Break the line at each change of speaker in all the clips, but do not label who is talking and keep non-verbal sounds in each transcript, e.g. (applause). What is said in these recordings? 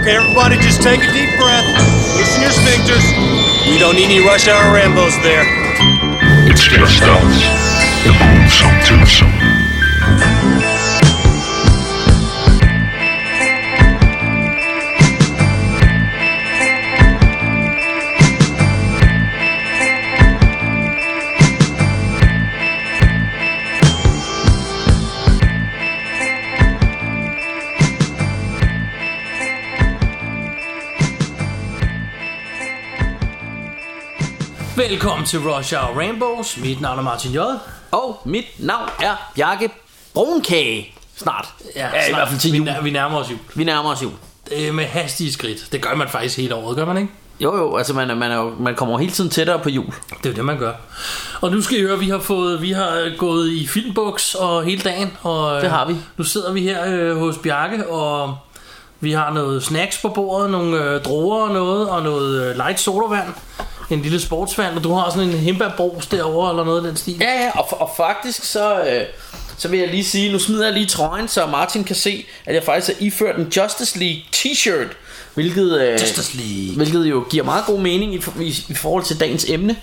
Okay, everybody, just take a deep breath. Loosen your sphincters. We don't need any rush hour Rambos there.
It's just us. The Boomsome Twosome.
Velkommen til Rush Hour Rainbows. Mit navn er Martin J.
Og mit navn er Bjarke Brunkage. Snart.
snart.
i hvert fald til jul.
Vi, nær- vi nærmer os jul.
Vi nærmer os jul.
Det er med hastige skridt. Det gør man faktisk hele året, gør man ikke?
Jo jo, altså man, er- man, er jo, man kommer jo hele tiden tættere på jul.
Det er jo det, man gør. Og nu skal I høre, vi har, fået, vi har øh, gået i filmbuks og hele dagen. Og, øh,
Det har vi.
Nu sidder vi her øh, hos Bjarke, og vi har noget snacks på bordet, nogle øh, druer og noget, og noget øh, light sodavand. En lille sportsvand, og du har sådan en himbærbrus derovre, eller noget af den stil.
Ja, ja, og, og faktisk så, øh, så vil jeg lige sige, nu smider jeg lige trøjen, så Martin kan se, at jeg faktisk har iført en Justice League t-shirt, hvilket, øh,
Justice League.
hvilket jo giver meget god mening i, for- i, i forhold til dagens emne.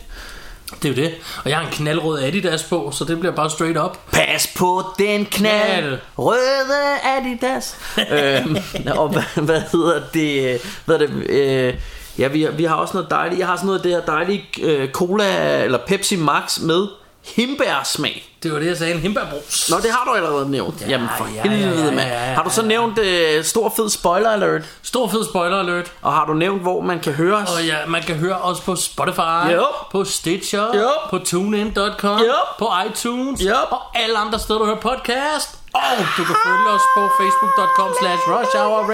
Det er jo det. Og jeg har en knaldrød Adidas på, så det bliver bare straight up.
Pas på den knald,
Knald.
røde
(laughs)
Adidas. øhm, og hvad, hvad hedder det? Hvad er det øh, ja, vi, vi har også noget dejligt. Jeg har sådan noget af det her dejlige øh, cola eller Pepsi Max med himbærsmag.
Det var det, jeg sagde. En himbærbrus.
Nå, det har du allerede nævnt. Ja, Jamen for
ja, ja,
helvede,
ja, ja,
mand.
ja, ja,
Har du så nævnt øh, stor fed spoiler alert?
Stor fed spoiler alert.
Og har du nævnt, hvor man kan høre os?
Og ja, man kan høre os på Spotify,
Yup.
på Stitcher,
Yup.
på TuneIn.com,
Yup.
på iTunes
Yup.
og alle andre steder, du hører podcast. Og du kan følge os på facebook.com slash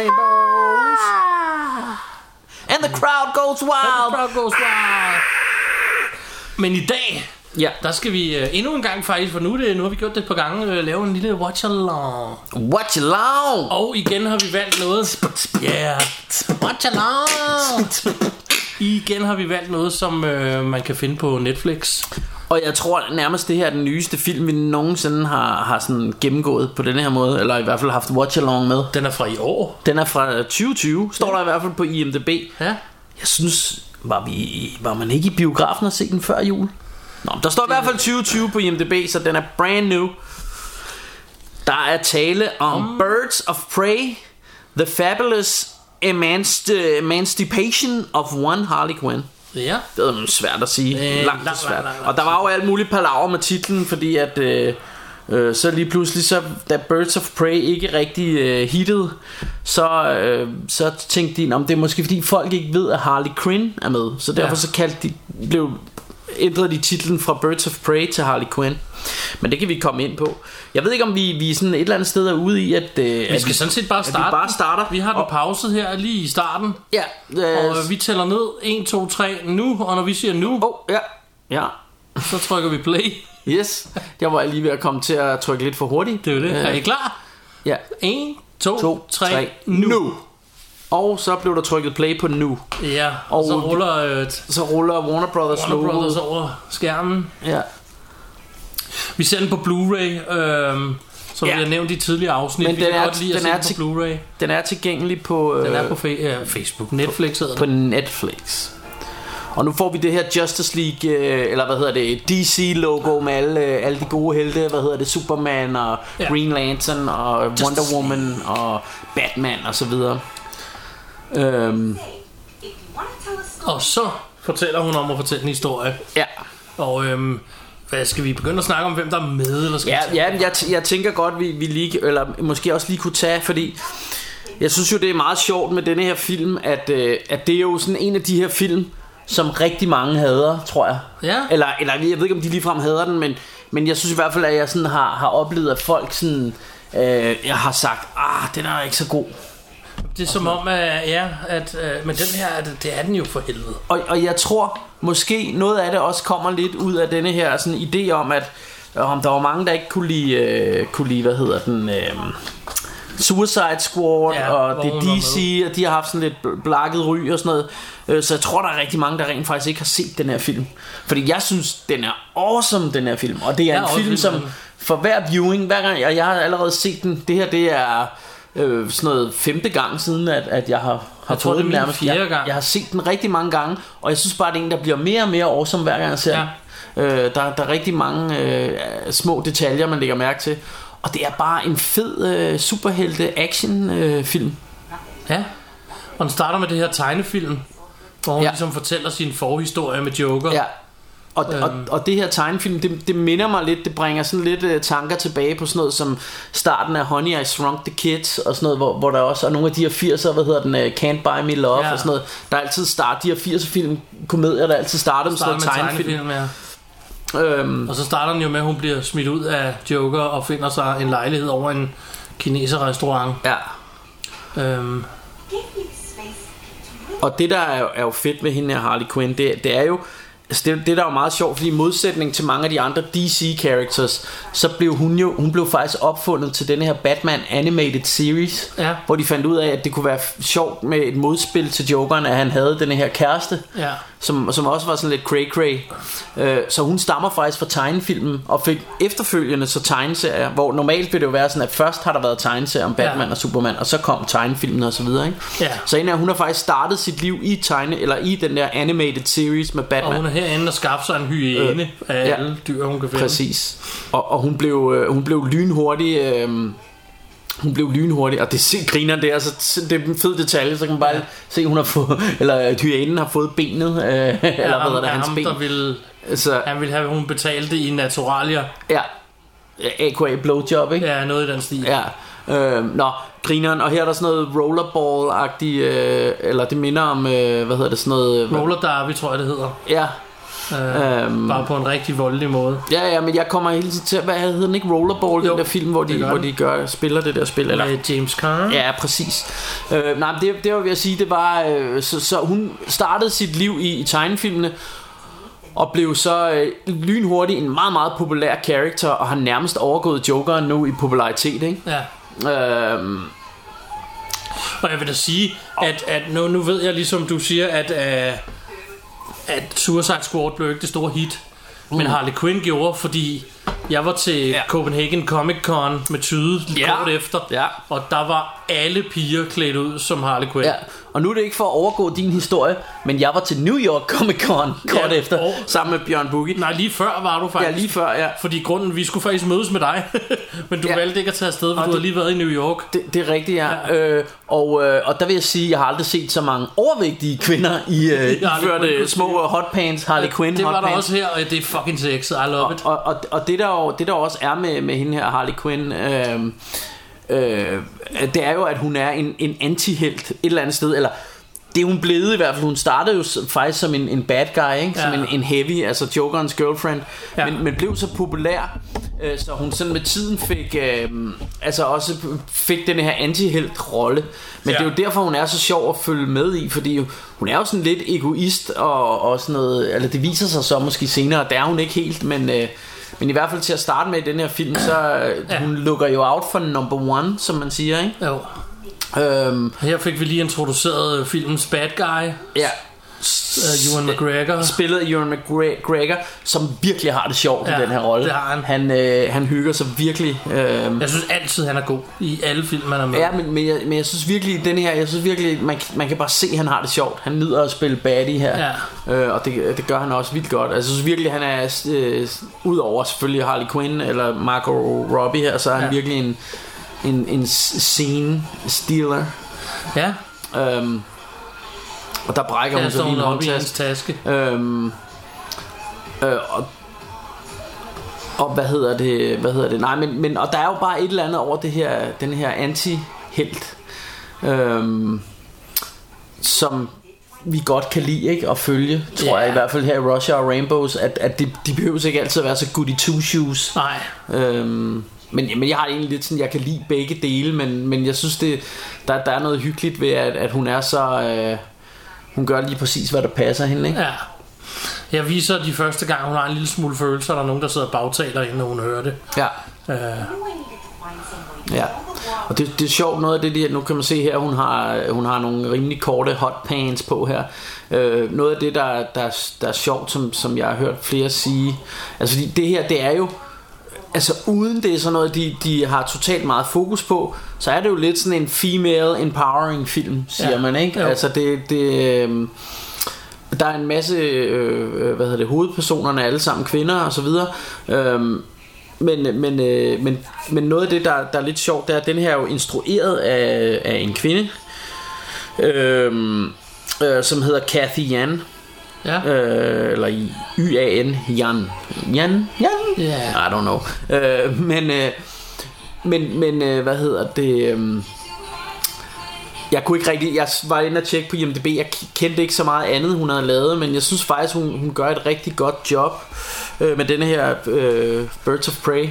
rushhourrainbows.
And the crowd goes wild.
Crowd goes wild. Men i dag,
Ja.
der skal vi øh, endnu en gang faktisk, for nu, er det, nu har vi gjort det et par gange, øh, lave en lille watch along.
Watch along.
Og igen har vi valgt noget. Yeah. Watch
(laughs)
along. Igen har vi valgt noget, som øh, man kan finde på Netflix.
Og jeg tror nærmest det her er den nyeste film vi nogensinde har, har sådan gennemgået på den her måde Eller i hvert fald haft watch along med
Den er fra i år.
Den er fra 2020 Står der i hvert fald på IMDB
Ja.
Jeg synes var, vi, var man ikke i biografen og se den før jul? Nå, men der står i hvert fald 2020 på IMDB Så den er brand new Der er tale om Birds of Prey The Fabulous Emanci- Emancipation of One Harley Quinn
Ja.
det er svært at sige.
Øh,
Øh, langt
lang,
lang, svært.
lang, lang, lang.
Og der var jo alt muligt palaver med titlen, fordi at øh, øh, så lige pludselig så da Birds of Prey ikke rigtig øh, hittede, så øh, så tænkte de, om det er måske fordi folk ikke ved at Harley Quinn er med. Så derfor
Ja.
ja. så kaldte de blev ændrede de titlen fra Birds of Prey til Harley Quinn. Men det kan vi komme ind på. Jeg ved ikke om vi vi sådan et eller andet sted er ude i at øh,
Vi
at
skal sådan set bare
vi
starte.
bare
den.
starter.
Vi har den
Og-
pauset her lige i starten.
ja, øh,
Og øh, vi tæller ned 1, 2, 3 nu. Og når vi siger nu,
oh, ja. Ja.
så trykker vi play.
Yes. Jeg var lige ved at komme til at trykke lidt for hurtigt.
Det er jo det.
Øh,
Er I klar?
Ja.
1, 2,
To,
3
tre,
nu.
nu. Og så blev der trykket play på nu.
Ja. Og
Og
så
vi-
ruller øh, t-
Så ruller Warner Brothers
Warner
logo.
Brothers over skærmen.
Ja.
Vi ser den på Blu-ray. Øh, som
Ja.
vi har nævnt i tidligere afsnit.
Men
vi
den
kan
er-
godt lide at
den
se
er
den
til-
på Blu-ray.
Den er tilgængelig på, øh,
Den er på fe- øh, Facebook. Netflix hedder
på
den.
Netflix. Og nu får vi det her Justice League, øh, eller hvad hedder det, DC-logo med alle, øh, alle de gode helte. Hvad hedder det, Superman og
Ja.
ja. Green Lantern og
Justice
Wonder Woman og Batman og så videre. Øhm,
Og så fortæller hun om at fortælle en historie.
ja,
Og øhm, hvad skal vi begynde at snakke om, hvem der er med? Eller skal
ja,
vi tage-
ja men jeg, t- jeg tænker godt, vi, vi lige, eller måske også lige kunne tage, fordi Jeg synes jo det er meget sjovt med denne her film At, øh, at det er jo sådan en af de her film Som rigtig mange hader Tror jeg
Ja.
eller, eller jeg ved ikke om de ligefrem hader den Men, men jeg synes i hvert fald at jeg sådan har, har oplevet At folk sådan øh, Jeg har sagt Ah den er ikke så god
Det er som om, at, ja, at, øh, men den her, at, det er den jo for helvede.
og, og jeg tror måske noget af det også kommer lidt ud af denne her sådan idé om at om der var mange der ikke kunne lide øh, kunne lide hvad hedder den øh, Suicide Squad
Ja,
ja,
hvor
og det
hun
er
var
DC og de har haft sådan lidt bl- blakket ry og sådan noget. Øh, Så jeg tror der er rigtig mange der rent faktisk ikke har set den her film. Fordi jeg synes den er awesome den her film og det er
Jeg er
en
også
film
vild
som
med den.
for hver viewing hver gang og jeg har allerede set den. Det her det er øh, sådan noget femte gang siden at, at jeg har, Jeg
tror,
tror, det
det
er
er min
nærmest.
fjerde
Jeg,
gang.
jeg har set den rigtig mange gange, og jeg synes bare, det er en, der bliver mere og mere awesome, hver gang jeg ser
Ja.
ja. øh, der, der er rigtig mange øh, små detaljer, man lægger mærke til. Og det er bare en fed øh, superhelte-action-film. Øh, film.
Ja. Og den starter med det her tegnefilm, hvor hun ja.
Ja.
ligesom fortæller sin forhistorie med Joker.
Ja. Og, øhm. og, og det her tegnefilm, det, det minder mig lidt, det bringer sådan lidt øh, tanker tilbage på sådan noget som starten af Honey, I Shrunk the Kids og sådan noget, hvor, hvor der også er nogle af de her 80'er, hvad hedder den, øh, Can't Buy Me Love
Ja.
ja. og sådan noget. Der er altid start, de her 80'er film, komedier, der altid starter med sådan
Starter
noget
med
tegnefilm.
tegnefilm, ja.
Øhm,
Og så starter den jo med, at hun bliver smidt ud af Joker og finder sig en lejlighed over en kineserrestaurant.
ja.
Øhm,
Give you space to
Og det der er jo, er jo fedt ved hende her Harley Quinn, det, det er jo altså det, det der er jo meget sjovt, fordi i modsætning til mange af de andre DC characters, så blev hun jo hun blev faktisk opfundet til denne her Batman animated series,
Ja.
hvor de fandt ud af at det kunne være f- sjovt med et modspil til Jokeren, at han havde denne her kæreste.
ja.
Som, som også var sådan lidt cray cray øh, Så hun stammer faktisk fra tegnefilmen Og fik efterfølgende så tegneserier Hvor normalt vil det jo være sådan at først har der været tegneserier Om Batman
Ja.
ja. og Superman Og så kom tegnefilmen og så videre ikke?
Ja.
Så en af hun har faktisk startet sit liv i tegne Eller i den der animated series med
Og
Batman
hun er herinde og skaffer sig en hyæne øh, af ja.
ja.
alle dyr, hun kan finde.
Præcis. Og, og hun blev øh, hun blev lynhurtig øh, hun blev lynhurtig, og det ser griner det er altså s- det er en fed detalje, så kan man bare ja. se hun har fået (laughs) eller at hyænen har fået benet øh, (laughs) eller hvad
Ja, ham,
hedder det,
er
hans
ham,
ben.
der ville,
Så
han ville have, at hun betalte i naturalier.
ja. AKA blowjob, ikke?
Ja, noget i den stil.
Ja. Øh, nå, grineren, og her er der sådan noget rollerball-agtigt, øh, eller det minder om, øh, hvad hedder det, sådan noget... øh,
Roller derby, tror jeg, det hedder.
Ja,
Øh,
Øhm.
Bare på en rigtig voldelig måde.
ja, ja, men jeg kommer hele tiden til, at- hvad hedder den ikke, rollerball,
Jo,
den der film, hvor
det
de,
gør
hvor
den.
de gør, spiller det der spil, eller
Med James Caan.
Ja, præcis. Øh, nej, men det, det var ved at sige, det var, øh, så, så hun startede sit liv i, i tegnefilmene, og blev så øh, lynhurtigt en meget, meget populær karakter, og har nærmest overgået Jokeren nu i popularitet, ikke?
ja.
Øh,
Og jeg vil da sige, at, at nu, nu ved jeg ligesom du siger, at, øh, at Suicide Squad blev ikke det store hit. Men Harley Quinn gjorde, fordi jeg var til ja.
Mm. Ja.
Copenhagen Comic Con med tyde ja.
Ja.
kort efter.
Ja.
Og der var alle piger klædt ud som Harley Quinn.
ja. Og nu er det ikke for at overgå din historie, men jeg var til New York Comic Con kort
Ja,
efter,
og-
sammen med Bjørn Boogie.
Nej, lige før var du faktisk.
Ja, lige før, ja.
Fordi grunden, vi skulle faktisk mødes med dig, (laughs) men du ja.
Ja.
valgte ikke at tage afsted, for du
det-
havde lige været i New York.
Det, det er rigtigt, ja. Øh, og, øh, og der vil jeg sige, at jeg har aldrig set så mange overvægtige kvinder i øh,
Harley Quinn-kostymer.
iførte små øh, hotpants, Harley Quinn
det var der
hotpants.
også her, og det er fucking sexet, I love it.
og, og, og det der jo, det der også er med, med hende her Harley Quinn øh, øh, Det er jo at hun er en, en antihelt Et eller andet sted Eller det er hun blevet i hvert fald Hun startede jo s- faktisk som en, en bad guy ikke? Som
Ja.
en, en heavy, altså Jokerens girlfriend
Ja.
ja. men, men blev så populær øh, Så hun sådan med tiden fik øh, Altså også fik den her antihelt rolle
Ja.
Men ja. det er jo derfor hun er så sjov at følge med i Fordi jo- hun er jo sådan lidt egoist og, og sådan noget Eller det viser sig så måske senere Det er hun ikke helt Men, øh, men i hvert fald til at starte med i den her film Så øh,
Ja.
hun lukker jo out for number one Som man siger ikke?
Jo.
Øhm,
Her fik vi lige introduceret øh, filmens bad guy,
ja.
uh, Ewan McGregor.
Spillet af Ewan McGregor Som virkelig har det sjovt
Ja,
i den her rolle
det har han.
Han, øh, han hygger sig virkelig øh,
Jeg synes altid, han er god i alle film, han er med.
Ja, men, men, jeg, men jeg synes virkelig, den her, jeg synes virkelig, man, man kan bare se, at han har det sjovt. Han nyder at spille baddie her, ja. øh, og det, det gør han også vildt godt. Altså, jeg synes virkelig, han er, øh, udover selvfølgelig Harley Quinn eller Margot Robbie her, så er han
Ja.
ja. virkelig en, en, en scene stealer.
ja
Øhm, og der brækker
der
hun så
står
lige
hun
en
oppe i hans
håndtaske.
taske.
Øhm, øh, og, og hvad hedder det? Hvad hedder det? Nej, men, men og der er jo bare et eller andet over det her, den her anti-helt, øhm, som vi godt kan lide ikke at følge, tror
Ja.
jeg i hvert fald her i Russia og Rainbows, at, at de, de behøver ikke altid at være så goody two shoes.
Nej,
Øhm, men, men jeg har det egentlig lidt sådan, jeg kan lide begge dele, men, men jeg synes, det, der, der er noget hyggeligt ved, at, at hun er så... Øh, hun gør lige præcis, hvad der passer hende, ikke?
ja. Jeg viser de første gang, hun har en lille smule følelse, og der er nogen, der sidder og bagtaler, inden hun hører det.
Ja.
Øh,
you I needed to find someone.
Ja.
All the while
Og det, det er sjovt noget af det, der, nu kan man se her, hun har, hun har nogle rimelig korte hotpants på her. Øh, noget af det, der, der, der er sjovt, som, som jeg har hørt flere sige, altså fordi det her, det er jo altså uden det er sådan noget, de, de har totalt meget fokus på, så er det jo lidt sådan en female empowering film, siger
Ja.
ja. man, ikke?
Jo.
Altså det, det øh, der er en masse, øh, øh, hvad hedder det, hovedpersonerne er alle sammen kvinder og så videre. Øhm, men, men, øh, men, men noget af det, der, der er lidt sjovt, det er, at den her er jo instrueret af, af en kvinde, øhm, øh, som hedder Kathy Yan.
Ja.
Øh, eller i- Y-A-N, Jan. Jan? Jan?
Ja.
I don't know. Øh, men, øh, men, men øh, hvad hedder det... Øh, jeg kunne ikke rigtig, jeg var inde og tjekke på IMDb, jeg k- kendte ikke så meget andet, hun havde lavet, men jeg synes faktisk, hun, hun gør et rigtig godt job øh, med denne her øh, Birds of Prey.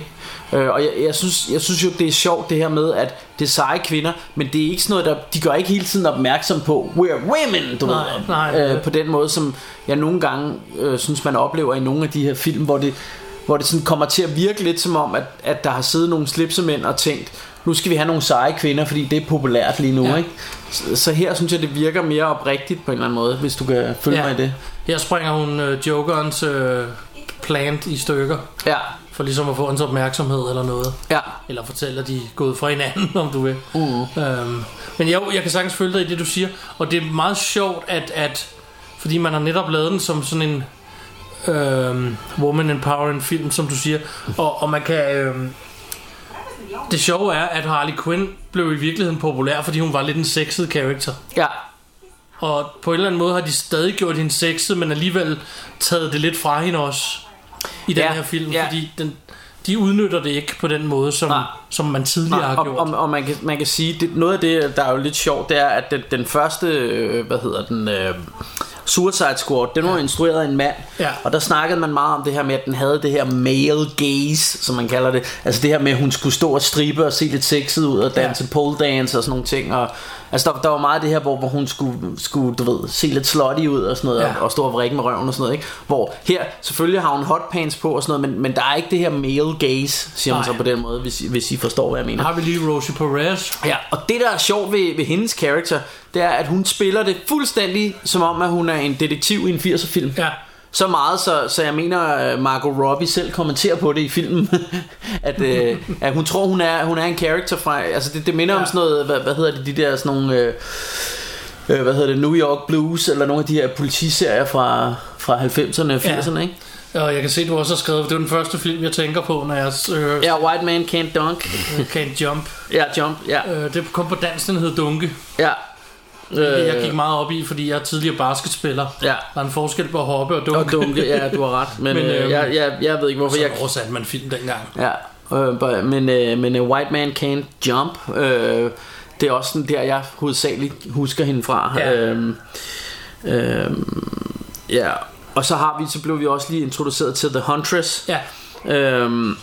Øh, og jeg, jeg, synes, jeg synes jo, det er sjovt det her med, at det er seje kvinder, men det er ikke sådan noget, der, de gør ikke hele tiden opmærksom på, we're women, du
Nej,
ved,
nej.
Øh, på den måde, som jeg nogle gange øh, synes, man oplever i nogle af de her film, hvor det, hvor det sådan kommer til at virke lidt som om, at, at der har siddet nogle slipsemænd og tænkt, nu skal vi have nogle seje kvinder, fordi det er populært lige nu,
Ja.
ja. ikke? Så, så her synes jeg, det virker mere oprigtigt på en eller anden måde, hvis du kan følge ja. mig i det.
Her springer hun øh, Jokerens øh, plant i stykker,
Ja,
for ligesom at få hans opmærksomhed eller noget.
ja,
Eller fortæller de er gået fra hinanden, (laughs) om du vil. Mm. Øhm, men jo, jeg kan sagtens følge dig i det, du siger. Og det er meget sjovt, at, at fordi man har netop lavet den som sådan en øhm, woman empowering film, som du siger. Og, og man kan... Øhm, det sjove er, at Harley Quinn blev i virkeligheden populær, fordi hun var lidt en sexet character.
ja,
Og på en eller anden måde har de stadig gjort hende sexet, men alligevel taget det lidt fra hende også i den
Ja,
ja, her film,
ja.
ja. fordi den, de udnytter det ikke på den måde, som,
Nej.
som man tidligere har
og,
gjort.
og, og man, kan, man kan sige, det, noget af det, der er jo lidt sjovt, det er, at den, den første, øh, hvad hedder den, øh, Suicide Squad, den var ja. instrueret af en mand,
Ja.
og der snakkede man meget om det her med, at den havde det her male gaze, som man kalder det, altså det her med, at hun skulle stå og stribe og se lidt sexet ud og danse
Ja.
ja. pole dance og sådan nogle ting, og altså der, der var meget af det her, hvor, hvor hun skulle, skulle, du ved, se lidt slutty ud og sådan noget,
Ja.
ja. og stå og vrikke med røven og sådan noget, ikke? hvor her, selvfølgelig har hun hotpants på og sådan noget, men, men der er ikke det her male gaze, siger man
Nej.
så på den måde, hvis, hvis I forstår, hvad jeg mener.
Der har vi lige Rosie Perez.
Ja, og det der er sjovt ved, ved hendes karakter, det er, at hun spiller det fuldstændig som om, at hun er en detektiv i en 80'er film.
Ja.
Så meget, så, så jeg mener, øh, Margot Robbie selv kommenterer på det i filmen, (laughs) at, øh, at hun tror, hun er, hun er en karakter fra... Altså, det, det minder ja.
Ja.
om sådan noget, hvad, hvad hedder det, de der sådan nogle... Øh, øh, hvad hedder det, New York Blues, eller nogle af de her politiserier fra, fra 90'erne og 80'erne, ja. ikke?
Og jeg kan se, du også har skrevet, for det er den første film, jeg tænker på, når jeg øh,
Ja, White Man Can't Dunk.
Can't Jump.
Ja, Jump, ja.
Øh, det kom på dansk, den hed Dunke.
ja.
Det jeg
Øh,
gik meget op i, fordi jeg er tidligere basketspiller.
Ja.
Der er en forskel på at hoppe og dunke.
Og dunke, ja, du har ret. Men,
Men,
men øh,
øhm,
jeg, jeg, jeg ved ikke, hvorfor
(laughs)
jeg...
Så oversatte man film dengang.
Ja, øh, but- men, øh, men øh, White Man Can't Jump, øh, det er også sådan der, jeg hovedsageligt husker hende fra.
Ja.
Øhm, øhm, ja. Og så har vi, så blev vi også lige introduceret til The Huntress,
Ja,
øhm,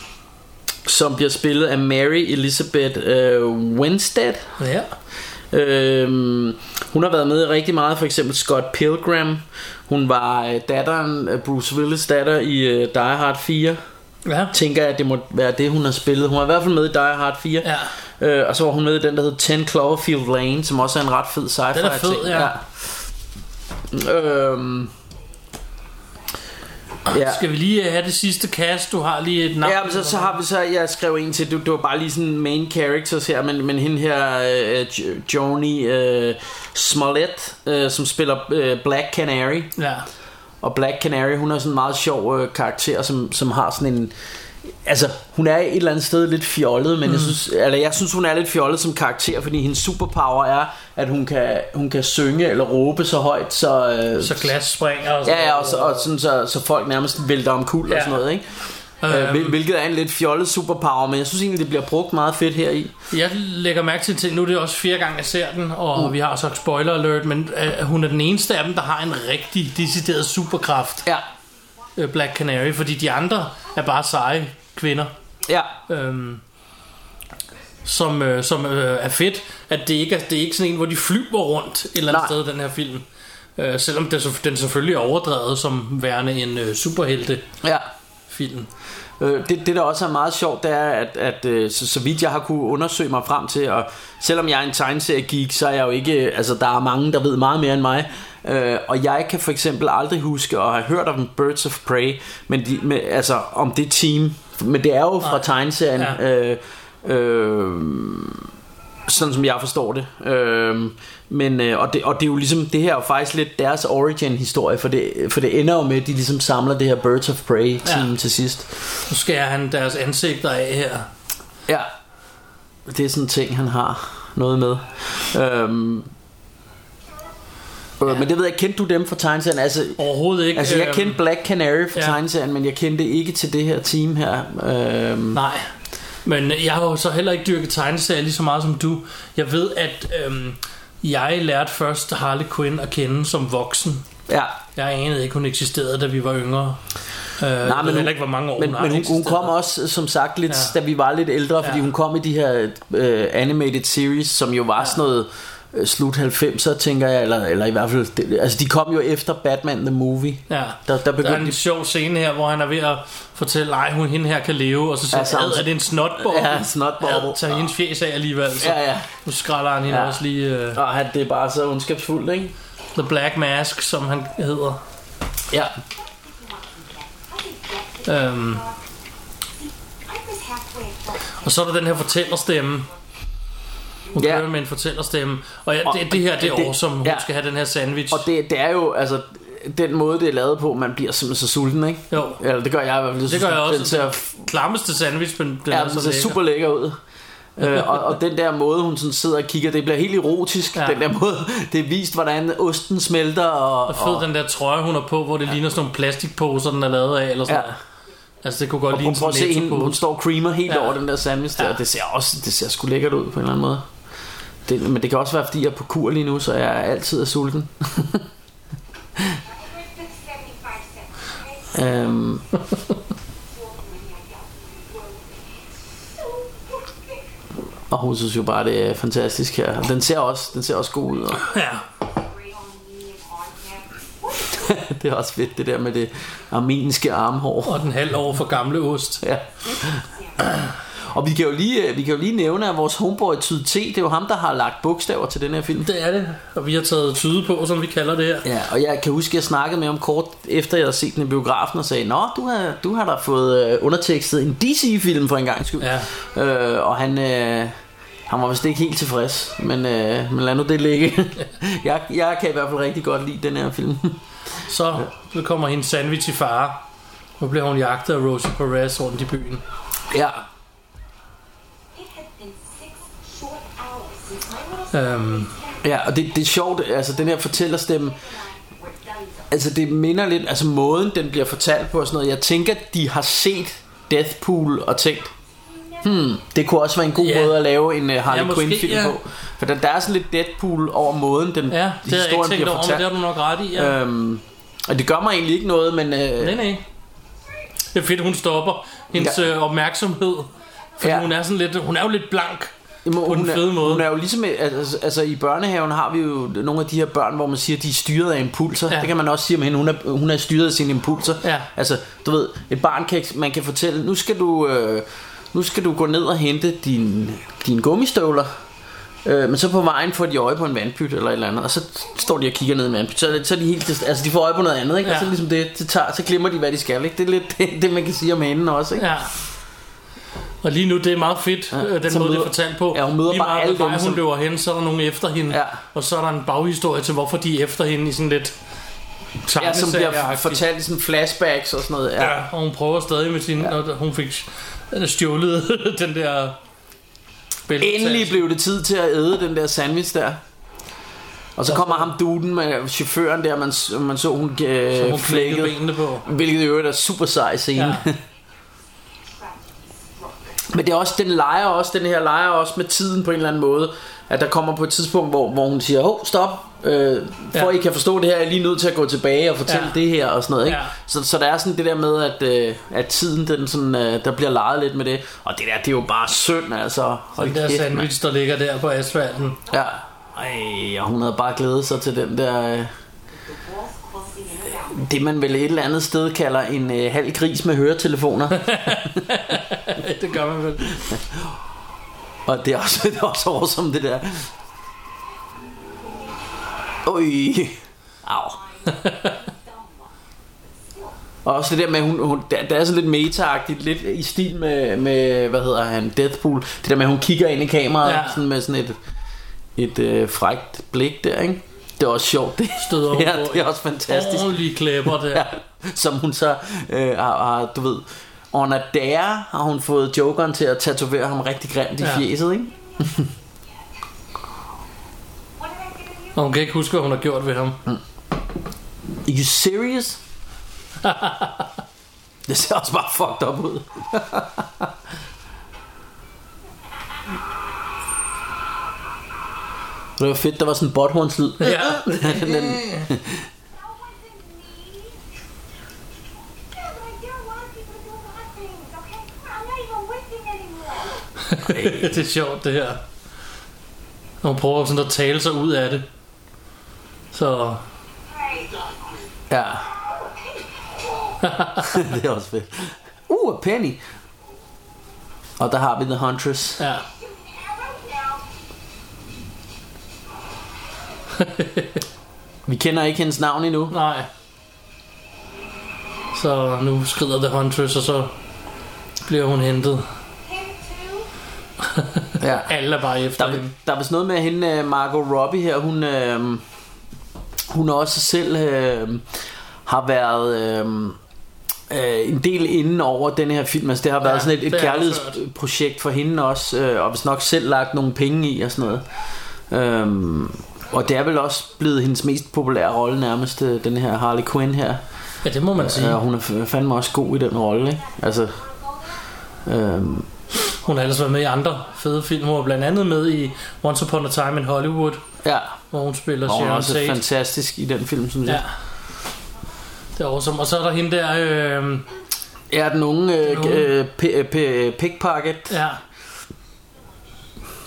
som bliver spillet af Mary Elizabeth øh, Winstead.
ja.
Øhm, hun har været med i rigtig meget, for eksempel Scott Pilgrim. Hun var øh, datteren, øh, Bruce Willis datter i øh, Die Hard 4
ja.
tænker jeg, at det må være det, hun har spillet. Hun var i hvert fald med i Die Hard 4.
Ja.
Øh, og så var hun med i den, der hed 10 Cloverfield Lane, som også er en ret fed sci-fi
Den er fed,
ting.
ja.
ja. Øhm, ja.
Skal vi lige øh, have det sidste cast? Du har lige et navn.
Ja, men så, så har vi så, jeg skrev en til, du, du var bare lige sådan main characters her, men, men hende her, øh, Jo- Joni øh, Smollett, øh, som spiller øh, Black Canary,
Ja.
Og Black Canary, hun er sådan en meget sjov øh, karakter, som, som har sådan en... Altså, hun er et eller andet sted lidt fjollet, men mm. jeg, synes, eller jeg synes, hun er lidt fjollet som karakter, fordi hendes superpower er, at hun kan, hun kan synge eller råbe så højt, så... Øh,
Så glas springer og
Ja, ja, og, så, og sådan, så, så folk nærmest vælter om kul ja.
Ja.
og sådan noget, ikke?
Øhm.
Øh, hvil- hvilket er en lidt fjollet superpower, men jeg synes egentlig, det bliver brugt meget fedt her i.
Jeg lægger mærke til, til, nu er det også fire gange, jeg ser den, og mm. vi har så spoiler alert, men øh, hun er den eneste af dem, der har en rigtig decideret superkraft,
Ja,
øh, Black Canary, fordi de andre er bare seje kvinder,
ja,
øhm, som, øh, som øh, er fedt, at det ikke er, det er ikke sådan en, hvor de flyver rundt et eller andet
Nej.
sted, den her film. Øh, selvom det, så- den selvfølgelig er overdrevet som værende en øh, superhelte-film.
ja. Øh, det, det der også er meget sjovt, det er, at, at øh, så, så vidt jeg har kunne undersøge mig frem til, og selvom jeg er en tegneserie-geek, så er jeg jo ikke, altså der er mange, der ved meget mere end mig, øh, og jeg kan for eksempel aldrig huske at have hørt om Birds of Prey, men de, med, altså om det team, Men det er jo fra
Nej.
tegneserien.
Ja.
Øh, øh, sådan som jeg forstår det. Øh, men, øh, og, det, og det er jo ligesom, det her er jo faktisk lidt deres origin-historie, for det, for det ender jo med, at de ligesom samler det her Birds of Prey-team
Ja.
til sidst.
Nu skærer han deres ansigter af her.
Ja. Det er sådan en ting, han har noget med. Øhm, øh, Men det ved jeg, kendte du dem fra tegneserien? Altså,
Overhovedet ikke.
altså jeg
øhm,
kendte Black Canary fra
ja.
ja. tegneserien, men jeg kendte ikke til det her team her. Øhm,
Nej. Men jeg har jo så heller ikke dyrket tegneserier lige så meget som du. Jeg ved, at øhm, jeg lærte først Harley Quinn at kende som voksen.
ja.
Jeg anede ikke, hun eksisterede, da vi var yngre. Øh, Nej,
Nej,
jeg ved
men hun,
heller ikke, hvor mange år
men,
hun har
men hun, hun
eksisteret.
kom også, øh, som sagt, lidt,
Ja.
ja. da vi var lidt ældre, fordi
Ja.
ja. hun kom i de her øh, animated series, som jo var ja. sådan noget øh, slut 90'er, tænker jeg, eller, eller i hvert fald, det, altså de kom jo efter Batman The Movie.
Ja.
Der, der
Der er
begyndte
en
de
sjov scene her, hvor han er ved at fortælle, at hun hende her kan leve, og så siger
Ja,
han,
samt-
"Ad, er det en snotbob?
Altså, Ja, snotbobble.
Tag hendes fjes af alligevel, så
Ja, ja.
nu skræller han hende
Ja.
også lige uh,
Og han, det er bare så ondskabsfuldt, ikke?
The Black Mask, som han hedder.
Ja.
Øhm,
I was halfway across.
og så er der den her fortællerstemme. Hun
Ja.
kører med en fortællerstemme. Og ja,
Og-
det, det her, det er
det-
awesome. Hun
ja.
skal have den her sandwich.
Og det, det er jo, altså, den måde, det er lavet på, man bliver simpelthen så sulten, ikke?
Jo.
Eller det gør jeg i hvert fald. Jeg
Det
synes,
gør jeg også.
Den ser,
Klammeste sandwich, men den
ja,
er
den
så
ser
lækker.
super lækker
(laughs)
ud. øh, og, og den der måde hun sådan sidder og kigger Det bliver helt erotisk
Ja.
ja. Den der måde (laughs) Det er vist hvordan osten smelter Og,
Og fed den der trøje, hun har på, hvor det ligner sådan nogle plastikposer, den er lavet af, eller sådan
Ja.
ja. Altså, det kunne godt
og
ligne
prøv, prøv at se
sådan en
hende Hun
Netto-pose.
står og creamer helt
Ja.
over den der sandwich der
Ja.
Det ser også Det ser sgu lækkert ud på en eller anden måde det, Men det kan også være fordi jeg er på kur lige nu Så jeg altid er
(laughs)
sulten
Edward took 75 cents. I
Uh. øhm,
sold money I got from the world. So perfect.
Og hun synes jo bare, det er fantastisk her. Og Den ser også, den ser også god ud. (laughs) Og
Ja.
Great on me and on him. What
det er også fedt, det der med det armenske armhår.
Og den halv over for gamle ost.
Ja. Og vi kan, jo lige, øh, vi kan jo lige nævne, at vores homeboy Tyd T, det er jo ham, der har lagt bogstaver til den her film.
Det er det. Og vi har taget tyde på, som vi kalder det her.
Ja, og jeg kan huske, at jeg snakkede med ham kort efter, jeg havde set den i biografen og sagde, Nå, du har, du har da fået øh, undertekstet en DC-film for en gang skyld. Ja. Øh, og han, øh, han var vist ikke helt tilfreds, men, øh, men lad nu det ligge. (laughs) jeg, jeg kan i hvert fald rigtig godt lide den her film. (laughs)
Så, så kommer hendes sandwich i fare. Nu bliver hun jagtet af Rosie Perez rundt i byen. Øhm,
Ja,
It had been six short hours since my little
Øhm,
ja og det, det er sjovt, altså den her fortællerstemme,
were done.
altså det minder lidt, altså måden den bliver fortalt på og sådan noget, jeg tænker, de har set Deathpool og tænkt, hmm, det kunne også være en god
Ja.
yeah. måde at lave en uh, Harley
Ja,
ja,
måske,
Quinn-film
ja.
ja. på. For der, der er sådan lidt Deadpool over måden,
ja,
den
det har jeg ikke
historien
tænkt
bliver
over, men det har
fortalt.
du nok ret i. Ja. Øh,
øhm, og det gør mig egentlig ikke noget, men... Øh,
nej, nej. Det er fedt, hun stopper hendes
Ja.
ja. opmærksomhed. Fordi ja.
Ja.
hun er sådan lidt, hun er jo lidt blank.
Jamen,
på den
hun er-
fede måde.
Hun er jo ligesom, altså, altså i børnehaven har vi jo nogle af de her børn, hvor man siger, de er styret af impulser.
Ja.
Ja. Det kan man også sige om hende, hun er, hun er styret af sine impulser.
Ja.
Altså, du ved, et barn kan, ikke- man kan fortælle, nu skal du, øh, nu skal du gå ned og hente din, dine gummistøvler. Øh, men så på vejen får de øje på en vandpyt eller et eller andet, og så står de og kigger ned i en vandpyt. Så, er det- så er de helt, altså de får øje på noget andet, ikke? Ja.
Ja.
Og så ligesom det, det tager, så glemmer de, hvad de skal, ikke? Det er lidt (laughs) det, det man kan sige om hende også, ikke?
Ja. Og lige nu, det er meget fedt, ja,
Ja,
den
så
måde, det er
møder-
fortalt på.
Ja, hun møder
lige
bare
meget,
alle
hvad vej
dem,
hun
som-
løber hen, så er der nogen efter hende.
Ja.
Og så er der en baghistorie til, hvorfor de er efter hende i sådan lidt...
Ja, som bliver
tegneserieagtigt.
fortalt i sådan flashbacks og sådan noget. Ja.
Ja, og hun prøver stadig med sin... Ja. Hun fik øh, stjålet (laughs) den der... bæltetas.
Endelig blev det tid til at æde den der sandwich der. Og så kommer ham duden med chaufføren der, man, s- man så hun, øh,
Så hun flækkede
flækkede.
benene på.
Hvilket i øvrigt er super sej scene.
Ja.
Ja.
Tragedy
(laughs)
struck.
Men det er også, den leger også, den her leger også med tiden på en eller anden måde. At der kommer på et tidspunkt, hvor, hvor hun siger, hov, stop, øh, for
Ja.
ja. I kan forstå det her, jeg er lige nødt til at gå tilbage og fortælle
Ja.
ja. det her og sådan noget. Ikke?
Ja.
Ja. Så, så der er sådan det der med, at, øh, at tiden, den sådan, øh, der bliver leget lidt med det. Og det der, det er jo bare synd, altså. Hold
Den der
kæft, mand.
sandwich, der ligger der på asfalten.
Ja. Ej, og hun havde bare glædet sig til den der... øh,
The walls closing in around.
Det man vel et eller andet sted kalder en øh, halv gris med høretelefoner.
(laughs) det gør man vel.
og det er også, (laughs) det er også awesome, det der. Oj. Au.
Someone. But still,
(laughs) Og også det der med, hun, hun der, der er sådan lidt meta lidt i stil med, med, hvad hedder han, Deathpool. Det der med, at hun kigger ind i kameraet
Ja.
ja. sådan med sådan et, et øh, frækt blik der, ikke? Det er også sjovt, det.
(laughs) Støder hun
ja,
på
det er også fantastisk.
Ordentlige klæber der.
Ja, som hun så øh, har, har, du ved, on a dare har hun fået jokeren til at tatovere ham rigtig grimt i
Ja.
ja. fjeset, ikke?
What did I do to you?
Og hun kan ikke huske, hvad hun har gjort ved ham.
Are you serious? det ser også bare fucked up ud. (laughs) det var fedt, der var sådan en botthornslyd. (laughs)
Ja.
den,
That wasn't me. Yeah, but I dare a lot of people to do a lot of things, okay? I'm not even with you anymore.
det er sjovt, det her. Og hun prøver sådan at tale sig ud af det. Så
Right.
ja. (laughs) det er også fedt. Uh, a penny. Og der har vi The Huntress.
ja,
Shoot an arrow now.
Vi kender ikke hendes navn endnu.
nej. Så nu skrider The Huntress, og så bliver hun hentet.
Him too.
Ja.
Alle er bare
Der,
efter
er-
hende.
der er vist noget med at hende, øh, Margot Robbie her, hun, øh, hun også selv øh, har været øh, øh, en del inden over den her film. Altså det har været
Ja,
sådan et,
det
et
har jeg
kærlighedsprojekt for hende også, øh, og hvis nok selv lagt nogle penge i og sådan noget. Øh, og det er vel også blevet hendes mest populære rolle nærmest, øh, den her Harley Quinn her.
Ja, det må man sige.
Ja, hun er f- fandme også god i den rolle, ikke? Altså, øhm,
Hun har ellers været med i andre fede film. Hun var blandt andet med i Once Upon a Time in Hollywood,
ja.
hvor hun spiller
Og hun er
Sharon
også
Tate.
fantastisk i den film, synes jeg.
Ja. Det er awesome. Og så er der hende der, øh,
Ja, den unge øh,
unge.
øh, pi- øh, pi- øh, pickpocket.
ja.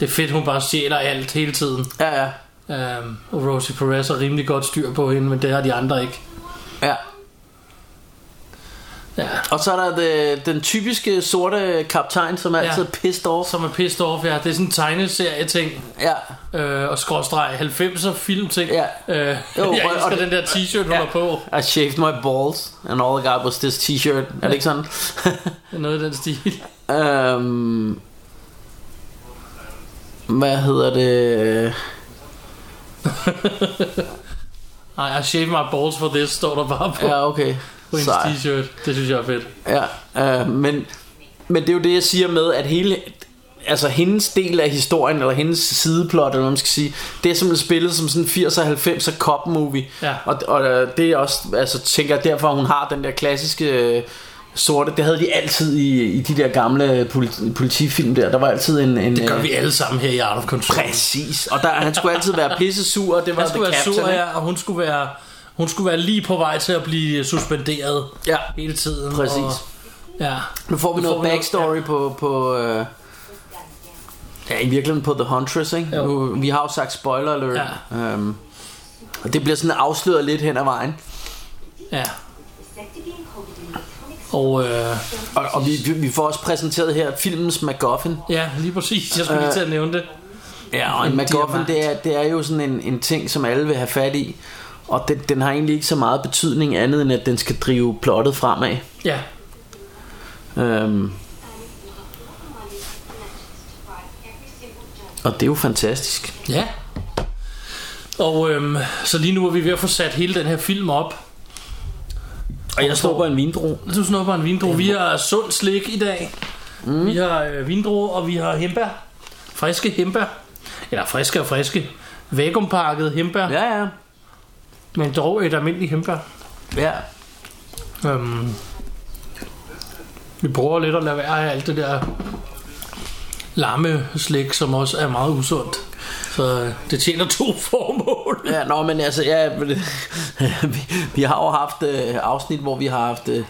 Det er fedt, hun bare stjæler alt hele tiden.
Ja, ja.
Øhm, og Rosie Perez har rimelig godt styr på hende, men det har de andre ikke.
ja.
Ja.
Og så er der det, den typiske sorte kaptajn, som er
Ja.
altid er pissed off.
Som er pissed off, ja. Det er sådan en tegneserie-ting,
Ja,
øh, og skråstreg 90'er film-ting.
Ja.
Øh,
Jo,
(laughs) jeg
og-
elsker
og-
den der t-shirt, hun
Ja.
har på.
I shaved my balls, and all I got was this t-shirt. Er det ikke sådan? (laughs)
Noget i den stil.
øhm, hvad hedder det?
Ej, I shaved my balls for this, står der bare på,
Ja, okay.
på hendes
Sej.
t-shirt. Det synes jeg er fedt.
Ja, øh, men, men det er jo det, jeg siger med, at hele... Altså hendes del af historien, eller hendes sideplot, eller hvad man skal sige, det er simpelthen spillet som sådan 80'er, 90'er cop movie.
Ja.
Og, og øh, det er også, altså tænker jeg derfor, hun har den der klassiske øh, sorte, det havde de altid i, i de der gamle politi- politifilm der, der var altid en... en
Det gør
øh,
vi alle sammen her i Art of Control.
Præcis, og der, han skulle altid være pisse sur, og det var
Han skulle
The
være sur
Captain, ikke?
her, og hun skulle være, hun skulle være lige på vej til at blive suspenderet
Ja,
hele tiden.
Præcis.
Og, ja.
Nu får vi
Nu
noget
får vi noget-
backstory på, på øh, ja, i virkeligheden på The Huntress, ikke?
Jo.
Nu, vi har jo sagt spoiler alert.
Ja.
Øhm, og det bliver sådan afsløret lidt hen ad vejen.
ja.
Instead of being coated in atomic
Og øh,
Og, og vi, vi- vi får også præsenteret her filmens MacGuffin.
ja, lige præcis. Jeg skulle lige
Øh.
til at nævne det.
Ja, og en
En
MacGuffin,
diamant.
det er, det er jo sådan en, en ting, som alle vil have fat i. Og den, den har egentlig ikke så meget betydning andet, end at den skal drive plottet fremad.
Ja,
Øhm,
money and connections to buy every single
og
judge.
det er jo fantastisk.
Ja. Og øhm, så lige nu er vi ved at få sat hele den her film op.
Og jeg står på en vindru.
Du snupper en vindru. Vi har sund slik i dag. Mm. Vi har øh, vindru, og vi har hembær. Friske hembær. Eller friske og friske. Vakuumpakket hembær. Ja.
Ja, ja.
Men dog et almindeligt hembær.
Ja.
Øhm, vi prøver lidt at lade være af alt det der lamme slik, som også er meget usundt. Så øh, det tjener to (laughs) formål.
Ja, nå, men altså, ja, men, (laughs) vi, vi har jo haft øh, afsnit, hvor vi har haft øh,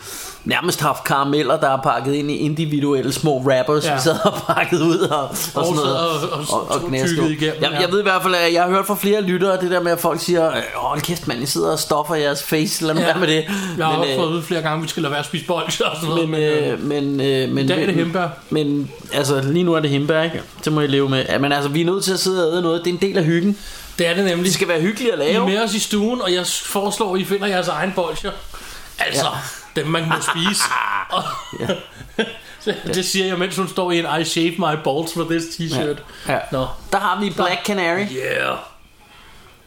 nærmest haft karameller, der er pakket ind i individuelle små wrappers,
Ja.
ja. vi sad og pakket ud og, og sådan noget.
sad og- og- og
knæskede.
tykkede igennem,
jeg,
ja.
jeg ved i hvert fald, at jeg har hørt fra flere lyttere, det der med, at folk siger, øh, hold kæft mand, I sidder og stoffer jeres face, lad nu
Ja.
ja. være med det.
Jeg har
men, øh,
også fået at vide flere gange, at vi skal lade være at spise bolcher og sådan noget.
men, øh, men, øh, men,
dag er det
men-
hindbær.
Men altså, lige nu er det hembær, ikke? Det må I leve med. Ja, men altså, vi er nødt til at sidde og æde noget. Det er en del af hyggen.
det er det nemlig.
Det skal være hyggeligt at
I er
lave.
med os i stuen, og jeg foreslår, at I finder jeres egen bolcher. Altså, ja. dem man må
(laughs)
spise. Og- Så (laughs) det siger jeg, mens hun står i en I shave my balls for this t-shirt.
Ja.
Nå.
Der har vi Black Canary,
Yeah.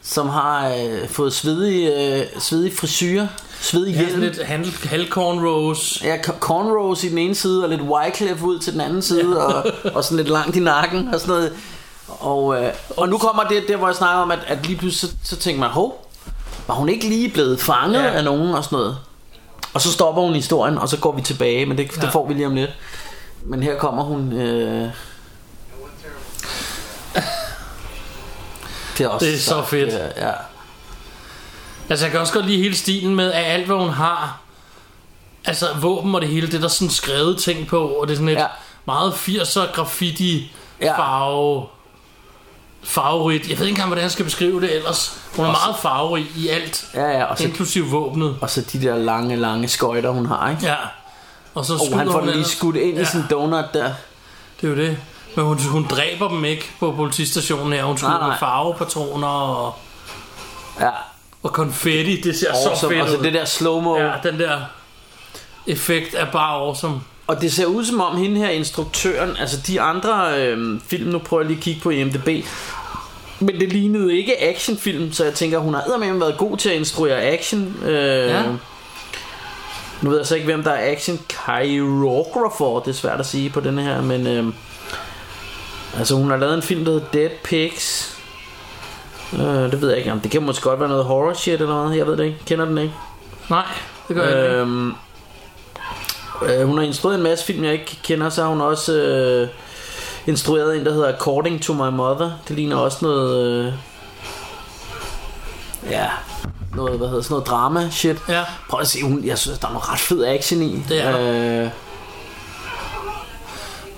som har øh, fået svedig, øh, svedig frisyrer, svedig
Det er
hjelm.
sådan lidt hal- halvcorn rose.
Ja, c- cornrows i den ene side, og lidt Wyclef ud til den anden side, og, og sådan lidt langt i nakken og sådan noget. Og, øh, og nu kommer det, der hvor jeg snakker om, at, at lige pludselig så, så tænker man, hov, var hun ikke lige blevet fanget
Ja.
ja. af nogen og sådan noget? Og så stopper hun historien, og så går vi tilbage, men det, ja.
Ja.
det får vi lige om lidt. Men her kommer hun... Øh... Det er, også
Det er så fedt.
Ja, ja.
Altså, jeg kan også godt lide hele stilen med, at alt hvad hun har, altså våben og det hele, det er der sådan skrevet ting på, og det er sådan et
Ja.
ja. meget 80'er graffiti
Ja.
ja. farve farverigt. Jeg ved ikke engang, hvordan jeg skal beskrive det ellers. Hun er meget farverig i alt,
ja, ja. Og, så,
inklusive våbnet.
og så de der lange, lange skøjter, hun har, ikke?
Ja. Og så
Og
skyder
han får
hun
den lige
ellers.
skudt ind ja. i
Ja.
sin donut der.
Det er jo det. Men hun, hun dræber dem ikke på politistationen her. Hun skyder
Nej, nej.
med farvepatroner og,
Ja.
og konfetti. Det ser
Awesome.
så fedt
og
ud.
så altså, det der slow-mo. Ja.
Ja, den der effekt er bare awesome.
Og det ser ud som om hende her instruktøren, altså de andre øhm, film, nu prøver jeg lige at kigge på IMDb, men det lignede ikke actionfilm, så jeg tænker, hun har eddermame været god til at instruere action. Øh, ja.
Ja.
Nu ved jeg så ikke, hvem der er action choreographer, det er svært at sige på denne her, men øhm, altså hun har lavet en film, der hedder Dead Pigs. Øh, det ved jeg ikke, om det kan måske godt være noget horror shit eller noget, jeg ved det ikke, kender den ikke.
Nej, det gør øh, jeg ikke.
Øhm, øh, hun har instrueret en masse film, jeg ikke kender. Så har hun også øh, instrueret en, der hedder According to My Mother. Det
Mm.
ligner også noget... Øh, ja, noget, hvad hedder, sådan noget drama shit.
Ja.
Prøv at se, hun, jeg synes, der er noget ret fed action i.
Det er
der. Øh,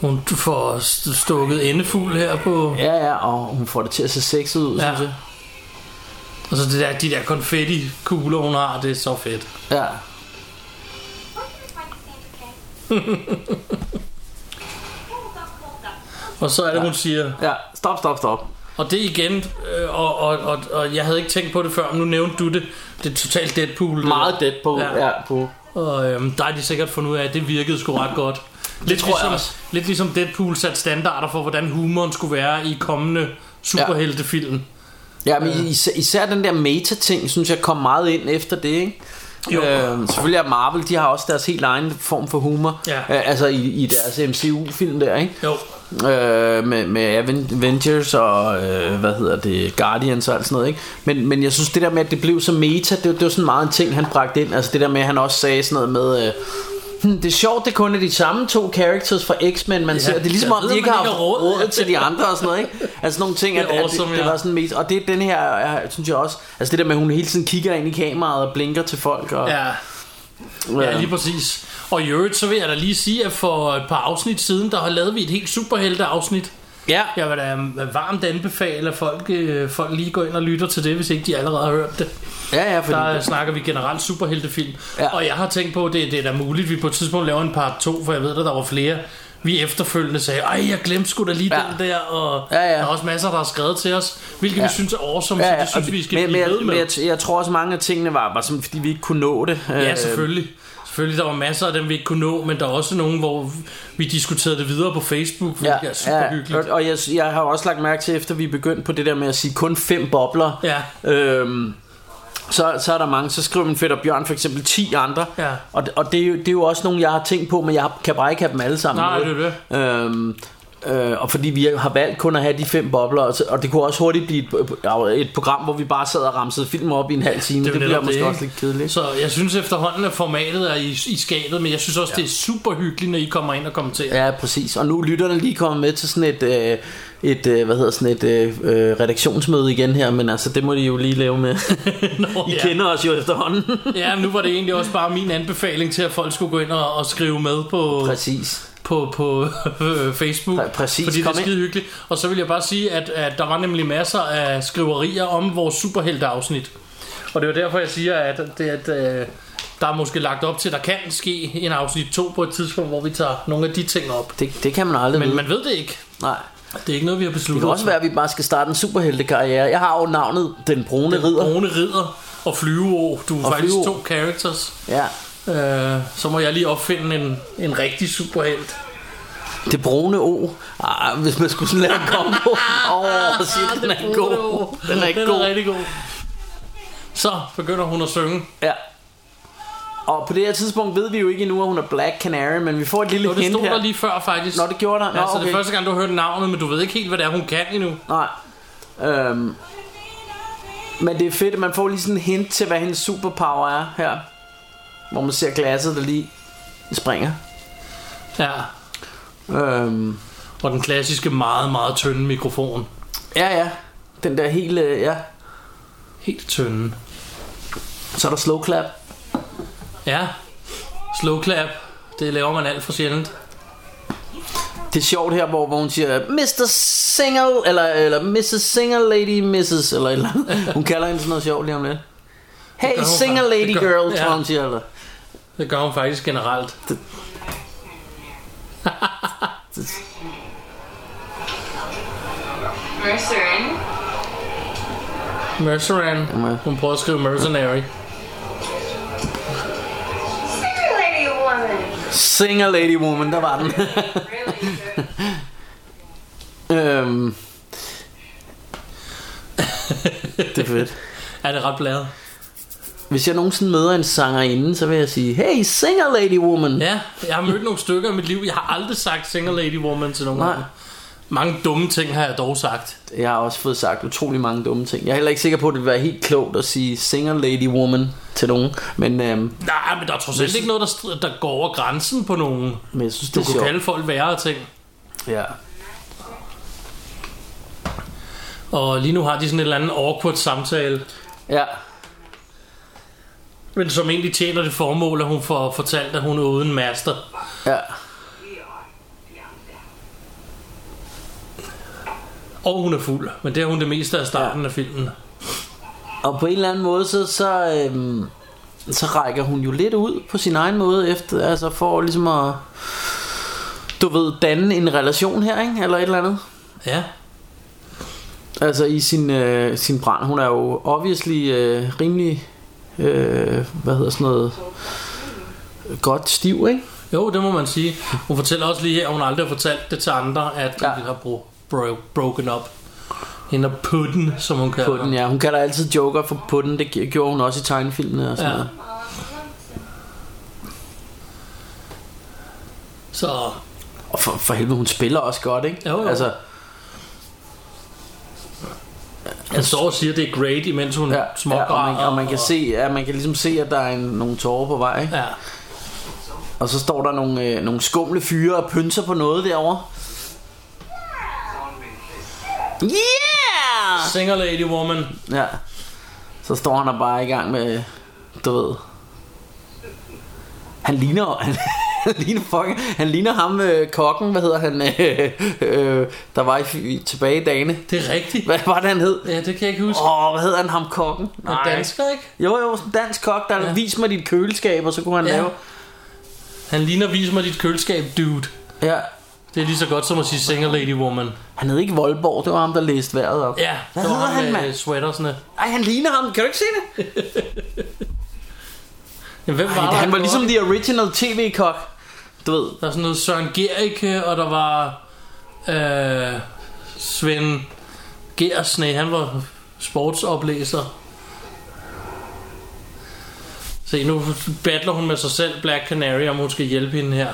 Hun får st- stukket endefugl her på... Ja.
ja, ja, og hun får det til at se sexet ud,
Ja.
synes jeg.
Og så det der, de der konfetti-kugler, hun har, det er så fedt.
Ja.
Og så er det, ja. hun siger...
ja, stop, stop, stop.
Og det igen, øh, og, og, og, og jeg havde ikke tænkt på det før, men nu nævnte du det. Det er totalt Deadpool. det
Meget
der.
dead på, ja.
Ja.
ja på.
Og øhm, der har de sikkert fundet ud af, at det virkede sgu ret godt. Lidt,
tror jeg
ligesom,
også.
lidt ligesom Deadpool satte standarder for, hvordan humoren skulle være i kommende superheltefilm.
Ja, men
Øh.
især, især den der meta-ting, synes jeg kom meget ind efter det, ikke?
Jo.
Øh, selvfølgelig er Marvel, de har også deres helt egen form for humor.
Ja.
Øh, altså i, i deres MCU-film der, ikke?
Jo,
Øh, med, med Aven- Avengers og, øh, hvad hedder det, Guardians og alt sådan noget, ikke? Men, men jeg synes, det der med, at det blev så meta, det, det var sådan meget en ting, han bragte ind. Altså det der med, at han også sagde sådan noget med... Øh, hm, det er sjovt, det kun er de samme to characters fra X-Men, man ja, ser. Det er ligesom,
jeg
om
ved,
de ikke
man
har
ikke
haft
har råd.
råd til de andre og sådan noget, ikke? Altså nogle ting,
Det
at,
er
at
awesome,
det, det
ja.
var sådan mest... Og det er den her, jeg, synes jeg også... Altså det der med, at hun hele tiden kigger ind i kameraet og blinker til folk og... Øh,
ja, ja, lige præcis. Og i øvrigt, så vil jeg da lige sige, at for et par afsnit siden, der har lavet vi et helt superhelte-afsnit.
ja.
Jeg vil da um, varmt anbefale, at folk, øh, folk lige går ind og lytter til det, hvis ikke de allerede har hørt det.
ja, ja, fordi...
Der øh, snakker vi generelt superheltefilm.
Ja.
Ja. Og jeg har tænkt på, at det, det er da muligt, at vi på et tidspunkt laver en part 2, for jeg ved, at der var flere. Vi efterfølgende sagde, ej, jeg glemte sgu da lige
Ja.
ja. den der, og
Ja,
ja,
ja.
ja. der er også masser, der har skrevet til os, hvilket
Ja.
ja. vi synes er awesome, ja, ja. så det synes vi, vi skal
men,
blive
men,
ved med.
Men jeg, jeg tror også, mange af tingene var bare sådan, fordi vi ikke kunne nå det. øh,
Ja, selvfølgelig. Selvfølgelig, der var masser af dem, vi ikke kunne nå, men der er også nogle, hvor vi diskuterede det videre på Facebook, hvilket ja, er super ja, hyggeligt.
Og, og jeg, jeg har også lagt mærke til, efter vi begyndte på det der med at sige kun fem bobler,
Ja.
øhm, så, så er der mange. Så skriver min fætter Bjørn for eksempel 10 andre,
Ja.
og, og det, er jo, det er jo også nogle, jeg har tænkt på, men jeg kan bare ikke have dem alle sammen.
Nej,
med.
det
Øhm, Øh, og fordi vi har valgt kun at have de fem bobler og, så, og det kunne også hurtigt blive et, et program Hvor vi bare sad og ramsede film op i en halv time
Det
Det,
er jo
det bliver
netop det,
måske
ikke?
også lidt kedeligt
Så jeg synes efterhånden, at formatet er i, i skabet, men jeg synes også, ja. det er super hyggeligt, når I kommer ind og kommenterer.
Ja, præcis. Og nu er lytterne lige kommet med til sådan et, øh, et øh, hvad hedder sådan et øh, øh, redaktionsmøde igen her, men altså det må de jo lige lave
(laughs)
med.
Nå,
I
ja.
kender os jo
(laughs)
efterhånden.
Ja, men nu var det egentlig også bare min anbefaling til, at folk skulle gå ind og, og skrive med på,
præcis.
på, på (laughs) øh, Facebook.
Præ- præcis,
Fordi
kom
det er
ind.
skide hyggeligt. Og så vil jeg bare sige, at, at der var nemlig masser af skriverier om vores superhelteafsnit. Og det var derfor, jeg siger, at, det, at øh, der er måske lagt op til, at der kan ske en afsnit 2 på et tidspunkt, hvor vi tager nogle af de ting op.
Det, det kan man aldrig
Men
vide.
man ved det ikke.
Nej.
Det er ikke noget, vi har
Det
besluttet.
kan også være, at Mm. vi bare skal starte en superheltekarriere. Jeg har jo navnet Den Brune Ridder.
Rune Ridder og Flyveå. Du er
Og
faktisk
Flyveå.
to characters.
Ja.
Øh, så må jeg lige opfinde en, en rigtig superhelt.
Det brune O. Ah, hvis man skulle sådan lave en
(laughs)
kombo. Åh, oh, shit, den er
Ah, Brune
god.
O.
Den er ikke
den er
god.
rigtig god. Så begynder hun at synge.
Ja. Og på det her tidspunkt ved vi jo ikke endnu, at hun er Black Canary, men vi får et lille
Jo, det
hint
stod
her.
der lige før, faktisk.
Nå, det gjorde der. Nå,
Ja, altså, det
okay.
er første gang, du har hørt navnet, men du ved ikke helt, hvad det er, hun kan endnu.
Nej. Øhm. Men det er fedt, at man får lige sådan en hint til, hvad hendes superpower er her. Hvor man ser glasset, der lige springer.
Ja.
Øhm.
Og den klassiske, meget, meget tynde mikrofon.
Ja, ja. Den der hele, øh, ja.
Helt tynde.
Så er der slow clap.
Ja. Slow clap. Det laver man alt for sjældent.
Det er sjovt her, hvor, hvor hun siger, Mr. Single, eller, eller Mrs. Single Lady Mrs. Eller, et eller
(laughs)
andet. Hun kalder hende sådan noget sjovt lige om lidt. Hey,
gør hun
single
faktisk.
lady
Det gør-
girl, tror
ja.
hun siger. Eller.
Det gør hun faktisk generelt.
Mercerin.
Merceran.
Ja.
Hun prøver at skrive mercenary.
Single lady woman.
Single lady woman, der var den. (laughs)
Really good.
øhm. Det er fedt.
(laughs) Er det ret bladet?
Hvis jeg nogensinde møder en sangerinde, så vil jeg sige, hey, singer lady woman.
Ja, jeg har mødt nogle stykker i mit liv. Jeg har aldrig sagt single lady woman til nogen.
Nej.
Mange dumme ting har jeg dog sagt.
Jeg har også fået sagt utrolig mange dumme ting. Jeg er heller ikke sikker på, at det vil være helt klogt at sige singer lady woman til nogen. Men, øhm,
Nej, men der er trods alt ikke noget, der, str- der går over grænsen på nogen.
men jeg synes,
Du
det er
kan
sjovt.
kalde folk værre ting.
Ja.
Og lige nu har de sådan en eller anden awkward samtale.
Ja.
Men som egentlig tjener det formål, at hun får fortalt, at hun er uden master.
Ja.
Og hun er fuld. Men det er hun det meste af starten af filmen.
Og på en eller anden måde, så, så, øhm, så rækker hun jo lidt ud på sin egen måde, efter, altså for ligesom at, du ved, danne en relation her, ikke? Eller et eller andet.
Ja.
Altså i sin, øh, sin brand. Hun er jo obviously øh, rimelig, øh, hvad hedder sådan noget, godt stiv, ikke?
Jo, det må man sige. Hun fortæller også lige her, at hun aldrig har fortalt det til andre, at
Ja.
ja. de har bro- bro- broken up. Hende og putten, som hun kalder
Putten, ja. Hun kalder altid Joker for Putten. Det gi- gjorde hun også i tegnefilmene og sådan
Ja.
noget.
Så
Og for, for helvede, hun spiller også godt, ikke?
Jo, jo.
Altså,
han står og siger, at det er great, imens hun
ja,
ja,
ja,
smågræder.
og, man, og man kan se, ja, man kan ligesom se, at der er en, nogle tårer på vej, ikke?
Ja.
Og så står der nogle, øh, nogle skumle fyre og pynser på noget derovre. Yeah!
Singer lady woman.
Ja. Så står han der bare i gang med, du ved... Han ligner... (laughs) Han, han ligner, fucking, han ligner ham øh, kokken, hvad hedder han, (laughs) øh, øh, der var i, i, tilbage i dagene.
Det er rigtigt.
Hvad var det, han hed?
Ja, det kan jeg ikke huske. Oh,
Åh, oh, hvad hedder han, ham kokken?
er dansker, ikke?
Jo, jo, sådan en dansk kok, der ja.
Ja.
vis mig dit køleskab, og så kunne han ja.
Ja.
lave...
Han ligner vis mig dit køleskab, dude.
Ja.
Det er lige så godt som at sige singer lady woman.
Han hed ikke Voldborg, det var ham, der læste vejret op.
Ja,
Hvad
det var
hedder
ham øh,
han,
med
mand?
sweatersne.
Ej, han ligner ham, kan du ikke se det?
Jamen, hvem var
Ej,
der?
han var
Det
ligesom the original tv-kok. Du ved,
Der er sådan noget Søren Gericke, og der var øh, Svend Gersne, han var sportsoplæser. Se, nu battler hun med sig selv, Black Canary, om hun skal hjælpe hende her.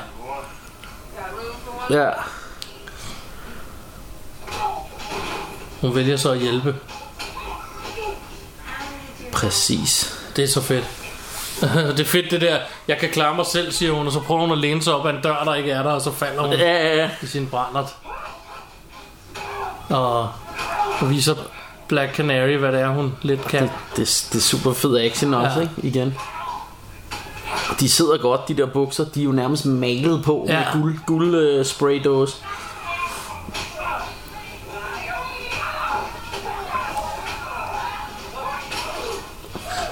ja.
Hun vælger så at hjælpe.
Præcis.
Det er så fedt. (laughs) det er fedt det der, jeg kan klare mig selv, siger hun, og så prøver hun at læne sig op ad en dør, der ikke er der, og så falder hun.
Ja, ja, ja.
i sin brændert. Og, og viser Black Canary, hvad det er, hun lidt kan.
Det, det er super fed action også,
Ja.
ikke? Igen. De sidder godt, de der bukser. De er jo nærmest malet på ja.
Ja.
med guld, guld uh, spraydåse.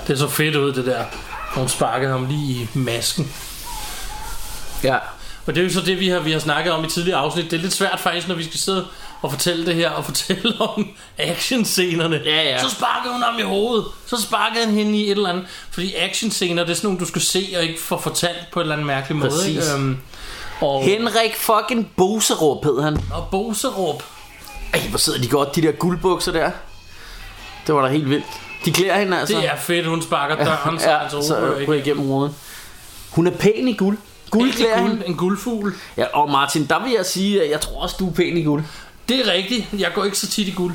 Det er så fedt ud, det der. Hun sparkede ham lige i masken.
Ja.
Og det er jo så det, vi har, vi har snakket om i tidligere afsnit. Det er lidt svært faktisk, når vi skal sidde og fortælle det her, og fortælle (laughs) om actionscenerne.
Ja, ja.
Så sparkede hun ham i hovedet. Så sparkede han hende i et eller andet. Fordi actionscener, det er sådan nogle, du skal se og ikke få fortalt på en eller anden mærkelig måde.
Præcis.
Ikke? Øhm, og,
Henrik fucking Boserup hed han.
og Boserup.
Ej, hvor sidder de godt, de der guldbukser der. Det var da helt vildt. De klæder hende altså.
Det er fedt, hun sparker døren, så
ja,
han så,
så
ryger
ryger
ikke.
igennem roden. Hun er pæn i guld. Guld klæder
En,
hende.
guld, en guldfugl.
Ja, og Martin, der vil jeg sige, at jeg tror også, du er pæn i guld.
Det er rigtigt. Jeg går ikke så tit i guld.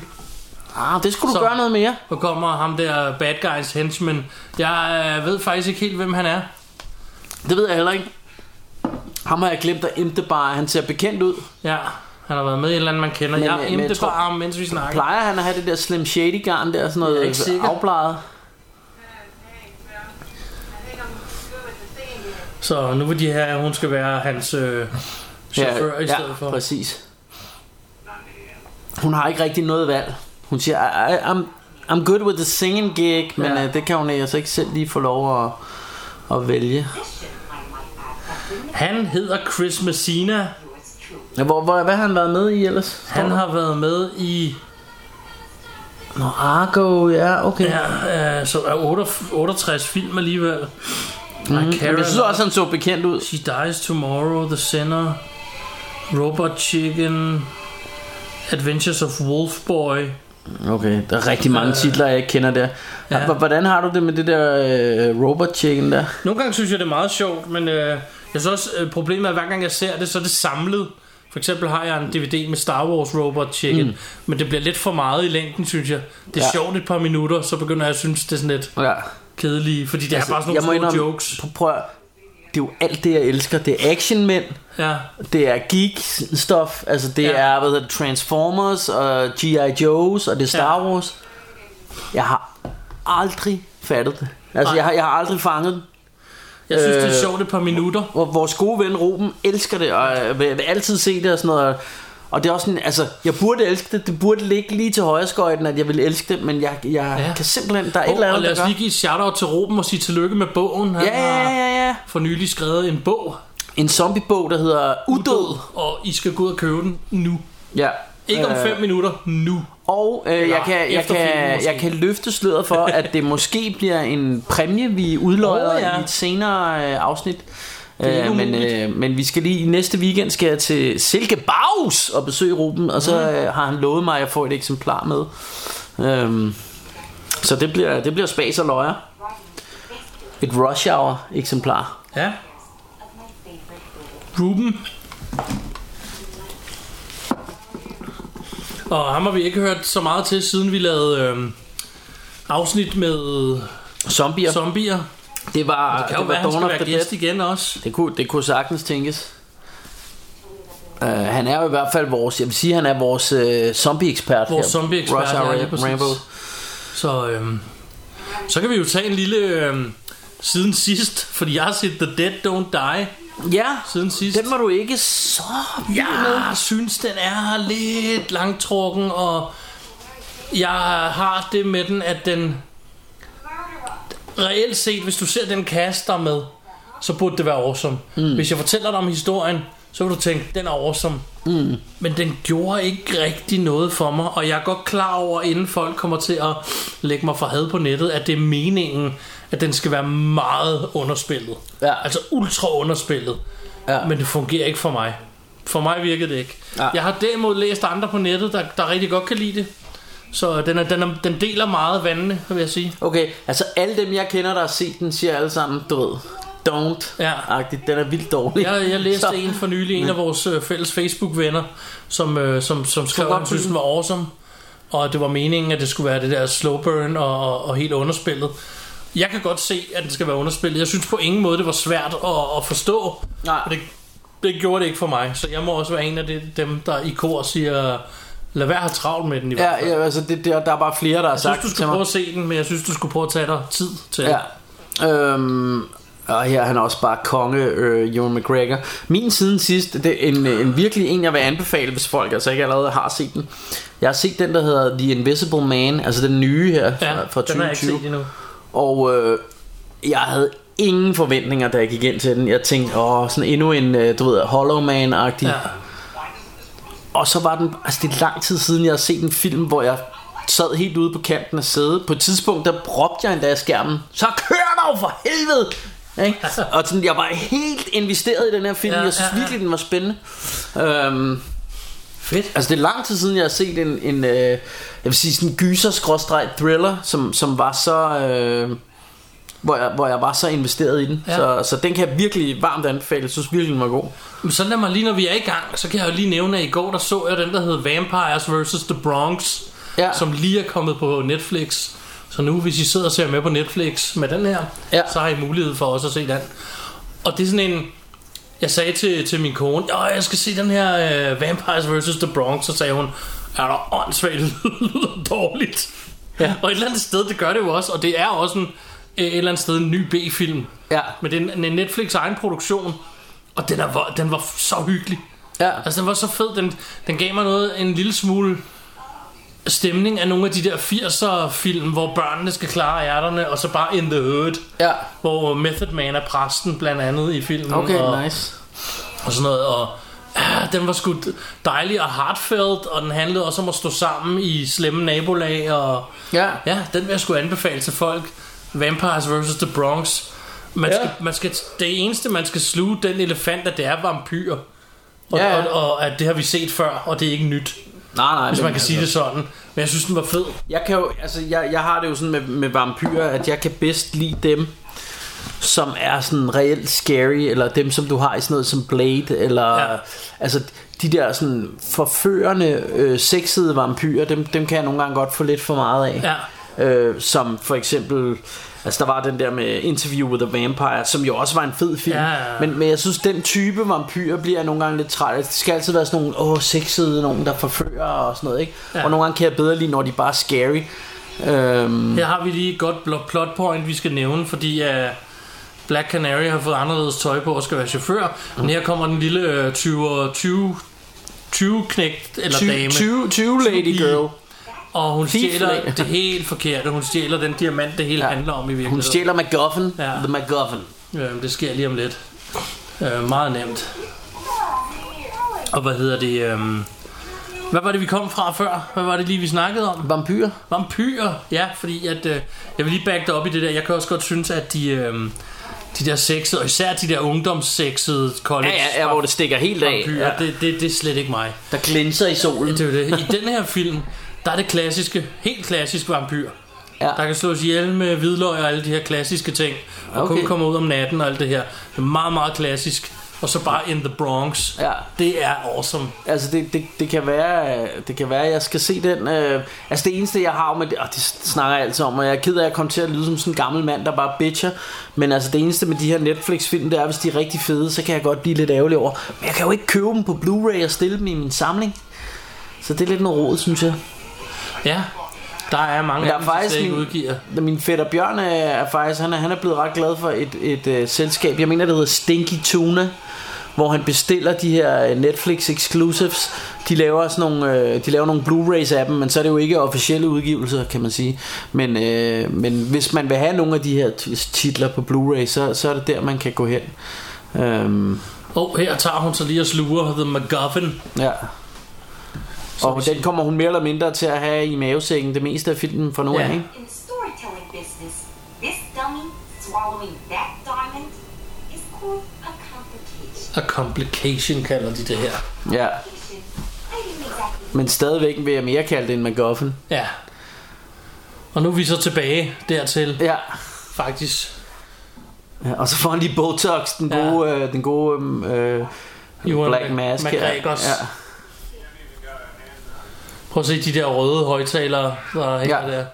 Ah, det skulle du
Så-
så. gøre noget mere.
Nu kommer ham der bad guys henchman. Jeg øh, ved faktisk ikke helt, hvem han er.
Det ved jeg heller ikke. Ham har jeg glemt at imte bare. Han ser bekendt ud.
Ja, han har været med i et eller andet, man kender.
Men,
Men,
øh,
jeg
men
imte
jeg tror-
bare ham, mens vi snakker.
Plejer han at have det der Slim Shady garn der, sådan
Jeg er
noget
ikke sikker.
afbladet?
Så nu vil de have, at hun skal være hans øh, chauffør ja, i stedet
ja,
for.
præcis. Hun har ikke rigtig noget valg. Hun siger, I, I, I'm, I'm good with the singing gig, men
Ja.
ja. øh, det kan hun altså ikke selv lige få lov at, at vælge.
Han hedder Chris Messina.
Ja, Hvor, hvor, hvad har han været med i ellers?
Han har været med i
Nå, Argo, ja, okay. Ja.
ja, øh, så er 68, 68 film alligevel. Mm,
Mhm. Men jeg synes også, han så bekendt ud.
She Dies Tomorrow, The Sinner, Robot Chicken, Adventures of Wolf Boy.
Okay, der er rigtig mange titler, jeg ikke kender der.
Ja.
Øh, Ja. Hvordan har du det med det der øh, robot chicken der?
Nogle gange synes jeg, det er meget sjovt, men øh, jeg synes også, øh, problemet er, at hver gang jeg ser det, så er det samlet. For eksempel har jeg en DVD med Star Wars Robot Chicken, mm. men det bliver lidt for meget i længden, synes jeg. Det er ja.
Ja.
sjovt et par minutter, så begynder jeg at synes, det er sådan lidt
Ja.
kedeligt, fordi det altså, er bare sådan
jeg må
nogle små
indrømme-
jokes.
Prøv, prøv, at- det er jo alt det, jeg elsker. Det er actionmænd,
Ja,
det er geek stuff, altså det
Ja.
ja. er hvad hedder det, Transformers og G.I. Joe's og det er Star
Ja.
ja. Wars. Jeg har aldrig fattet det. Altså
Nej.
jeg har, jeg har aldrig fanget det.
jeg synes, det er
Øh,
sjovt et par minutter.
Hvor vores gode ven Ruben elsker det og øh, vil, vil altid se det og sådan noget. Og det er også sådan, altså, jeg burde elske det, det burde ligge lige til højreskøjten, at jeg ville elske det, men jeg, jeg
Ja.
ja. kan simpelthen, der er et
Og,
eller
og
andet,
lad
der
os
gør.
lige give et shout-out til Ruben og sige tillykke med bogen. Han
Ja, ja,
har
ja, ja.
for nylig skrevet en bog,
En zombiebog, der hedder Udød.
og I skal gå ud og købe den nu.
Ja.
Ikke om
Øh,
5 minutter, nu.
Og øh, jeg, kan, jeg,
efter filmen
kan,
måske.
jeg kan løfte sløret for, at det måske bliver en præmie, vi udløjer
Åh,
oh,
ja.
ja. i et senere øh, afsnit.
er ikke
Øh, men,
umuligt.
øh, men vi skal lige i næste weekend skal jeg til Silke Baus og besøge Ruben, og så øh, har han lovet mig at få et eksemplar med. Øhm, så det bliver, det bliver spas og løjer. Et rush hour eksemplar.
Ja. Ruben. Og ham har vi ikke hørt så meget til, siden vi lavede øh, afsnit med øh,
Zombier. Som,
zombier.
det var,
Kan jo være,
det var
han
Dawn
skal
of
være
the Dead.
gæst igen også.
Det kunne, det kunne sagtens tænkes. Uh, han er jo i hvert fald vores, jeg vil sige, han er vores uh, zombie-ekspert.
Vores
her.
zombie-ekspert,
Rush
ja,
Hour
lige præcis.
Rambo.
Så, øh, så kan vi jo tage en lille øh, siden sidst, fordi jeg har set The Dead Don't Die
Ja,
siden sidst.
den var du ikke så vild med.
Jeg synes, den er lidt langtrukken, og jeg har det med den, at den reelt set, hvis du ser den cast, der er med, så burde det være awesome. Mm. Hvis jeg fortæller dig om historien, så vil du tænke, den er awesome. Mm. Men den gjorde ikke rigtig noget for mig, og jeg er godt klar over, inden folk kommer til at lægge mig for had på nettet, at det er meningen, at den skal være meget underspillet.
Ja.
Altså ultra underspillet.
Ja.
Men det fungerer ikke for mig. For mig virkede det ikke.
Ja.
Jeg har derimod læst andre på nettet, der, der rigtig godt kan lide det. Så den, er, den, er, den deler meget vandene, vil jeg sige.
Okay, altså alle dem, jeg kender, der har set den, siger alle sammen, du ved, don't.
Ja.
Agtigt. Den er vildt dårlig.
Jeg, jeg læste
(laughs) Så-
en for nylig, en af vores øh, fælles Facebook-venner, som, øh, som, som skrev, at
godt
han
på
synes,
den.
den var awesome. Og det var meningen, at det skulle være det der slow burn og, og, og helt underspillet. Jeg kan godt se, at den skal være underspillet. Jeg synes på ingen måde, det var svært at, at forstå.
Nej.
Og det, det gjorde det ikke for mig. Så jeg må også være en af de, dem, der i kor siger, lad være at have travlt med den i hvert fald.
Ja, ja altså det, der, der er bare flere, der har
Jeg
sagt
synes, du
til
skulle
mig.
prøve at se den, men jeg synes, du skulle prøve at tage dig tid til
Ja.
det.
Øhm, og her er han også bare konge, øh, Ewan McGregor. Min siden sidst, det er en, øh, en virkelig en, jeg vil anbefale, hvis folk altså ikke allerede har set den. Jeg har set den, der hedder The Invisible Man, altså den nye her fra,
Ja,
fra
den har jeg ikke
2020.
set endnu.
Og øh, jeg havde ingen forventninger, da jeg gik ind til den. Jeg tænkte, åh, sådan endnu en, øh, du ved, Hollow Man-agtig.
Ja.
Ja. Og så var den, altså det er lang tid siden, jeg har set en film, hvor jeg sad helt ude på kanten af sædet. På et tidspunkt, der råbte jeg endda af skærmen, så kør dog for helvede! Ikke? Og sådan, jeg var helt investeret i den her film,
Ja,
jeg synes
ja, ja.
virkelig, den var spændende. Øhm,
Fedt.
Altså det er lang tid siden jeg har set en, en øh, Jeg vil sige sådan en gyser-thriller som, som var så øh, hvor, jeg, hvor jeg var så investeret i den
Ja.
ja. så, så den kan jeg virkelig varmt anbefale Jeg synes virkelig den var god
Men så lad mig lige, når vi er i gang, så kan jeg jo lige nævne, at i går der så jeg den, der hed Vampires vs. The Bronx,
Ja.
som lige er kommet på Netflix. Så nu, hvis I sidder og ser med på Netflix med den her,
Ja.
så har I mulighed for også at se den. Og det er sådan en... Jeg sagde til, til min kone, Åh, jeg skal se den her uh, Vampires vs. The Bronx, så sagde hun, er der åndssvagt det lyder dårligt.
Ja.
Og et eller andet sted, det gør det jo også, og det er også en, øh, et eller andet sted en ny B-film.
Ja.
Men det er en, en Netflix egen produktion, og den, er, vo- den var så hyggelig.
Ja,
Altså, den var så fed. Den, den gav mig noget, en lille smule stemning af nogle af de der 80'er film, hvor børnene skal klare ærterne, og så bare in the hood.
ja.
Hvor Method Man er præsten, blandt andet i filmen.
okay
og,
nice
og sådan noget, og ah, den var sgu dejlig og heartfelt, og den handlede også om at stå sammen i slemme nabolag, og
Ja,
ja, den vil jeg sgu anbefale til folk. Vampires vs. The Bronx. Man,
Ja.
skal, man skal, det eneste, man skal sluge den elefant, at det er vampyr. Og,
Ja,
ja.
ja.
og, og, at det har vi set før, og det er ikke nyt,
nej nej
hvis
men
man kan
altså-
sige det sådan. Men jeg synes, den var fed.
Jeg kan jo, altså jeg, jeg har det jo sådan med, med vampyrer, at jeg kan bedst lide dem, som er sådan reelt scary, eller dem, som du har i sådan noget som Blade, eller
Ja.
ja. altså de der sådan forførende, øh, sexede vampyrer, dem, dem kan jeg nogle gange godt få lidt for meget af. Ja. Øh, som for eksempel, altså der var den der med Interview with a Vampire, som jo også var en fed film,
Ja, ja,
ja,
ja.
ja. Men, men jeg synes, den type vampyrer bliver jeg nogle gange lidt træt af. Det skal altid være sådan nogle, åh, sexede, nogen der forfører og sådan noget, ikke?
Ja.
Ja. Og nogle gange kan jeg bedre lide, når de bare er scary. Øhm,
Her har vi lige et godt bl- plot point, vi skal nævne, fordi uh, Black Canary har fået anderledes tøj på og skal være chauffør. Men her kommer den lille øh, 20, 20, 20 knægt eller dame.
20, 20 lady
Pige.
girl.
Og hun
Thief,
stjæler
eller-
det helt forkerte. Hun stjæler den diamant, det hele ja.
Ja.
handler om i virkeligheden.
Hun stjæler MacGuffin.
Ja.
Ja. The MacGuffin.
Øhm, det sker lige om lidt. Øh, meget nemt. Og hvad hedder det? Øhm, hvad var det, vi kom fra før? Hvad var det lige, vi snakkede om?
Vampyr.
Vampyrer, ja, fordi at, øh, jeg vil lige back dig op i det der. Jeg kan også godt synes, at de, øh, de der sexede, og især de der ungdomssexede
Ja,
college
ja, ja, hvor det stikker helt af.
vampyrer,
Ja.
ja. det, det, det er slet ikke mig.
Der glinser i solen.
Det er jo det. I den her film, der er det klassiske, helt klassisk vampyr.
Ja.
Der kan slås ihjel med hvidløg og alle de her klassiske ting. Og okay. kun
Okay.
komme ud om natten og alt det her. Det er meget, meget klassisk. Og så bare in the Bronx.
Ja.
Det er awesome.
Altså det, det, det kan være øh, Det kan være jeg skal se den øh, Altså det eneste jeg har med det, og det snakker jeg altid om Og jeg er ked af at komme til at lyde som sådan en gammel mand Der bare bitcher Men altså det eneste med de her Netflix film Det er hvis de er rigtig fede Så kan jeg godt blive lidt ærgerlig over Men jeg kan jo ikke købe dem på Blu-ray og stille dem i min samling Så det er lidt noget råd synes jeg
Ja. Der er mange
Men der
af
er
dem, der
faktisk
slet ikke
en-
udgiver.
Min fætter Bjørn er, er faktisk han er, han er blevet ret glad for et, et, et selskab Jeg mener det hedder Stinky Tuna hvor han bestiller de her øh, Netflix exclusives. De laver sådan nogle, øh, de laver nogle Blu-rays af dem, men så er det jo ikke officielle udgivelser, kan man sige. Men, øh, men hvis man vil have nogle af de her t- titler på Blu-ray, så, så er det der, man kan gå hen. Øhm,
Åh, oh, her tager hun så lige og sluger The MacGuffin.
ja.
vi
Og
siger-
den kommer hun mere eller mindre til at have i mavesækken det meste af filmen fra nu
Ja.
af, ikke?
In the storytelling business, this dummy swallowing that diamond is called a complication.
A complication kalder de det her.
Ja.
I didn't exactly
Men stadigvæk vil jeg mere kalde det en MacGuffin.
Ja. Og nu er vi så tilbage dertil,
Ja.
faktisk.
Ja, Og så får han lige Botox, den
Ja.
gode, øh, den gode øhm, øh,
Ewan
Black
Mac-
Mask. her.
McGregors.
Ja.
Prøv at se de der røde højtalere, der hænger
Ja.
ja. der.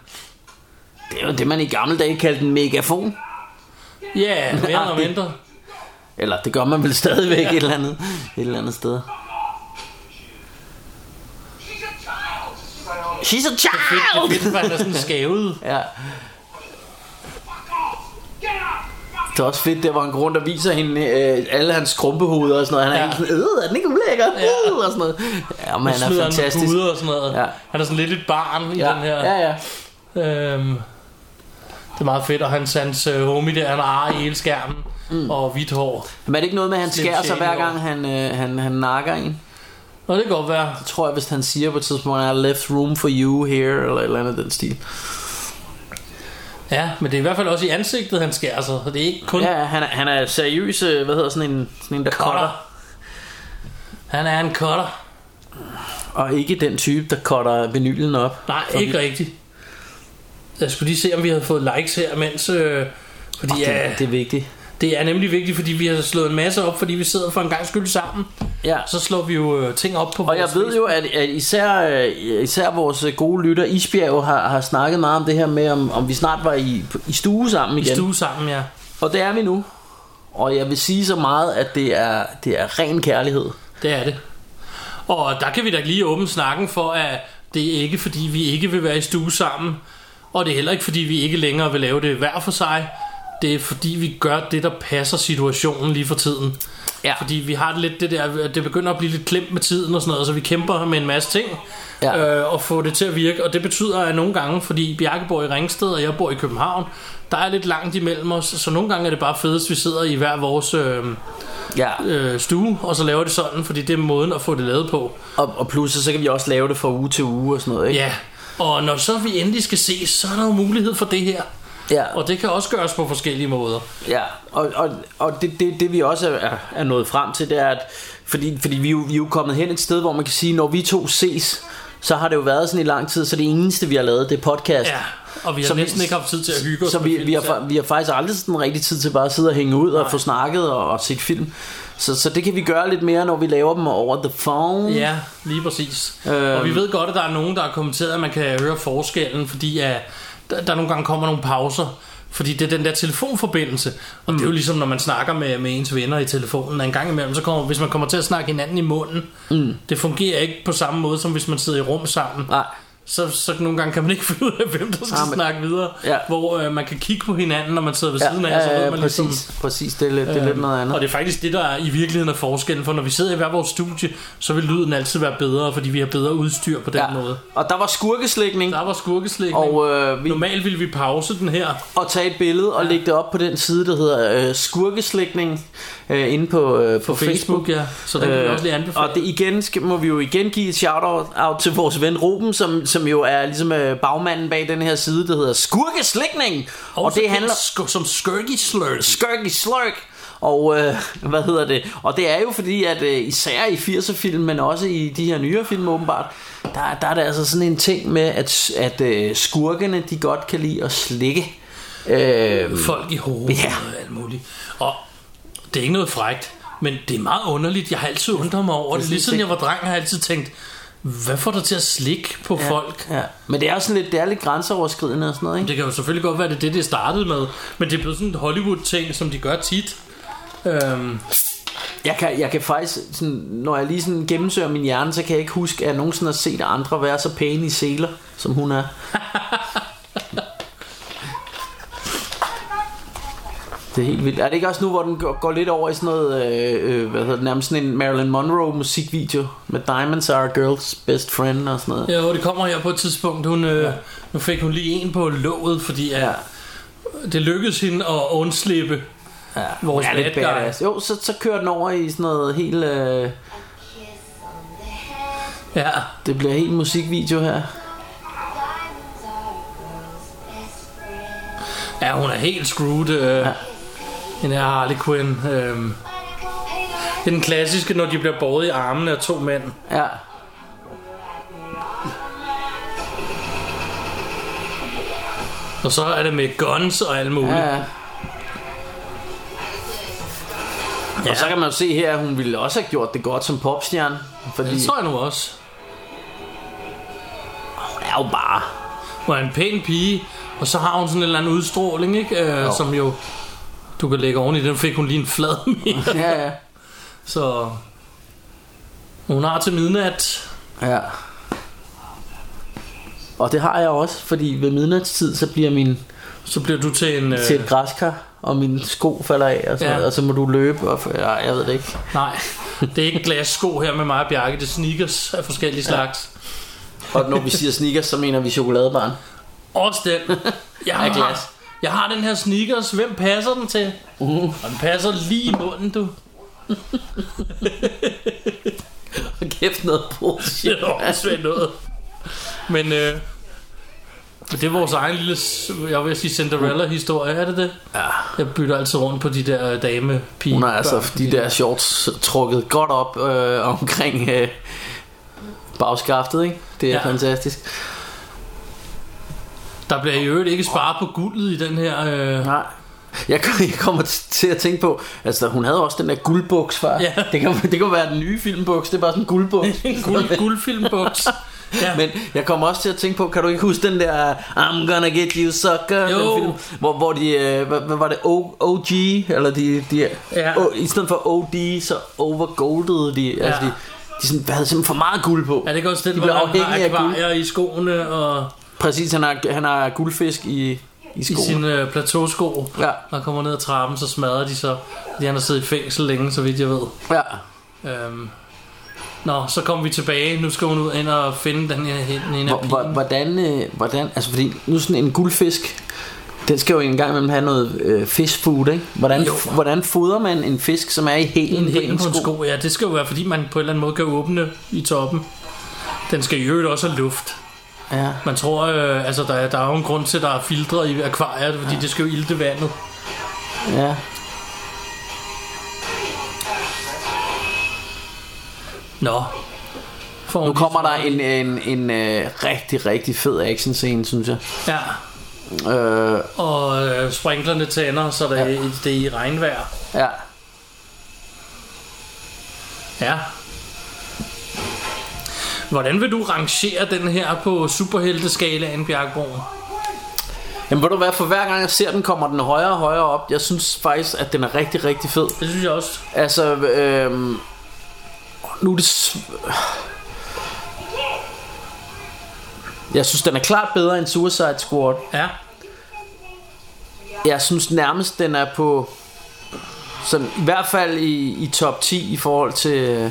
Det er jo det, man i gamle dage kaldte en megafon.
Ja, yeah, mere eller
Agtigt.
mindre.
Eller det gør man vel stadigvæk et, eller andet, et eller andet sted. She's a
Fedt, det er
child!
fedt, for han er sådan skævet.
Ja. Det er også fedt der, hvor han går rundt og viser hende øh, alle hans krumpehoveder og sådan noget. Han er
Ja.
ja. helt sådan, øh, er den ikke ulækker?
Ja.
Øh, og sådan noget. Ja, men han er
smider
fantastisk.
Han med og sådan noget. Ja.
Ja.
Han er sådan lidt et barn i
ja.
den her.
ja, ja.
Øhm, det er meget fedt, og hans, hans øh, homie der, han har ar i hele skærmen mm. og hvidt hår.
Men er det ikke noget med, at han
Slim
skærer sig
Shady
hver
over.
gang, han, øh, han, han nakker en?
Nå, det kan godt være.
Jeg tror, jeg, hvis han siger på et tidspunkt, at I left room for you here, eller et eller andet af den stil.
Ja, men det er i hvert fald også i ansigtet, han skærer sig. Så det er ikke kun...
Ja, ja, han er, han er seriøs, øh, hvad hedder sådan en, sådan en der cutter.
Han er en cutter.
Og ikke den type, der cutter vinylen op.
Nej,
Fordi-
ikke rigtigt. Jeg skulle lige se, om vi har fået likes her, mens... Øh, fordi ja,
Det, det er vigtigt.
det er nemlig vigtigt, fordi vi har slået en masse op, fordi vi sidder for en gang skyld sammen.
Ja,
Så slår vi jo øh, ting op på
og jeg ved jo, at, at især, øh, især vores øh, gode lytter Isbjerg har, har snakket meget om det her med, om, om vi snart var i, i stue sammen igen.
I stue sammen, ja.
Og det er vi nu. Og jeg vil sige så meget, at det er, det er ren kærlighed.
Det er det. Og der kan vi da lige åbne snakken for, at det er ikke fordi, vi ikke vil være i stue sammen. Og det er heller ikke fordi, vi ikke længere vil lave det hver for sig. Det er fordi, vi gør det, der passer situationen lige for tiden.
Ja.
Fordi vi har lidt det der, at det begynder at blive lidt klemt med tiden og sådan noget, så vi kæmper med en masse ting
Ja.
øh, og få det til at virke. Og det betyder, at nogle gange, fordi Bjarke bor i Ringsted, og jeg bor i København, der er lidt langt imellem os, så nogle gange er det bare fedest, vi sidder i hver vores... Øh,
Ja.
øh, stue, og så laver det sådan, fordi det er måden at få det lavet på.
Og, og pludselig så kan vi også lave det fra uge til uge og sådan noget, ikke?
Ja, og når så vi endelig skal ses, så er der jo mulighed for det her.
Ja.
Og det kan også gøres på forskellige måder.
Ja, og, og, og det, det, det vi også er, er- er nået frem til, det er, at fordi, fordi vi, er jo, vi er jo kommet hen et sted, hvor man kan sige, når vi to ses, så har det jo været sådan i lang tid, så det eneste, vi har lavet, det er podcast.
Ja, og vi har
Så
næsten ikke haft tid til at hygge os
Så
med
vi,
film
vi, har,
selv.
fa- vi har faktisk aldrig sådan rigtig tid til bare at sidde og hænge ud og få snakket og, og set film. Så, så det kan vi gøre lidt mere, når vi laver dem over the phone.
Ja, lige præcis.
Mm. Øhm.
Øhm. Og vi ved godt, at der er nogen, der har kommenteret, at man kan høre forskellen, fordi at der, der nogle gange kommer nogle pauser. Fordi det er den der telefonforbindelse. Og mm. det er jo ligesom, når man snakker med, med ens venner i telefonen. Og en gang imellem, så kommer, hvis man kommer til at snakke hinanden i munden, mm. det fungerer ikke på samme måde, som hvis man sidder i rum sammen.
Nej.
Så, så nogle gange kan man ikke finde ud af, hvem der skal
Nej,
ah,
men-
men... snakke videre.
Ja.
Hvor øh, man kan kigge på hinanden, når man sidder ved
Ja,
siden af, så
ja,
ved
ja,
man
præcis,
ligesom, Øhm,
præcis. Det er lidt, det er lidt noget andet.
og det er faktisk det, der er i virkeligheden er forskellen, for når vi sidder i hver vores studie, så vil lyden altid være bedre, fordi vi har bedre udstyr på den ja. måde.
Og der var skurkeslægning,
Der var skurkeslægning.
og øh, vi,
Normalt ville vi pause den her.
og tage et billede og lægge det op på den side, der hedder øh, Skurkeslægning, øh, inde på, øh, på,
På Facebook,
Facebook. Øh,
ja. Så den kan vi også lige anbefale.
Og det igen skal, må vi jo igen give et shout-out out til vores ven Ruben, som, som jo er ligesom øh, bagmanden bag den her side, der hedder Skurkeslægning. Og, og
Også
det
kendt
handler...
sk- som skirky slurs.
Skirky Slurk. Og øh, hvad hedder det? Og det er jo fordi, at øh, især i 80'er film, men også i de her nyere film åbenbart, der, der er der altså sådan en ting med, at, at øh, skurkene, de godt kan lide at slikke. Øh,
Folk i hovedet
Ja.
og alt muligt. Og det er ikke noget frægt, men det er meget underligt. Jeg har altid undret mig over det. Lige siden jeg var dreng, har jeg altid tænkt, hvad får dig til at slikke på ja. folk?
Ja. Men det er også sådan lidt, det er lidt grænseoverskridende og sådan noget, ikke?
Det kan jo selvfølgelig godt være, det er det, det startede med, men det er blevet sådan en Hollywood-ting, som de gør tit. Øhm,
Jeg kan, jeg kan faktisk, sådan, når jeg lige sådan gennemsøger min hjerne, så kan jeg ikke huske, at jeg nogensinde har set andre være så pæne i seler, som
(laughs)
hun er. Det er helt vildt. Er det ikke også nu, hvor den går, går lidt over i sådan noget, øh, øh, hvad hedder det, nærmest sådan en Marilyn Monroe musikvideo med Diamonds are a girl's best friend og sådan noget?
ja, jo, det kommer her på et tidspunkt. Hun, øh, Nu fik hun lige en på låget, fordi ja.
Ja.
det lykkedes hende at undslippe
ja.
vores
Hun er lidt
bad guy.
badass. Jo, så, så kører den over i sådan noget helt, øh,
Kiss on the head,
Ja,
det bliver helt musikvideo her.
diamonds are a girl's best friend.
ja hun er helt screwed. Øh, ja. Den her Harley Quinn. Øh, det er den klassiske, når de bliver båret i armene af to mænd.
Ja.
Og så er det med guns og alt muligt.
Ja,
Ja.
ja. Og så kan man jo se her, at hun ville også have gjort det godt som popstjerne. Fordi
Det tror jeg nu også.
hun er jo bare...
Hun er en pæn pige, og så har hun sådan en eller anden udstråling, ikke? Øh, som jo... Du kan lægge oven i den, fik hun lige en flad (laughs) mere.
Ja, ja.
Så... Hun har til midnat.
ja. Og det har jeg også, fordi ved midnatstid, så bliver min
Så bliver du til en... Øh,
til et græskar, og mine sko falder af, og, sådan
Ja.
noget, og så må du løbe, og ja, jeg ved det ikke.
nej, det er ikke glassko her med mig og Bjarke. Det er sneakers af forskellige slags.
Og når vi siger sneakers, så mener vi chokoladebarn.
Også den. Jeg har,
Af glas.
Jeg har den her sneakers. Hvem passer den til? Uh. Og den passer lige i munden, du.
Og kæft noget (laughs) bullshit.
Det er åndssvagt noget. Altså. Men øh, det er vores egen lille, s- jeg vil sige Cinderella-historie, er det det?
Ja.
Jeg bytter altid rundt på de der øh, dame pige
Hun har altså de der shorts trukket godt op øh, omkring øh, bagskaftet, ikke? Det er
Ja.
ja. fantastisk.
Der bliver i øvrigt ikke sparet på guldet i den her...
(laughs)
Øh,
Nej. Jeg, kom- jeg kommer t- til at tænke på, altså hun havde også den der guldbuks før.
Ja.
Det, kan, det kan være den nye filmbuks, det er bare sådan en
(laughs)
guldbuks.
guld, guldfilmbuks. Ja.
Men jeg kommer også til at tænke på, kan du ikke huske den der I'm gonna get you sucker
Jo.
den film, hvor, hvor de, øh, hvad, hvad var det, O- OG, eller de, de
Ja.
o, i stedet for OD, så overgoldede de, ja. altså
Ja.
de, de sådan, havde simpelthen for meget guld på.
er det ikke også den,
de
hvor
blev
han har
afhængige af guld.
akvarier i skoene og
Præcis, han har, han har guldfisk i, i
i
skoene.
sine øh, plateausko.
Ja.
Når han kommer ned ad trappen, så smadrer de så, fordi han har siddet i fængsel længe, så vidt jeg ved.
Ja.
Øhm. Nå, så kommer vi tilbage. Nu skal hun ud ind og finde den her hende, hende af
Hvor- hvor-
pigen.
Hvordan, øh, hvordan, altså fordi nu sådan en guldfisk, den skal jo en gang imellem have noget øh, fish food, ikke? Hvordan,
Jo.
hvordan fodrer man en fisk, som er i hælen
En
på en
hælen på en
sko?
sko. Ja, det skal jo være, fordi man på en eller anden måde kan åbne i toppen. Den skal i øvrigt også have luft.
Ja.
Man tror, øh, altså der, er- der er jo en grund til, at der er filtre i akvariet, fordi ja. det skal jo ilte vandet.
Ja.
Nå. Får hun
Nu
lige
kommer der
svaret.
en, en, en øh, rigtig, rigtig fed action scene, synes jeg.
Ja,
Øh,
og øh, sprinklerne tænder, så det, ja. det er i regnvejr.
ja.
Ja. Hvordan vil du rangere den her på superhelteskalaen, Bjergborg?
Jamen ved du hvad, for hver gang jeg ser den, kommer den højere og højere op. Jeg synes faktisk, at den er rigtig, rigtig fed.
Det synes jeg også.
Altså, øh, nu er det... s- Jeg synes, den er klart bedre end Suicide Squad.
Ja.
Jeg synes nærmest, den er på... Sådan, I hvert fald i, i top 10 i forhold til... øh,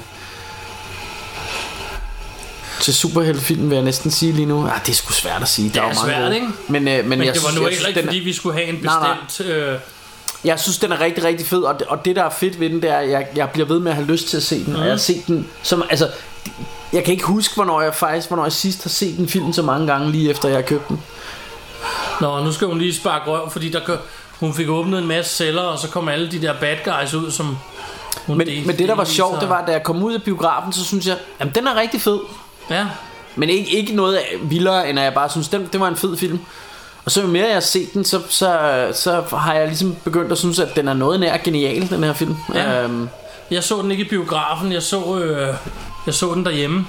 Til superheltefilmen vil jeg næsten sige lige nu. Ah, det er sgu svært at sige. Der
Det er
jo mange
svært,
gode.
ikke?
Men, øh, men,
Men
jeg
det var
synes,
nu
jeg,
ikke
synes,
rigtigt,
den
fordi
er,
vi skulle have en
Nej, nej.
bestemt... Øh,
jeg synes, den er rigtig, rigtig fed. Og det, og det, der er fedt ved den, det er, at jeg, jeg bliver ved med at have lyst til at se den. Mm. Og jeg har set den som... Altså, jeg kan ikke huske, hvornår jeg faktisk, hvornår jeg sidst har set den film så mange gange, lige efter jeg har købt den.
Nå, nu skal hun lige sparke røv, fordi der, kø- hun fik åbnet en masse celler, og så kom alle de der bad guys ud, som hun
Men,
delte-
men det, der var
delvis
sjovt,
har-
det var, da jeg kom ud af biografen, så synes jeg, jamen den er rigtig fed.
Ja,
Men ikke, ikke noget vildere, end at jeg bare synes, den, det var en fed film. Og så jo mere jeg har set den, så, så, så har jeg ligesom begyndt at synes, at den er noget nær genial, den her film.
Ja.
Øhm,
jeg så den ikke i biografen, jeg så, øh, jeg så den derhjemme.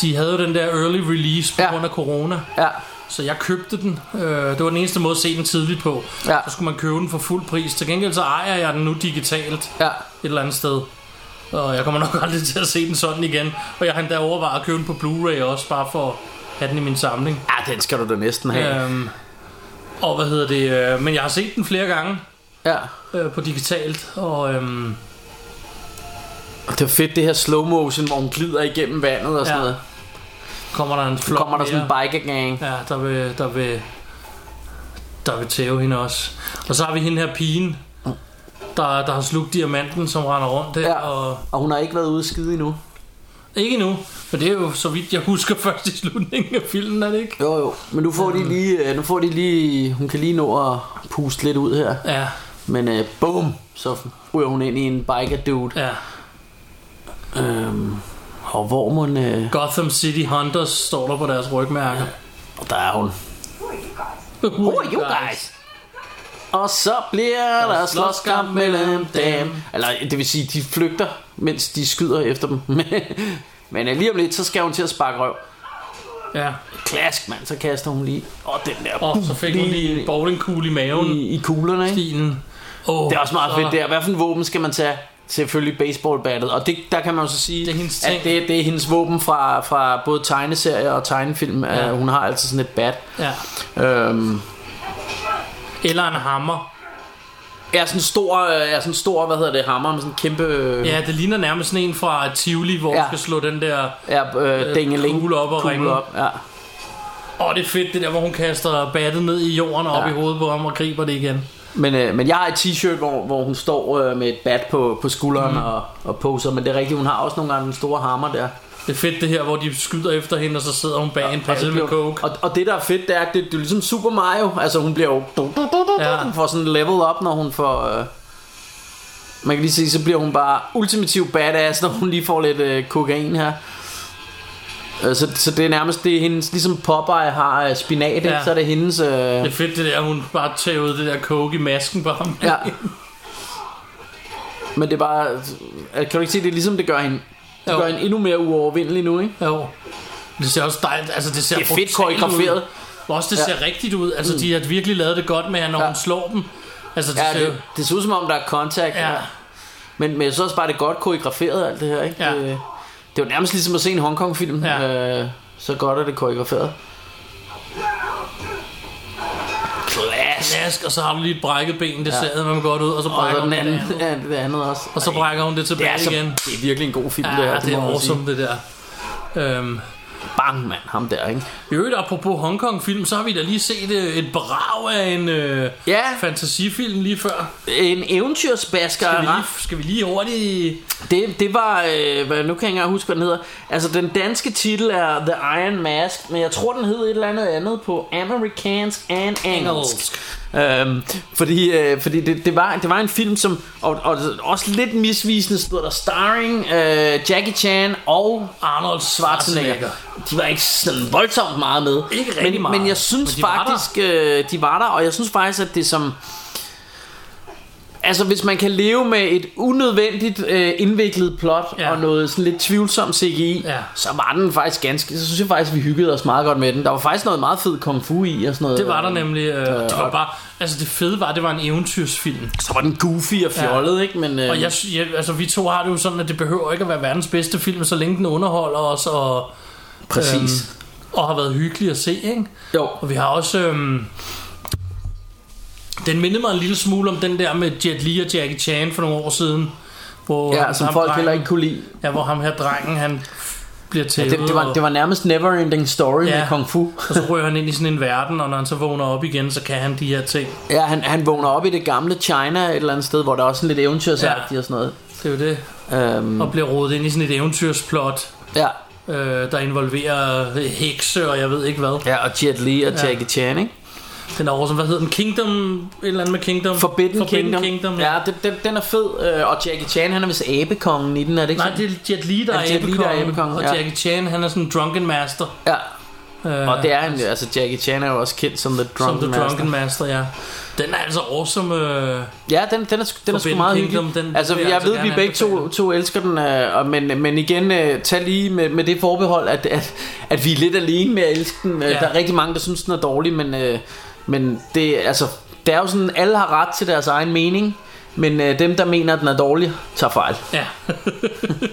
De havde jo den der early release på ja.
Ja.
grund af corona,
ja.
så jeg købte den. Øh, det var den eneste måde at se den tidligt på.
Ja.
Så skulle man købe den for fuld pris. Til gengæld så ejer jeg den nu digitalt.
Ja.
et eller andet sted. Og jeg kommer nok (laughs) aldrig til at se den sådan igen. Og jeg har endda overvejet at købe den på Blu-ray også, bare for at have den i min samling.
ja, den skal du da næsten have.
Ja. Øhm, og hvad hedder det? Øh, men jeg har set den flere gange
Ja.
øh, på digitalt. Og øhm,
Og det er fedt, det her slow motion, hvor hun glider igennem vandet og sådan
Ja.
ja. noget.
kommer der en flok
Kommer der sådan en
mere.
biker gang.
Ja, der vil, der vil, der vil tæve hende også. Og så har vi hende her pigen, der, der har slugt diamanten, som render rundt der.
Ja.
Og,
Og hun har ikke været ude at skide endnu.
ikke nu, men det er jo, så vidt jeg husker, (laughs) først i slutningen af filmen, er det ikke?
Jo jo, men nu får de lige, øh, nu får de lige, hun kan lige nå at puste lidt ud her.
Ja,
Men øh, boom, så ryger hun ind i en biker dude.
ja.
Øhm, og hvor man, øh,
Gotham City Hunters står der på deres rygmærker.
og der er hun.
Who
Who are Oh, you guys? Og så bliver der slåskamp mellem dem. Eller det vil sige, de flygter, mens de skyder efter dem. (laughs) Men øh, lige om lidt, så skal hun til at sparke røv.
Ja,
Klask, mand, så kaster hun lige. Og den der.
og så fik hun lige en bowlingkugle i maven.
i, i kuglerne, ikke?
Stilen. Oh,
Det er også meget
så-
fedt der. Hvad for en våben skal man tage? Selvfølgelig baseballbattet. Og det, der kan man jo så sige,
Det er hendes ting.
at det, det er hendes våben fra, fra både tegneserier og tegnefilm. Ja. hun har altid sådan et bat.
Ja.
Øhm,
Eller en hammer.
er sådan en stor, øh, er sådan en stor, hvad hedder det, hammer med sådan en kæmpe øh,
Ja, det ligner nærmest sådan en fra Tivoli, hvor ja.
Ja.
du skal slå den der...
ja,
Øh,
øh, dingeling.
kugle op og ringe.
op, ja.
Åh, oh, det er fedt, det der, hvor hun kaster battet ned i jorden og op
Ja.
i hovedet på ham og griber det igen.
Men, øh, men jeg har et t-shirt, hvor, hvor hun står øh, med et bat på, på skulderen mm. og, og poser. Men det er rigtigt, hun har også nogle gange den store hammer der.
Det er fedt det her, hvor de skyder efter hende, og så sidder hun bag en palle med coke.
Og, og det der er fedt, det er, at det, det er ligesom Super Mario. Altså hun bliver jo...
Ja.
Hun får sådan level up, når hun får... Øh, man kan lige se, så bliver hun bare ultimativ badass, når hun lige får lidt øh, kokain her. Øh, Så, så det er nærmest det er hendes, ligesom Popeye har øh, spinat, ikke?
Ja.
så er det hendes... Øh,
Det er fedt det der, hun bare tager ud det der coke i masken på ham. (laughs)
Ja. Men det er bare... Kan du ikke se, det er ligesom det gør hende... Det
Jo.
gør hende endnu mere uovervindelig nu, ikke?
Jo. Det ser også dejligt, altså det ser
Det er fedt
brutalt
koreograferet.
ud. Og Også det
Ja. Mm.
ser rigtigt ud, altså de har virkelig lavet det godt med, at når
Ja.
hun slår dem. Altså det
Ja,
ser,
det, det ser ud som om, der er kontakt.
ja,
Men, men jeg synes også bare, det er godt koreograferet alt det her, ikke?
Ja.
Det, det er jo nærmest ligesom at se en Hongkong-film.
Ja.
Øh, så godt er det koreograferet. Klask!
Klask, og så har du lige et brækket ben, det ser man godt ud, og så
Og så
brækker
den
hun
anden,
det andet.
(laughs) ja, det andet også.
Og så brækker hun det
det
tilbage
er, så,
igen.
det er virkelig en god film, det her.
Ja, det er
må man sige.
awesome det der. Øhm,
Bang, mand, ham der, ikke?
I øvrigt, apropos Hongkong-film, så har vi da lige set øh, et brag af en øh,
Ja.
fantasifilm lige før.
En eventyrsbasker
Skal
af
vi lige,
rang.
skal vi lige hurtigt...
Det, det var, øh, hvad, nu kan jeg ikke engang huske, hvad den hedder. Altså, den danske titel er The Iron Mask, men jeg tror, den hed et eller andet andet på amerikansk and engelsk. Øhm, fordi øh, fordi det, det, var, det var en film, som og, og også lidt misvisende stod der starring øh, Jackie Chan og
Arnold
Schwarzenegger. De var ikke sådan voldsomt meget med.
Ikke rigtig
men,
meget,
Men jeg synes
men de
men
var
faktisk, øh, de var der, og jeg synes faktisk, at det som... Altså, hvis man kan leve med et unødvendigt øh, indviklet plot
Ja.
ja. og noget sådan lidt tvivlsom CGI,
Ja.
så var den faktisk ganske... Så synes jeg faktisk, vi hyggede os meget godt med den. Der var faktisk noget meget fed kung fu i og sådan noget.
Det var der nemlig. Øh, det var bare, altså det fede var, at det var en eventyrsfilm.
Så var den goofy og fjollet, ja. ikke? Men, øh,
Og jeg, jeg, altså, vi to har det jo sådan, at det behøver ikke at være verdens bedste film, så længe den underholder os og,
præcis.
Øhm, og har været hyggelig at se. Ikke?
Jo.
Og vi har også... Øhm, den mindede mig en lille smule om den der med Jet Li og Jackie Chan for nogle år siden. Hvor
Ja,
ham-
som
ham
folk
drengen-
heller ikke kunne lide.
Ja, hvor ham her drengen, han bliver til.
Ja, det, det, var, det var nærmest never ending story
Ja.
med kung fu.
og så rører han ind i sådan en verden, og når han så vågner op igen, så kan han de her ting.
Ja, han, han vågner op i det gamle China et eller andet sted, hvor der er også sådan lidt eventyrsagtigt
Ja.
ja. og sådan
Det er jo det.
noget. Øhm,
Og bliver rodet ind i sådan et eventyrsplot,
ja.
øh, der involverer hekse og jeg ved ikke hvad.
ja, og Jet Li og Jackie Chan, ikke?
Den er som, hvad hedder den? Kingdom? Et eller andet med Kingdom?
Forbidden, Kingdom.
Kingdom.
Ja, den, den, den er fed. øh, Og Jackie Chan, han er vist abekongen i den, er det ikke
Nej, det er Jet Li, der
Er
er,
det Jet Li, der er
abekongen,
abekongen?
og
Ja.
Jackie Chan, han er sådan en drunken master.
Ja,
Øh,
og det er han jo. Altså, Jackie Chan er jo også kendt som The
som
Drunken,
The
Master.
Drunken Master, ja. Den er altså awesome. Øh,
Ja, den, den er, sgu- den er sgu
Forbidden
meget
Kingdom,
hyggelig.
den
altså,
vil
jeg,
jeg
jeg
altså
ved, vi
gerne
begge to,
anbefale.
to elsker den, øh, og, men, men igen, øh, tag lige med, med det forbehold, at, at, at vi er lidt alene med at elske den. Ja.
Ja.
Der er rigtig mange, der synes, den er dårlig, men, øh, men det, altså, det er jo sådan, alle har ret til deres egen mening, men øh, dem, der mener, at den er dårlig, tager fejl.
ja. (laughs)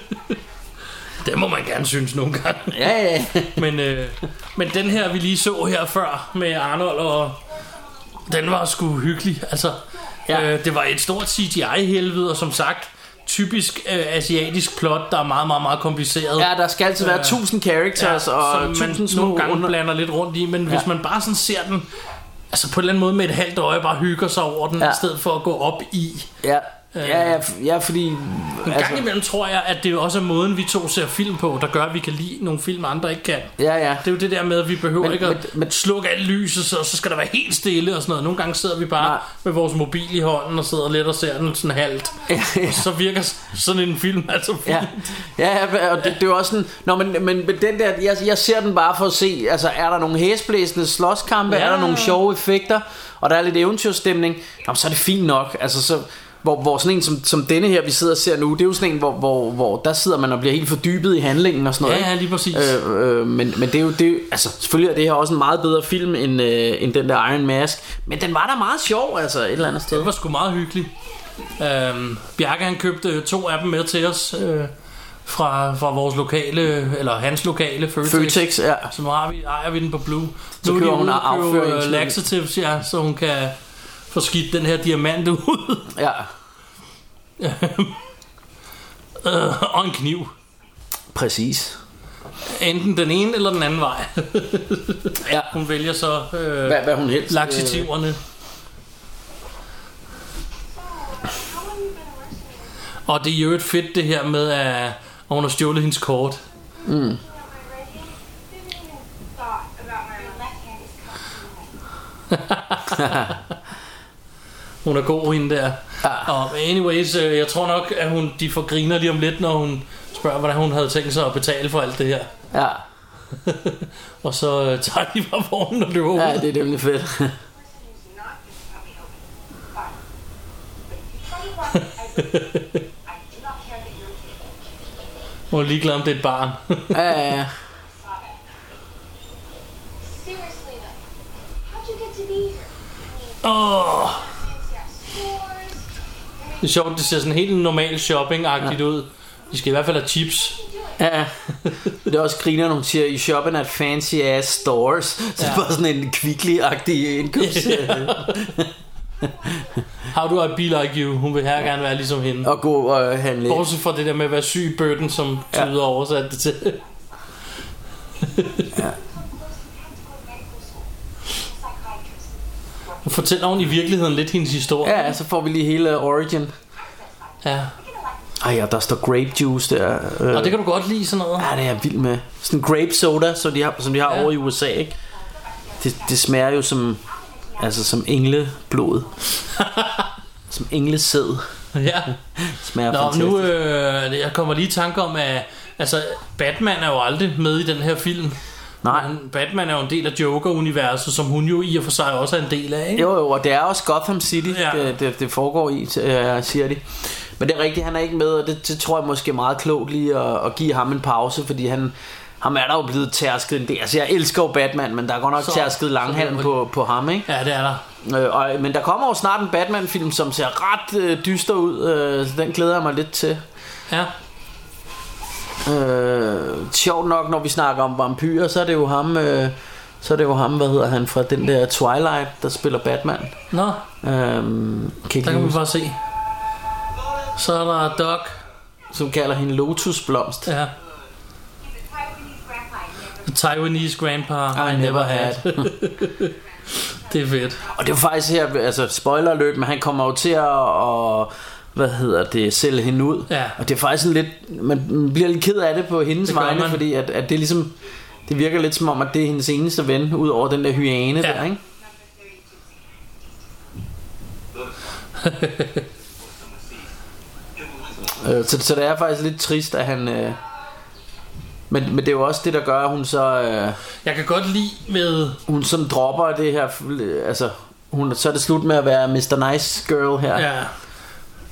det må man gerne synes nogle gange.
Ja, ja, ja.
Men, øh, men den her, vi lige så her før med Arnold, og den var sgu hyggelig. Altså,
Ja.
ja. øh, det var et stort CGI-helvede, og som sagt, typisk øh, asiatisk plot, der er meget, meget, meget kompliceret.
ja der skal altid være
Øh,
tusind characters ja, og
som man
tusind små
nogle gange
under...
blander lidt rundt i, men ja. hvis man bare sådan ser den, altså på en eller anden måde med et halvt øje, bare hygger sig over den,
Ja.
ja. i stedet for at gå op i.
Ja, ja, ja, f- ja, fordi...
Øh. En altså. gang imellem tror jeg, at det også er måden, vi to ser film på, der gør, at vi kan lide nogle film, andre ikke kan.
ja, ja.
Det er jo det der med, at vi behøver
Men-
men, ikke at
men-
men,
men-
slukke alt lyset, så, så skal der være helt stille og sådan noget. Nogle gange sidder vi bare
Nej.
Nej. med vores mobil i hånden og sidder lidt og ser den sådan halvt.
ja.
Så virker s- sådan en film altså fint.
Ja, ja, ja og det, det er jo også sådan Nå, men, men, men den der, jeg, jeg ser den bare for at se Altså, er der nogle hæsblæsende slåskampe
Ja.
Er der nogle sjove effekter Og der er lidt eventyrstemning Nå, men så er det fint nok Altså, så hvor, hvor sådan en som, som denne her, vi sidder og ser nu, det er jo sådan en, hvor, hvor, hvor der sidder man og bliver helt fordybet i handlingen og sådan noget.
Ja, ja,
ikke?
lige præcis.
Øh, øh, men, men det er jo, det er, jo- altså selvfølgelig er det her også en meget bedre film end, øh, end den der Iron Mask. Men den var da meget sjov, altså et eller andet sted.
Det var sgu meget hyggeligt. Øhm, Bjarke han købte to af dem med til os øh, fra, fra vores lokale, eller hans lokale Føtex.
Føtex, ja.
Så nu har vi, ejer vi den på Blue.
Så
nu er de
køber hun
ude at købe, øh,
afføringsmiddel.
laxatives, ja, så hun kan få skidt den her diamant ud. (laughs)
ja.
Øh, og en kniv.
Præcis.
Enten den ene eller den anden vej. (laughs)
Ja.
Hun vælger så øh,
Hvad, hvad hun helst. øh,
laxativerne. Og det er jo et fedt det her med, at at hun har stjålet hendes kort.
Didn't even thought about my left hand is cocked.
Hun er god, hende der.
Ah.
Og anyways, øh, jeg tror nok, at hun, de får griner lige om lidt, når hun spørger, hvordan hun havde tænkt sig at betale for alt det her.
Ja,
og så øh, tager de bare vognen og løber ud.
ja det er nemlig fedt.
person who's not this puppy open. Fine. But if you try to (laughs) walk, I will. I do not care that you're a kid.
Hun er ligeglad, om det er et barn. (laughs)
Ja, ja, ja.
Stop it. Seriously though, how'd you get to be here?
Åh, oh,
Fancy ass stores. I mean,
det er sjovt, det ser sådan helt normal shopping-agtigt ud. De skal i hvert fald have chips.
Ja, det er også griner, når hun siger, I shoppen at fancy ass stores. Så det er bare sådan en kvicklig-agtig indkøbs...
How do I be like you? Hun vil her gerne være ligesom hende.
Og øh, gå og handle.
Bortset fra det der med at være syg i bøtten, som
Ja.
tyder ja. oversat det til.
come close, you have to go to medical school. I'm a psychiatrist.
Nu fortæller hun i virkeligheden lidt hendes historie.
Ja, så får vi lige hele øh, origin.
ja.
Ej, ja, der står grape juice der. Øh,
Og det kan du godt lide sådan noget.
Ja, det er jeg vild med. Sådan grape soda, som de har, som de har
Ja.
ja. over i USA, ikke? Det, det smager jo som, altså som
(laughs)
engleblod. som englesæd.
Ja.
Smager
Nå,
fantastisk.
nu øh, jeg kommer lige i tanke om, at altså, Batman er jo aldrig med i den her film.
Nej.
Men Batman er jo en del af Joker-universet, som hun jo i og for sig også er en del af. Ikke?
Jo, jo, og det er også Gotham City,
Ja.
ja. det, det, det foregår i, øh, siger de. Men det er rigtigt, han er ikke med, og det, det tror jeg måske er meget klogt lige at, at give ham en pause, fordi han, ham er der jo blevet tærsket en del. Altså, jeg elsker jo Batman, men der er godt nok
Så-
så, tærsket langhalm
så-
på, på ham, ikke?
Ja, det er der.
Øh, og, men der kommer jo snart en Batman-film, som ser ret øh, dyster ud, øh, så den glæder jeg mig lidt til.
Ja.
Øh, sjovt nok, når vi snakker om vampyrer, så er det jo ham, øh, så er det jo ham, hvad hedder han, fra den der Twilight, der spiller Batman.
Nå,
Øh, kan ikke
der
lige
kan vi bare se. Så er der Doc.
som kalder hende lotusblomst.
Ja.
He's a Taiwanese grandpa. I never
The Taiwanese grandpa
I never had.
det er fedt.
Og det er jo faktisk her, altså spoiler alert, men han kommer jo til at, og, hvad hedder det, sælge hende ud.
Ja.
Og det er faktisk sådan lidt, man man bliver lidt ked af det på hendes
Det gør
vegne,
man.
fordi at, at det er ligesom, det virker lidt som om, at det er hendes eneste ven, ud over den der hyane
Ja.
ja.
(laughs)
der, ikke?
remember 32
Øh, Så, så det er faktisk lidt trist, at han... Øh, men, men det er jo også det, der gør, at hun så... Øh,
Jeg kan godt lide med...
hun sådan dropper det her... øh, Altså, hun, så er det slut med at være Mr. Nice Girl her.
Ja.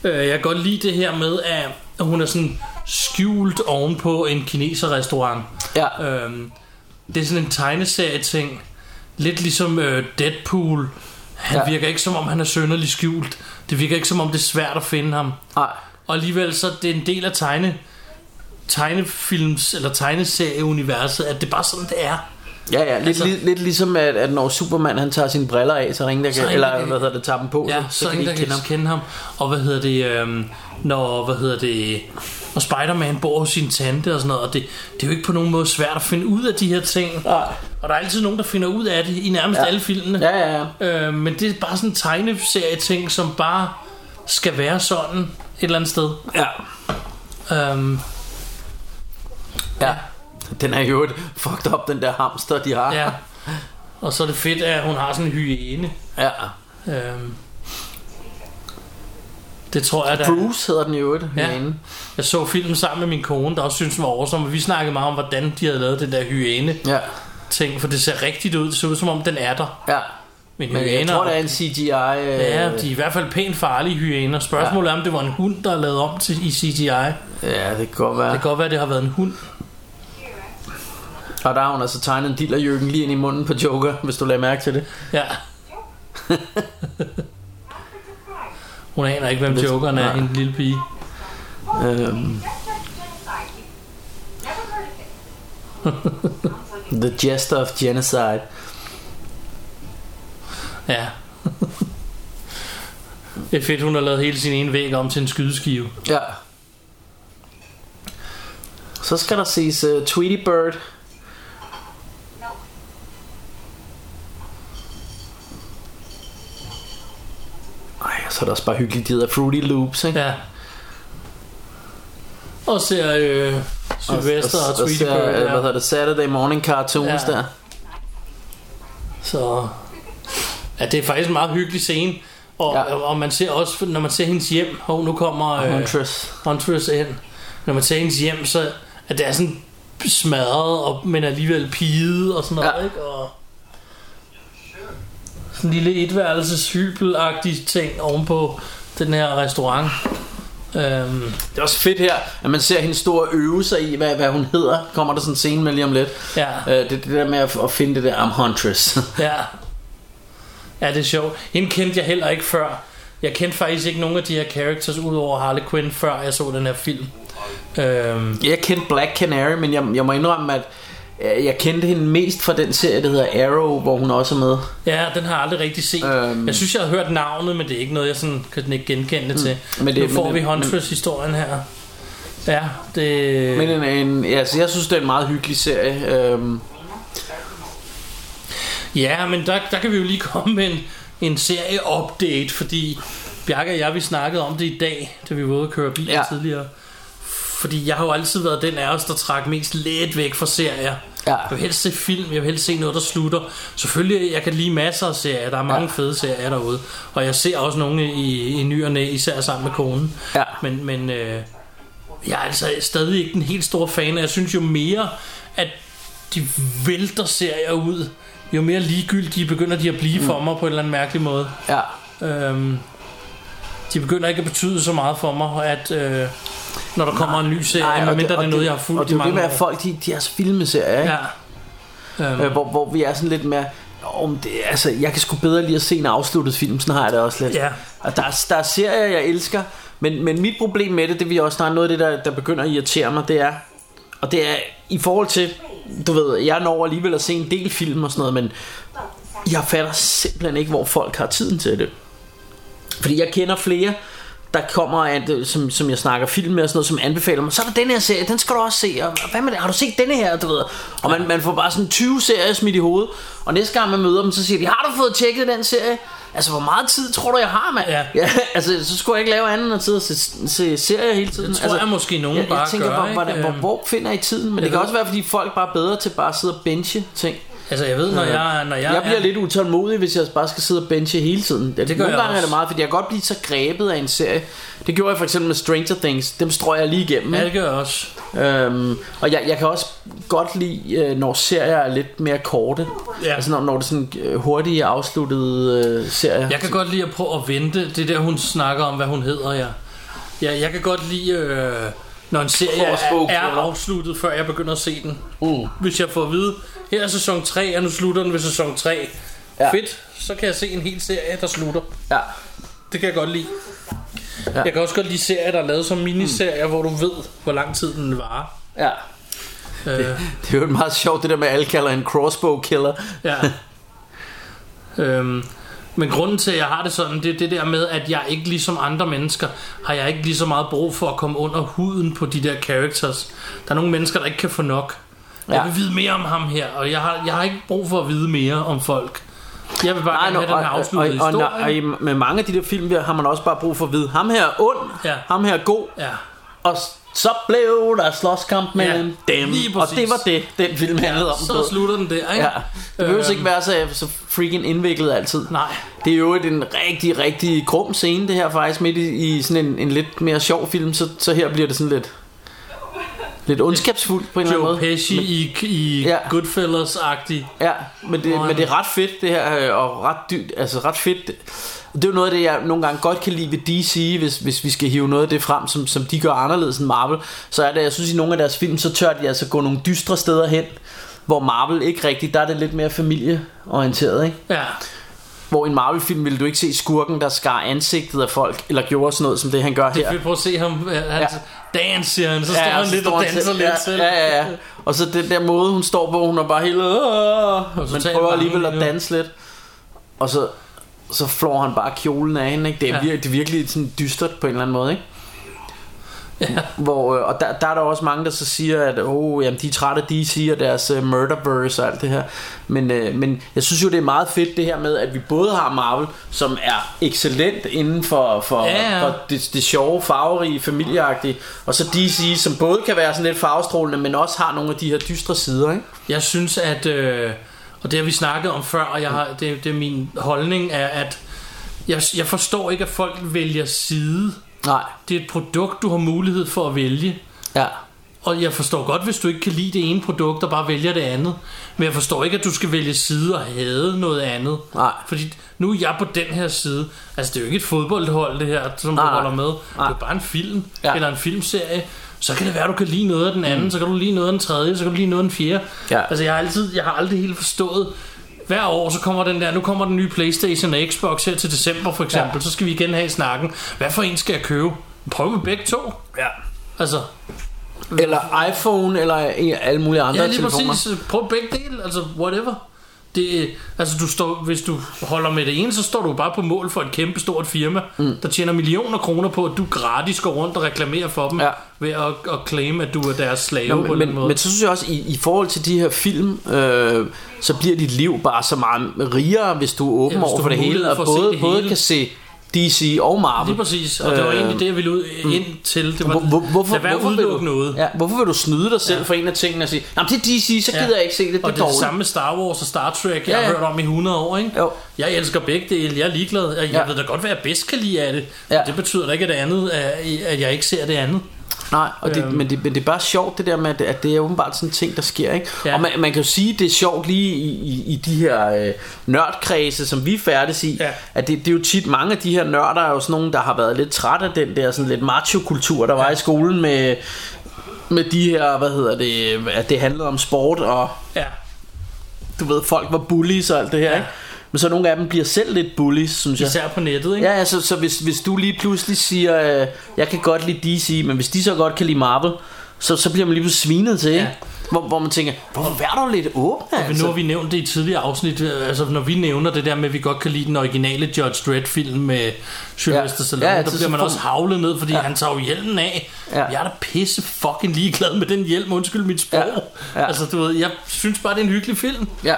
Øh, jeg kan godt lide det her med, at hun er sådan skjult ovenpå en kineserrestaurant.
ja.
Øhm, det er sådan en tegneserie-ting. Lidt ligesom øh, Deadpool. Han ja.
Ja.
virker ikke som om, han er sønderlig skjult. Det virker ikke som om, det er svært at finde ham.
Nej.
Og alligevel så er det en del af tegne, tegnefilms eller tegneserieuniverset, at det er bare sådan, det er.
Ja, ja, lidt,
Altså-
altså, lidt, lidt ligesom at, at når Superman han tager sine briller af, så er der ingen, der
Så er
kan,
der
eller
ingen, der kan-
hvad hedder det, tager dem på,
Ja,
så, så kan de
ingen,
ikke
der
kende
kan
ham.
kende ham. Og hvad hedder det... Øhm, når, hvad hedder det... Og Spider-Man bor hos sin tante og sådan noget, og det, det er jo ikke på nogen måde svært at finde ud af de her ting.
Nej.
Og der er altid nogen, der finder ud af det i nærmest ja. alle filmene.
Ja, ja, ja.
Øh, men det er bare sådan en tegneserie ting, som bare skal være sådan et eller andet sted.
Ja.
Øhm,
ja. Den er jo et fucked up, den der hamster, de har.
ja. Og så er det fedt, at hun har sådan en hyæne.
ja.
Øhm, det tror jeg, der...
Bruce hedder den jo et,
Ja.
ja.
Jeg så filmen sammen med min kone, der også synes den var awesome. og Vi snakkede meget om, hvordan de havde lavet den der hyæne-ting,
ja.
for det ser rigtigt ud. Det ser ud, som om den er der.
Ja.
Men,
Men jeg
hyæner...
tror, der er en CGI... Øh,
Ja, de er i hvert fald pænt farlige hyæner. Spørgsmålet er, om det var en hund, der er lavet om til i CGI.
ja, det kan godt være.
Det kan godt være, at det har været en hund.
Og der har hun altså tegnet en dillerjøkken lige ind i munden på Joker, hvis du lader mærke til det.
Ja.
surprise.
Hun aner ikke, hvem jokeren er,
nej.
en lille pige.
Øhm,
That's not genocide. You never heard of it.
the Jester of Genocide.
Ja. det er fedt, hun har lavet hele sin ene væg om til en skydeskive.
Ja. Så skal der ses uh, Tweety Bird. Ej, så er der også bare hyggeligt, de hedder Fruity Loops, ikke?
Ja. Og ser øh, Sylvester og, og, og,
og
Tweety
ser, øh,
Bird.
hvad hedder
Ja.
det, Saturday Morning Cartoons
Ja.
der.
Så ja, det er faktisk en meget hyggelig scene. Og,
Ja.
ja. og man ser også, når man ser hendes hjem, hov, nu kommer øh,
Huntress.
Huntress ind. Når man ser hendes hjem, så at det er sådan smadret, og, men alligevel piget og sådan noget,
Ja.
ja. ikke? Og sådan en lille etværelses hybelagtig ting ovenpå den her restaurant. Øhm,
Det er også fedt her, at man ser hende stå og øve sig i, hvad, hvad hun hedder. Kommer der sådan en scene med lige om lidt.
ja,
Øh, det, det der med at, at finde det der, I'm Huntress. (laughs)
ja. Ja, det er sjovt. Hende kendte jeg heller ikke før. Jeg kendte faktisk ikke nogen af de her characters udover Harley Quinn, før jeg så den her film. Øhm,
Jeg kendte Black Canary, men jeg, jeg må indrømme, at øh, jeg kendte hende mest fra den serie, der hedder Arrow, hvor hun også er med.
ja, den har jeg aldrig rigtig set.
Øhm.
Øhm, jeg synes, jeg har hørt navnet, men det er ikke noget, jeg sådan, kan den ikke genkende mm, til.
men
Men
det-
det,
men
nu får
det-
vi
men-
Huntress-historien her. Ja, det...
Men en, en, altså, jeg synes, det er en meget hyggelig serie. Øhm,
Ja, men der, der kan vi jo lige komme med en, en serie-update, fordi Bjarke og jeg, vi snakkede om det i dag, da vi var ude at køre bil
Ja.
ja. tidligere. Fordi jeg har jo altid været den af os, der trak mest lidt væk fra serier.
Ja.
Jeg vil helst se film, jeg vil helst se noget, der slutter. Selvfølgelig, jeg kan lide masser af serier, der er mange
Ja.
ja. fede serier derude. Og jeg ser også nogle i, i ny og næ, især sammen med konen.
Ja.
Men, men øh, jeg er altså stadig ikke den helt store fan, og jeg synes jo mere, at de vælter serier ud, jo mere ligegyldige begynder de at blive
Mm.
for mig på en eller anden mærkelig måde.
ja.
Øhm, de begynder ikke at betyde så meget for mig, at øh, når der kommer en ny serie,
og
medmindre det, er noget, jeg har
Og
fulgt i
det er jo det
mange
med,
år.
at folk, de, de er så vilde med serier, ikke?
Ja. Øhm,
Øh, hvor, hvor vi er sådan lidt mere om det, altså, jeg kan sgu bedre lige at se en afsluttet film, sådan har jeg det også lidt.
Ja.
Og der, er- der er serier, jeg elsker, men, men mit problem med det, det vil jeg også snakke noget af det, der, der begynder at irritere mig, det er, og det er i forhold til, du ved, jeg når alligevel at se en del film og sådan noget, men jeg fatter simpelthen ikke, hvor folk har tiden til det. Fordi jeg kender flere, der kommer, at, øh, som, som jeg snakker film med og sådan noget, som anbefaler mig, så er der den her serie, den skal du også se, og hvad med det, har du set denne her, du ved, og man, man får bare sådan 20 serier smidt i hovedet, og næste gang man møder dem, så siger de, har du fået tjekket den serie? Altså, hvor meget tid tror du, jeg har, mand?
Ja.
ja (laughs) altså, så skulle jeg ikke lave andet end at sidde og se, se serier hele tiden.
tror
altså,
jeg måske nogen
jeg, jeg
bare
tænker,
gør,
hvor,
ikke?
hvordan, hvor,
Øhm.
hvor finder I tiden? Men det kan
ved-
også være, fordi folk bare er bedre til bare at sidde og benche ting.
altså, jeg ved, når jeg... Når jeg,
Jeg bliver
er,
lidt utålmodig, hvis jeg bare skal sidde og benche hele tiden. Det
gør
Nogle
jeg
gange er
også.
det meget, fordi jeg kan godt blive så grebet af en serie. Det gjorde jeg for eksempel med Stranger Things. Dem strøg jeg lige igennem.
Ja,
Ja.
det gør jeg også.
Øhm, og jeg, jeg kan også godt lide, øh, når serier er lidt mere korte. Ja.
Ja.
Altså når, når det er sådan øh, hurtige afsluttede øh, serier.
Jeg kan godt lide at prøve at vente. Det er der, hun snakker om, hvad hun hedder, ja. ja jeg kan godt lide, øh, når en serie er,
Forårsbog,
er
eller?
afsluttet, før jeg begynder at se den.
Mm.
Hvis jeg får at vide, her er sæson 3, og nu slutter den ved sæson 3.
Ja.
Ja. Fedt, så kan jeg se en hel serie, der slutter.
Ja.
Det kan jeg godt lide. Ja. Jeg kan også godt lide serier, der er lavet som miniserier, mm. hvor du ved, hvor lang tid den varer.
ja.
Øh,
Det er jo meget sjovt, det der med, at alle kalder en crossbow killer.
Ja. øhm, men grunden til, at jeg har det sådan, det er det der med, at jeg ikke ligesom andre mennesker, har jeg ikke lige så meget brug for at komme under huden på de der characters. Der er nogle mennesker, der ikke kan få nok. Ja.
Ja.
Jeg vil vide mere om ham her, og jeg har, jeg har ikke brug for at vide mere om folk. Jeg vil bare
Nej,
gerne
nå,
have den her
og, og,
afsluttede
og, og,
historie.
og, i- med mange af de der film der har man også bare brug for at vide, ham her er ond,
Ja.
ham her er god,
ja.
Og så blev der slåskamp mellem
Ja,
ja, dem.
lige
Og
præcis.
det var det, den film handlede om.
Så slutter den der, ikke?
Ja. Det behøver øhm. ikke være så, så freaking indviklet altid.
Nej.
Det er jo en rigtig, rigtig grum scene, det her faktisk, midt i, i sådan en, en lidt mere sjov film, så, så her bliver det sådan lidt, lidt ondskabsfuldt på en eller anden
Joe
måde.
Pesci i, i
Ja.
ja. Goodfellas-agtig.
Ja, men det, men det er ret fedt det her øh, og ret dyrt, altså ret fedt. Det er jo noget af det jeg nogle gange godt kan lide ved DC, hvis, hvis vi skal hive noget af det frem som, som de gør anderledes end Marvel, så er det jeg synes i nogle af deres film så tør de altså gå nogle dystre steder hen, hvor Marvel ikke rigtigt, der er det lidt mere familieorienteret, ikke?
Ja.
Hvor i en Marvel film ville du ikke se skurken der skar ansigtet af folk eller gjorde sådan noget som det han gør her.
Vi vil prøve at se ham. øh, Han
Ja.
ja. Dans, siger han. Så står
Ja,
ja, han
så
lidt
står
og
han
danser
selv.
lidt
ja,
selv.
Ja, ja, ja. Og så den der måde, hun står på, hun er bare helt... "Åh",
så
Men
tager
prøver
han
alligevel
bare
at
lige nu.
danse lidt. Og så, så flår han bare kjolen af hende, ikke? Det er,
Ja.
ja. virkelig, det er virkelig sådan dystert på en eller anden måde, ikke?
Ja.
Hvor, øh, og der, der er der også mange, der så siger, at oh, jamen, de er trætte af DC og deres øh, Murderverse og alt det her. Men, øh, men jeg synes jo, det er meget fedt det her med, at vi både har Marvel, som er excellent inden for, for,
Ja, ja.
for det, det sjove, farverige, familieagtige, og så DC, som både kan være sådan lidt farvestrålende, men også har nogle af de her dystre sider. Ikke?
Jeg synes, at... Øh, og det har vi snakket om før, og jeg har, det, det er min holdning, er, at jeg, jeg forstår ikke, at folk vælger side.
Nej.
Det er et produkt, du har mulighed for at vælge.
Ja.
Og jeg forstår godt, hvis du ikke kan lide det ene produkt og bare vælger det andet. Men jeg forstår ikke, at du skal vælge side og hade noget andet.
Nej.
Fordi nu er jeg på den her side. Altså, det er jo ikke et fodboldhold, det her, som
Nej,
du
nej.
holder med. Det er jo
Nej.
bare en film
Ja.
ja. eller en filmserie. Så kan det være, at du kan lide noget af den anden, mm. så kan du lide noget af den tredje, så kan du lide noget af den fjerde.
Ja.
Altså, jeg har, altid, jeg har aldrig helt forstået, hver år så kommer den der, nu kommer den nye Playstation og Xbox her til december for eksempel, ja. så skal vi igen have snakken. Hvad for en skal jeg købe? Prøv med begge to.
ja.
Altså,
Eller iPhone, eller øh, alle mulige andre
Ja, lige
telefoner.
præcis. Prøv begge dele, altså whatever. Det, altså du står, hvis du holder med det ene, så står du bare på mål for et kæmpe stort firma, mm. der tjener millioner kroner på, at du gratis går rundt og reklamerer for dem,
Ja.
ja. ved at, at claim, at du er deres slave
Nå,
på
men,
den
men,
måde.
men så synes jeg også, i, i forhold til de her film, øh, så bliver dit liv bare så meget rigere, hvis du er åben
Ja,
ja,
hvis
over
du
for det
har
hele,
mulighed
og
for at se
både,
det
både
hele.
kan se DC og Marvel.
Lige præcis, og det var
Øh,
egentlig det, jeg ville ud, ind til. Det var,
Hvor, hvor, hvorfor,
lad være at
hvorfor, vil du,
udelukke noget.
Ja, hvorfor vil du snyde dig selv ja. for en af tingene og sige, jamen det er DC, så gider ja. jeg ikke se det, det er
og det er det
dårligt.
samme med Star Wars og Star Trek, jeg
Ja,
ja,
ja.
ja. har hørt om i 100 år, ikke?
Jo.
Jeg elsker begge dele, jeg er ligeglad. Jeg
Ja.
ja. ved da godt, hvad jeg bedst kan lide af det.
Ja.
Ja. Det betyder da ikke, at det andet, er- at jeg ikke ser det andet.
Nej, og det,
Øhm.
men, det, men det er bare sjovt det der med, at- at det er åbenbart sådan en ting, der sker. Ikke? Ja.
Ja.
Og man, man kan jo sige, at det er sjovt lige i, i, i de her øh, nørdkredse, som vi færdes i, ja.
Ja.
at det, det er jo tit mange af de her nørder, er jo sådan nogen, der har været lidt træt af den der sådan lidt macho-kultur, der var ja. i skolen med, med de her, hvad hedder det, at det handlede om sport, og
Ja.
du ved, folk var bullies og alt det her. Ja.
Ja.
Ikke? Men så nogle af dem bliver selv lidt bullies, synes jeg.
Især på nettet, ikke?
Ja, altså, så hvis, hvis du lige pludselig siger, øh, jeg kan godt lide DC, men hvis de så godt kan lide Marvel, så, så bliver man lige pludselig svinet til, ikke?
Ja.
Hvor, hvor man tænker, hvor vær dog lidt åben,
Men nu har
altså.
vi nævnt det i tidligere afsnit, øh, altså når vi nævner det der med, at vi godt kan lide den originale George Dredd film med Sylvester
Ja.
ja. Stallone,
Ja,
ja,
så-
der bliver man
så-
også havlet ned, fordi
Ja.
ja. han tager jo hjelmen af.
Ja.
Ja. Jeg er da pisse fucking ligeglad med den hjelm, undskyld mit sprog.
Ja.
Ja.
Ja.
Ja. Altså du ved, jeg synes bare, det er en hyggelig film.
Ja,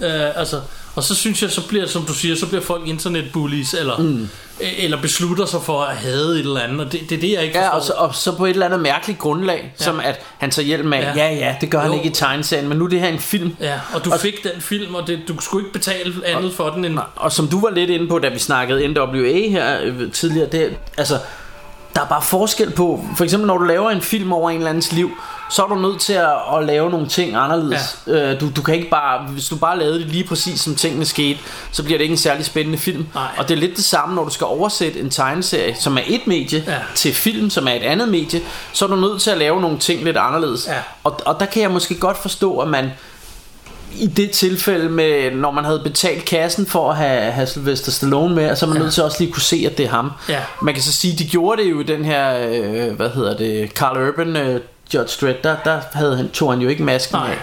Øh, altså, og så synes jeg, så bliver, som du siger, så bliver folk internetbullies, eller, mm. eller beslutter sig for at hade et eller andet, og det, det er det, jeg ikke
ja
forstår.
og, så, og så på et eller andet mærkeligt grundlag, ja. som at han tager hjelm af, ja,
Ja.
ja, ja det gør han
Jo.
ikke i tegneserien, men nu er det her en film.
Ja, og du fik den film, og det, du skulle ikke betale andet for den end...
Og som du var lidt inde på, da vi snakkede NWA her øh, tidligere, det, altså, der er bare forskel på, for eksempel når du laver en film over en eller andens liv, så er du nødt til at, at lave nogle ting anderledes. Ja. Øh, du, du kan ikke bare, hvis du bare lavede det lige præcis som tingene skete, så bliver det ikke en særlig spændende film.
Nej.
Og det er lidt det samme, når du skal oversætte en tegneserie, som er et medie,
Ja.
til film, som er et andet medie, så er du nødt til at lave nogle ting lidt anderledes.
Ja.
Og, og der kan jeg måske godt forstå, at man i det tilfælde med, når man havde betalt kassen for at have, have Sylvester Stallone med, så er man ja. nødt til også lige kunne se, at det er ham.
Ja.
Man kan så sige, de gjorde det jo i den her, øh, hvad hedder det, Carl Urban, øh, Judge Dredd, der, der havde han, tog han jo ikke masken
Nej.
af.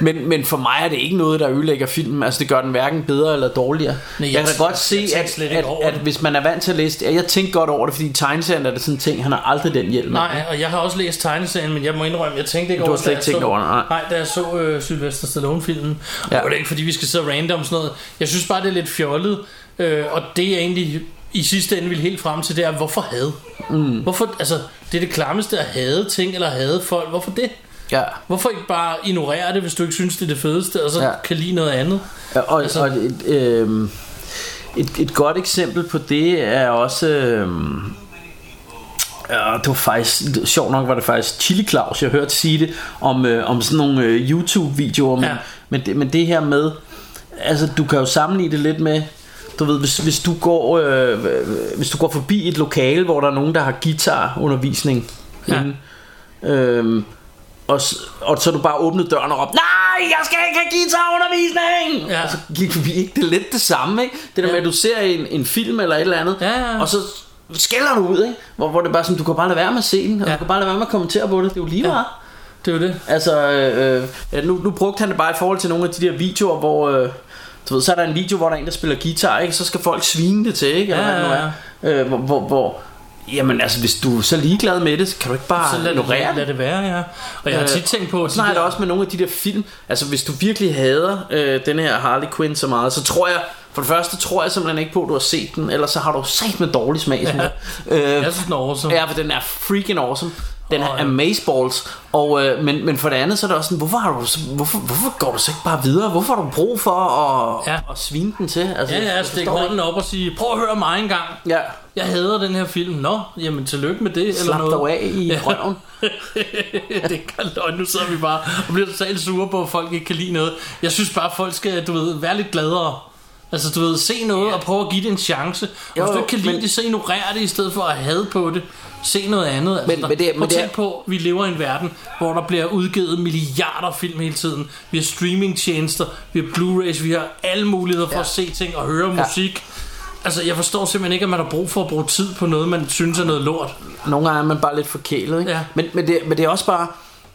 Men, men for mig er det ikke noget, der ødelægger filmen. Altså det gør den hverken bedre eller dårligere. Nej,
jeg
jeg, jeg kan da
tænker-
godt se,
jeg tænker
at,
slet
at,
ikke
at,
over
at
det.
hvis man er vant til at læse det, jeg tænkte godt over det, fordi i tegneserien er det sådan en ting, han har aldrig den hjelm. af.
Nej, og jeg har også læst tegneserien, men jeg må indrømme, jeg tænkte ikke
Du har
over
slet ikke
da jeg
tænkt
så,
over det, nej.
Nej, da jeg så øh, Sylvester Stallone-filmen,
Ja.
ja. og det er ikke fordi, vi skal sidde og random sådan noget. Jeg synes bare, det er lidt fjollet, øh, og det jeg egentlig i sidste ende vil helt frem til, det er, hvorfor had? Mm. Hvorfor, altså, det er det klammeste at hade ting, eller hade folk. Hvorfor det?
Ja.
Hvorfor ikke bare ignorere det, hvis du ikke synes, det er det fedeste, og så
Ja.
ja. kan lide noget andet?
Ja, Og, altså,
Altså-
og et, øh, et, et godt eksempel på det er også... Øh, Ja, det var faktisk det var- sjovt nok var det faktisk Chili Claus jeg hørte sige det om øh, om sådan nogle øh, YouTube videoer men, ja.
Ja.
men, det, men det her med altså du kan jo sammenligne det lidt med du ved hvis, hvis du går øh, hvis du går forbi et lokale hvor der er nogen der har guitarundervisning
Ja.
inde, Øhm, og, s- og så du bare åbnede døren og råbte, nej, jeg skal ikke have guitarundervisning!
Ja.
Og så gik vi ikke, det er lidt det samme, ikke? Det der
Ja.
med, at du ser en, en film eller et eller andet,
Ja, ja.
og så skælder du ud, ikke? Hvor, hvor det er bare sådan, du kan bare lade være med at se den, og
Ja.
du kan bare lade være med at kommentere på det, det er jo lige meget.
Det er jo det.
Altså, øh, øh, ja, nu, nu brugte han det bare i forhold til nogle af de der videoer, hvor... Øh, du ved, så er der en video, hvor der er en, der spiller guitar, ikke? Så skal folk svine det til, ikke? Eller
Ja,
hvad det nu
ja,
er. Øh, hvor, hvor, hvor, Jamen altså, hvis du er så ligeglad med det, så kan du ikke bare
Så lad,
ignorere
det,
det.
lad det være, ja. Og jeg har tit tænkt på, at de
Sådan har jeg
der-
det Øh, også med nogle af de der film Altså hvis du virkelig hader øh, den her Harley Quinn så meget Så tror jeg For det første tror jeg simpelthen ikke på at du har set den Ellers så har du sat med dårlig smag ja. øh,
Jeg synes, den er awesome.
Ja for den er freaking awesome den er
Og, øh,
amazeballs og, øh, men, men for det andet så er det også sådan Hvorfor, har du så, hvorfor, hvorfor går du så ikke bare videre Hvorfor har du brug for at,
Ja.
ja. at svine den til altså,
Ja, ja,
jeg
stik
forstår
hånden
ikke.
op og sige, prøv at høre mig en gang.
Ja
Jeg hader den her film. Nå, jamen tillykke med det.
Slap
eller
dig
noget.
af i
Ja.
røven
(laughs) det er ikke løgn. Nu sidder vi bare og bliver totalt sure på, at folk ikke kan lide noget. Jeg synes bare, at folk skal, du ved, være lidt gladere. Altså, du ved, se noget og prøve at give det en chance. Og
Jo,
hvis du
jo,
ikke kan lide
men-
det, så ignorer det i stedet for at hade på det. Se noget andet. Altså,
Men- men det er-
Prøv
men
at
det er-
tænk på, vi lever i en verden, hvor der bliver udgivet milliarder af film hele tiden. Vi har streamingtjenester, vi har Blu-rays, vi har alle muligheder for ja. at se ting og høre musik. Altså, jeg forstår simpelthen ikke, at man har brug for at bruge tid på noget, man synes er noget lort.
Nogle gange er man bare lidt forkælet ikke?
Ja.
Men, men, det, men det er også bare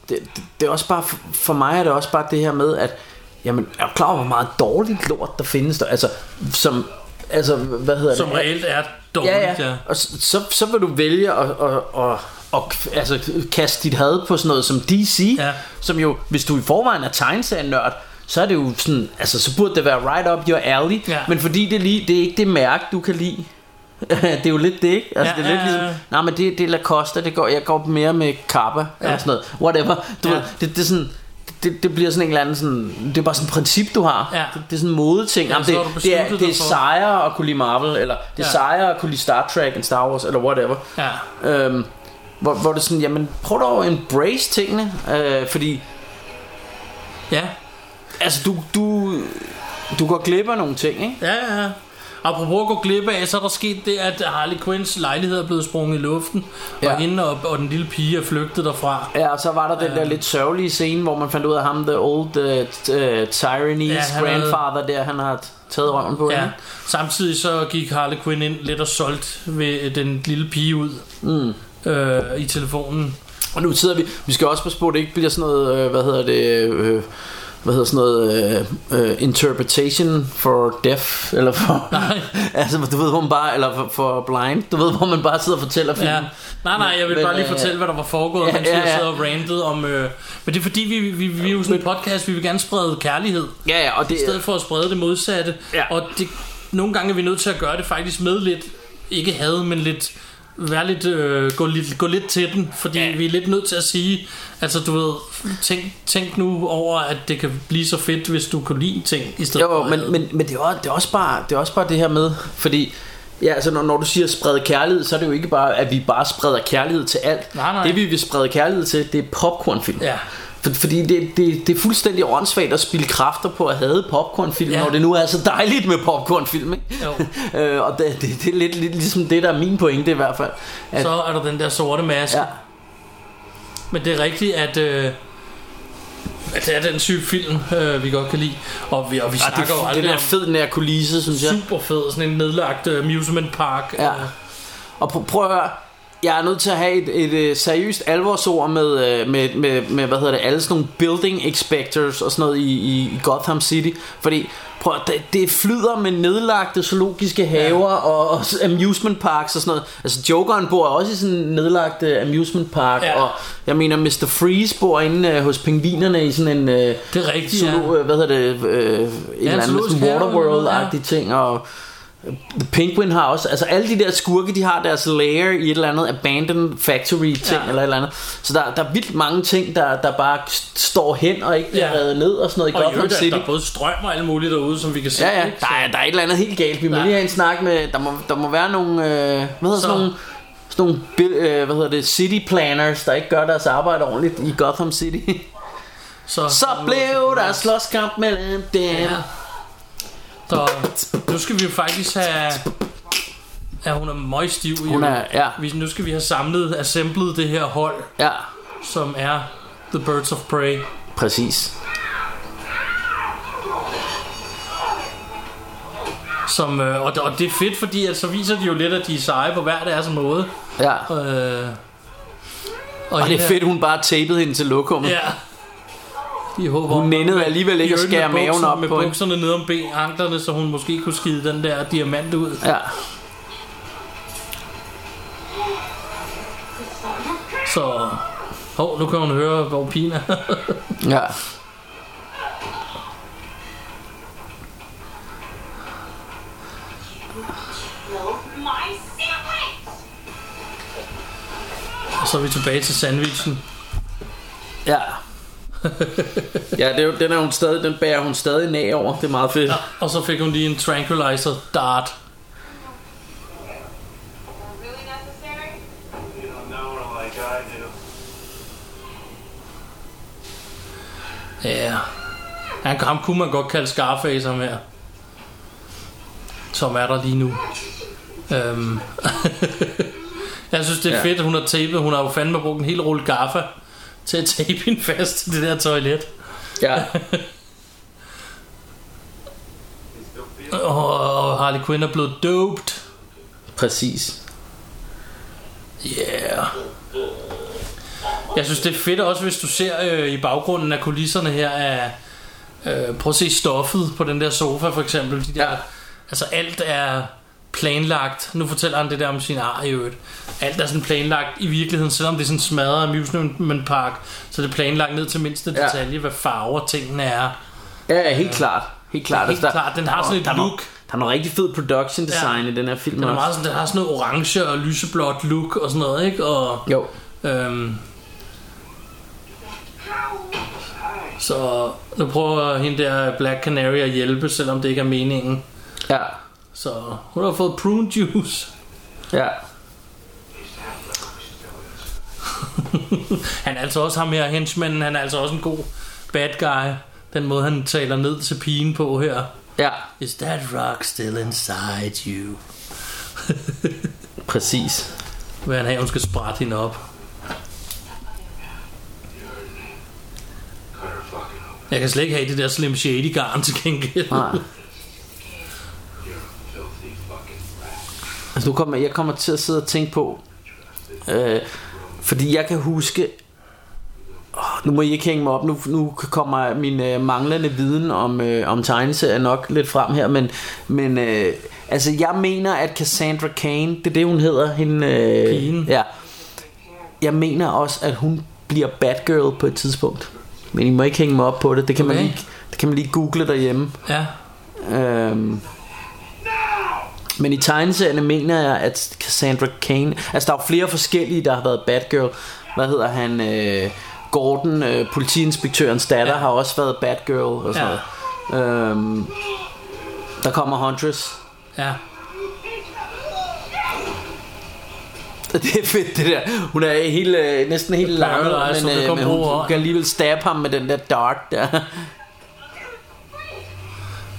det, det, det er også bare for- For mig er det også bare det her med at Jamen er du klar over hvor meget dårligt lort Der findes der Altså som Altså hvad hedder
Som
det
reelt er dårligt,
Ja ja Og s- så, så vil du vælge at, at, at og k- altså, kaste dit had på sådan noget som DC
Ja.
Som jo Hvis du i forvejen er tegneserienørd Så er det jo sådan Altså så burde det være right up your alley
Ja.
Men fordi det, er lige, det er ikke det mærke du kan lide (laughs) det er jo lidt det, ikke? Altså,
Ja,
det er lidt
ja,
ligesom,
ja.
Nej, men det, det er Lacoste, det går, jeg går mere med Kappa, ja.
Ja.
eller sådan noget. Whatever. Du
Ja.
ja. ved, det, det er sådan... Det, det, bliver sådan en eller anden sådan, Det er bare sådan et princip du har
Ja.
det, det er sådan en modeting
Ja,
Jamen,
så
det,
har du
det, er,
besluttet
det er
dig for-
sejere at kunne lide Marvel Eller det er
Ja.
sejere at kunne lide Star Trek end Star Wars Eller whatever
Ja.
øhm, hvor, hvor det er sådan Jamen prøv dog at embrace tingene øh, Fordi
Ja,
Altså du, du Du går glip af nogle ting ikke?
ja, ja. Apropos at gå glip af, så er der sket det, at Harley Quinns lejlighed er blevet sprunget i luften, ja.
Ja.
og hende og, og den lille pige er flygtet derfra.
Ja, og så var der den der lidt sørgelige scene, hvor man fandt ud af ham, the old uh, t- uh, Tyranny's
Ja,
ja,
han
grandfather der, han har t- taget røven på
Ja.
hende.
Samtidig så gik Harley Quinn ind lidt og solgt ved øh, den lille pige ud mm. øh, i telefonen.
Og nu sidder vi, vi skal også passe på, at det ikke bliver sådan noget, øh, hvad hedder det, øh, hvad hedder sådan noget, øh, øh, interpretation for deaf, eller for,
(laughs) Nej.
(laughs) altså du ved, hvor man bare, eller for, for blind, du ved, hvor man bare sidder og fortæller filmen.
Ja.
Ja.
Nej, nej, jeg vil
Mm. Men,
bare lige
øh,
fortælle, hvad der var foregået, ja,
ja,
mens ja, ja.
ja,
jeg
ja.
sad og rantede om... Øh, men det er fordi, vi, vi, vi er jo sådan en podcast, vi vil gerne sprede kærlighed.
ja, ja, og det,
i stedet for at sprede det modsatte.
Ja.
Og det, nogle gange er vi nødt til at gøre det faktisk med lidt, ikke had, men lidt, være lidt, øh, gå, lidt, gå lidt til den, fordi ja. vi er lidt nødt til at sige, altså du ved, tænk, tænk nu over, at det kan blive så fedt, hvis du kan lide ting, i stedet
Jo,
for
men, men, men det, er også, det, er også bare, det er også bare det her med, fordi ja, altså, når, når du siger sprede kærlighed, så er det jo ikke bare, at vi bare spreder kærlighed til alt.
Nej, nej.
Det vi vil sprede kærlighed til, det er popcornfilm.
Ja.
For, fordi det, det, det er fuldstændig åndssvagt at spille kræfter på at have popcornfilm,
Ja.
ja. når det nu er så dejligt med popcornfilm. Ikke? (laughs) øh, og det, det, det er lidt, lidt ligesom det, der er min pointe i hvert fald. At,
så er der den der sorte maske.
ja,
Men det er rigtigt, at... Øh, at det er den type film, øh, vi godt kan lide. Og vi, og vi
og
snakker jo
Ah, det,
aldrig
den er
om
fed, den her kulisse, synes jeg.
super fed, sådan en nedlagt øh, amusement park.
Ja.
øh,
Og pr- prøv at høre, jeg er nødt til at have et, et, øh, seriøst alvorsord med, øh, med, med, med, hvad hedder det, alle sådan nogle building inspectors og sådan noget i, i, i Gotham City. Fordi, prøv at, det, det flyder med nedlagte zoologiske haver ja. og, og s- amusement parks og sådan noget. Altså, Jokeren bor også i sådan en nedlagt øh, amusement park,
Ja.
ja. og jeg mener, Mr. Freeze bor inde øh, hos pingvinerne i sådan en... Øh,
Det er rigtigt, ja.
Zoo, øh, hvad hedder det, øh, en eller anden
zoologisk
sådan
have eller noget,
Waterworld-agtig
ja.
ting, og The Penguin har også, altså alle de der skurke, de har deres lair i et eller andet abandoned factory ting,
Ja.
ja. eller et eller andet. Så der, der er vildt mange ting, der, der bare st- står hen og ikke bliver
Ja.
ja. reddet ned og sådan noget i
Og i
Gotham
øvrigt, at
City.
der både strøm og alt muligt derude, som vi kan se.
Ja, ja,
ikke? Så-
der er, der er et eller andet helt galt. Vi må
Ja.
ja. lige have en snak med, der må, der må være nogle, øh, hvad hedder
Så-
sådan nogle, sådan nogle bil- øh, hvad hedder det, city planners, der ikke gør deres arbejde ordentligt i Gotham City. (laughs)
Så,
Så blev der slåskamp mellem dem.
Ja. Så nu skal vi jo faktisk have... Ja, hun er møgstiv. jo.
Hun er- ja.
Vi, nu skal vi have samlet, assemblet det her hold,
Ja,
som er The Birds of Prey.
præcis.
Som, øh, og, og det er fedt, fordi at, så viser de jo lidt, at de er seje på hver deres måde.
Ja.
Øh,
Og
og
det
hende her-
er fedt, hun bare tapede hende til lokummet.
Ja. De håber,
Hun nænnede alligevel ikke at
I øvrigt med
skære maven
bukser-
op
med
på hende.
bukserne nede om ben, anklerne, så hun måske kunne skide den der diamant ud.
Ja.
Så... Hov, nu kan hun høre, hvor pigen er. (laughs)
Ja.
My sandwich!
Og så er vi tilbage til sandwichen.
Ja. (laughs) ja, det er, jo- den, er hun stadig, den bærer hun stadig nag over. Det er meget fedt.
Og så fik hun lige en tranquilizer dart.
Really necessary?
You don't know her like I do.
Ja. Han, ham kunne man godt kalde Scarface ham her. Som er der lige nu. Øhm. (laughs) jeg synes, det er
Ja.
ja. fedt, at hun har tapet. Hun har jo fandme brugt en hel rulle gaffa til at tape hende fast til det der toilet.
Ja.
Og, og Harley Quinn er blevet doped.
Præcis.
Yeah. Jeg synes, det er fedt også, hvis du ser øh, i baggrunden af kulisserne her, af, øh, prøv at se stoffet på den der sofa for eksempel. De der,
Ja.
ja. Altså alt er planlagt. Nu fortæller han det der om sin ar i øvrigt. Alt er sådan planlagt i virkeligheden, selvom det er sådan smadret amusement park, så er det planlagt ned til mindste
Ja.
detalje, hvad farver tingene er.
Ja, ja, helt klart. Helt klart. Altså,
Helt klart, den har
der-
sådan et
der er noget-
look.
Der er noget rigtig fed production design ja.
Ja.
i den her film
Den, er
også.
meget sådan, den har sådan noget orange og lyseblåt look og sådan noget, ikke? Og,
Jo.
Øhm, så nu prøver hende der Black Canary at hjælpe, selvom det ikke er meningen.
Ja.
Så hun har fået prune juice. (laughs)
Ja.
Han er altså også ham her, henchmanden, han er altså også en god bad guy. Den måde, han taler ned til pigen på her.
Ja.
Is that rock still inside you?
Præcis.
Hvad han have, hun skal sprætte hende op. Jeg kan slet ikke have det der Slim Shady garn til gengæld.
Nej. Altså, nu kommer, jeg kommer til at sidde og tænke på, øh, fordi jeg kan huske, oh, nu må I ikke hænge mig op, nu, nu kommer min øh, manglende viden om, øh, om tegneserier nok lidt frem her, men, men øh, altså, jeg mener, at Cassandra Cain, det er det, hun hedder, hende, øh,
Pigen.
ja, jeg mener også, at hun bliver Batgirl på et tidspunkt, men I må ikke hænge mig op på det, det kan, okay. man,
Okay.
lige, det kan man lige google derhjemme.
Ja,
Øhm. Men i tegneserierne mener jeg, at Cassandra Kane... Altså, der er jo flere forskellige, der har været Batgirl. Hvad hedder han? Øh, Gordon, øh, politiinspektørens datter,
Ja.
ja. har også været Batgirl og sådan
Ja.
noget. Øhm, der kommer Huntress.
ja.
(laughs) Det er fedt, det der. Hun er helt, øh, næsten helt lang,
Paralyzed,
men, øh,
hun kan
men hun,
bruge
hun kan alligevel stabbe ham med den der dart der.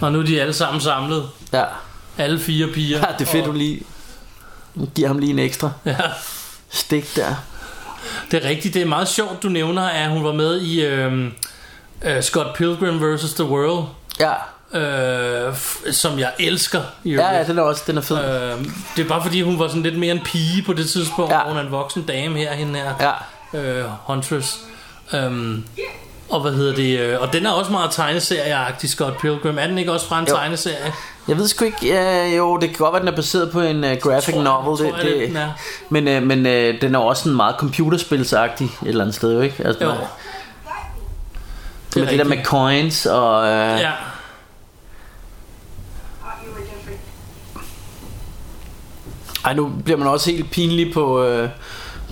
Og nu er de alle sammen samlet.
(laughs) Ja,
Alle fire piger.
ja det er fedt,
og,
hun lige... Hun giver ham lige en ekstra
ja,
stik der.
Det er rigtigt. Det er meget sjovt, du nævner, at hun var med i øhm, øh, Scott Pilgrim vs. The World.
Ja,
Øh, f- som jeg elsker i
ja, ja
øvrigt.
den er også den er fed.
Øh, det er bare fordi, hun var sådan lidt mere en pige på det tidspunkt,
Ja.
ja. hun er en voksen dame her, hende her.
Ja.
øh, Huntress. Øhm, og hvad hedder det? øh, Og den er også meget tegneserieagtig, Scott Pilgrim. Er den ikke også fra en
Jo.
jo. tegneserie?
Jeg ved sgu ikke, øh, jo, det kan godt være, den er baseret på en øh, graphic
Tror jeg-
novel,
tror jeg lidt, den er.
men, øh, men øh, den er også sådan meget computerspilsagtig et eller andet sted, jo ikke? Altså,
Jo.
Med, med det der med
rigtigt.
coins og... Øh, ja.
Ja.
Thought you were different.
Ej, nu bliver man også helt pinlig på... Øh,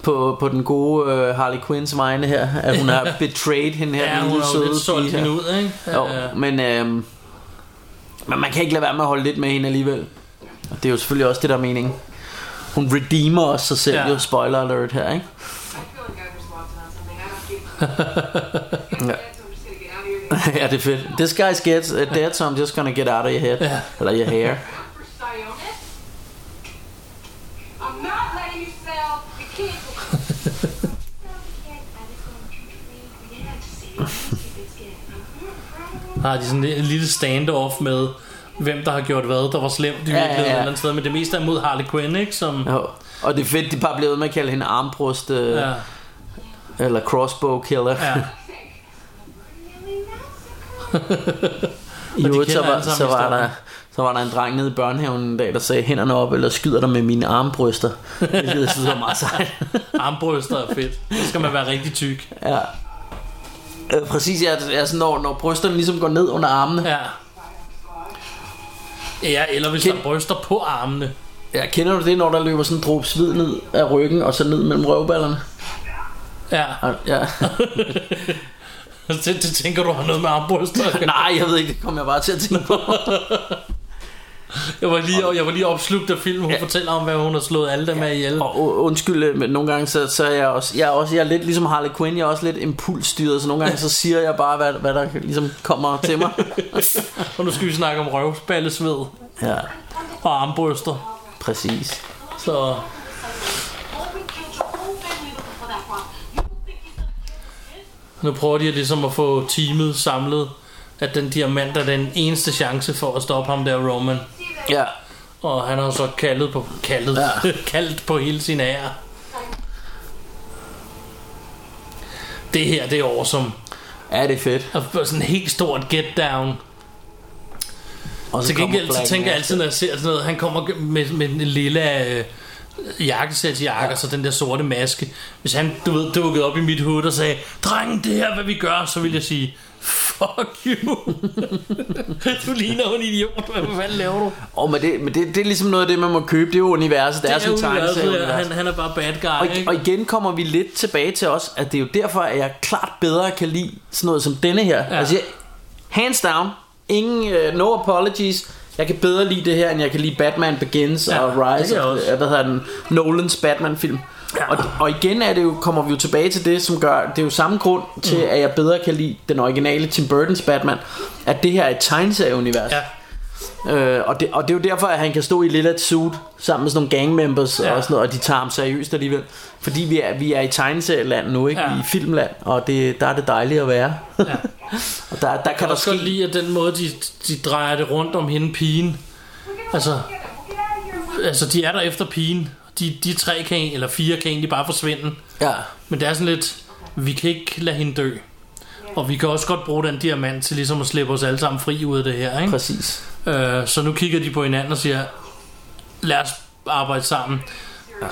på, på den gode øh, Harley Quinns vegne her, at
(laughs)
hun har betrayed hende her
Ja,
lille
hun har jo
søde
lidt solgt
pige her.
hende ud, ikke?
Jo,
Øh,
men, øh, men man kan ikke lade være med at holde lidt med hende alligevel. Og det er jo selvfølgelig også det, der er meningen. Hun redeemer os sig selv, ja.
Ja.
jo spoiler alert her,
(laughs)
ikke?
I feel like I just walked in on something I don't keep. yeah. So I'm just gonna get out of here.
ja, det er fedt. This guy's gets uh, dead, so I'm just gonna get out of your head.
Ja.
Eller your hair.
For Sionis? I'm not letting you sell the kids.
So because I was going to train, we didn't have to say anything skin.
har de sådan en lille standoff med, hvem der har gjort hvad, der var slemt i virkeligheden
ja.
ja, ja, ja. sted. Men det meste er mod Harley Quinn, ikke? Som,
Jo. Og det er fedt, de bare bliver ved med at kalde hende armbrust, øh,
ja.
ja. eller crossbow killer.
ja.
Really, that's
I
Og de
øvrigt, så
kender
var,
alle sammen
så var
historien.
der så Så var der en dreng nede i børnehaven en dag, der sagde, hænderne op, eller skyder dig med mine armbryster. (laughs) Det synes jeg var meget sejt.
(laughs) Armbryster er fedt. Så skal man være rigtig tyk.
Ja. Øh, præcis, ja, altså, når, når brysterne ligesom går ned under armene.
Ja. Ja, eller hvis
Kend-
der er bryster på armene.
Ja, kender du det, når der løber sådan en dråbe sved ned af ryggen, og så ned mellem røvballerne? (laughs)
Ja.
Og- Ja.
Det, det tænker du har noget med armbryster. at gøre.
(laughs) Nej, jeg ved ikke, det kom jeg bare til at tænke på.
Jeg var lige, jeg var lige opslugt af film. Hun ja.
Ja.
fortæller om, hvad hun har slået alle dem af ihjel.
Og u- undskyld, øh, men nogle gange så, så er jeg også, jeg er også jeg er lidt ligesom Harley Quinn, jeg er også lidt impulsstyret, så nogle gange så siger jeg bare, hvad, hvad der ligesom kommer
(laughs)
til mig.
(laughs) Og nu skal vi snakke om røvspallesved
Ja,
og armbryster.
præcis.
Så nu prøver de ligesom at få teamet samlet. At den diamant er den eneste chance for at stoppe ham der Roman.
Ja,
Og han har så kaldet på, kaldet, ja.
Ja.
(laughs) kaldt på hele sin ære. Det her, det er awesome.
er det er fedt.
Og sådan en helt stort get down.
Og
Til
kommer
gengæld så
Black
tænker jeg
Mass.
altid, når jeg ser sådan noget, han kommer med, med en lille øh, jakkesæt jakke, ja. og så den der sorte maske. Hvis han, du ved, dukkede op i mit hoved og sagde, drengen, det her er, hvad vi gør, så vil jeg sige, fuck you. (laughs) du ligner en idiot, hvad fanden laver du?
Og men det, men det, det er ligesom noget af det, man må købe, det er jo universet, det, er sådan en
universet,
tegneserie.
ja. altså, han, han er bare bad guy,
Og,
ikke?
og igen kommer vi lidt tilbage til os, at det er jo derfor, at jeg klart bedre kan lide sådan noget som denne her. Ja. Altså, jeg, hands down, ingen, uh, no apologies. Jeg kan bedre lide det her, end jeg kan lide Batman Begins
Ja,
ja, og
det kan
Rise,
jeg
og,
også.
hvad hedder den, Nolans Batman-film. Ja. Og, og igen er det jo, kommer vi jo tilbage til det, som gør, det er jo samme grund til, mm. at jeg bedre kan lide den originale Tim Burton's Batman, at det her er et tegneserieunivers.
Ja.
Øh, og, det, og det er jo derfor, at han kan stå i lilla suit sammen med sådan nogle gangmembers
Ja.
ja. og sådan noget, og de tager ham seriøst alligevel. Fordi vi er, vi er i tegneserieland nu, ikke?
Ja.
Ja. I filmland, og det, der er det dejligt at være. Ja. (laughs) og der, der
Jeg
kan
kan
der
også
ske...
godt lide, at den måde, de, de drejer det rundt om hende, pigen. Altså, altså de er der efter pigen. De, de tre kan, eller fire kan egentlig bare forsvinde.
Ja.
Men det er sådan lidt, vi kan ikke lade hende dø. Og vi kan også godt bruge den diamant til ligesom at slippe os alle sammen fri ud af det her. Ikke?
Præcis.
Øh, så nu kigger de på hinanden og siger, lad os arbejde sammen. Ja.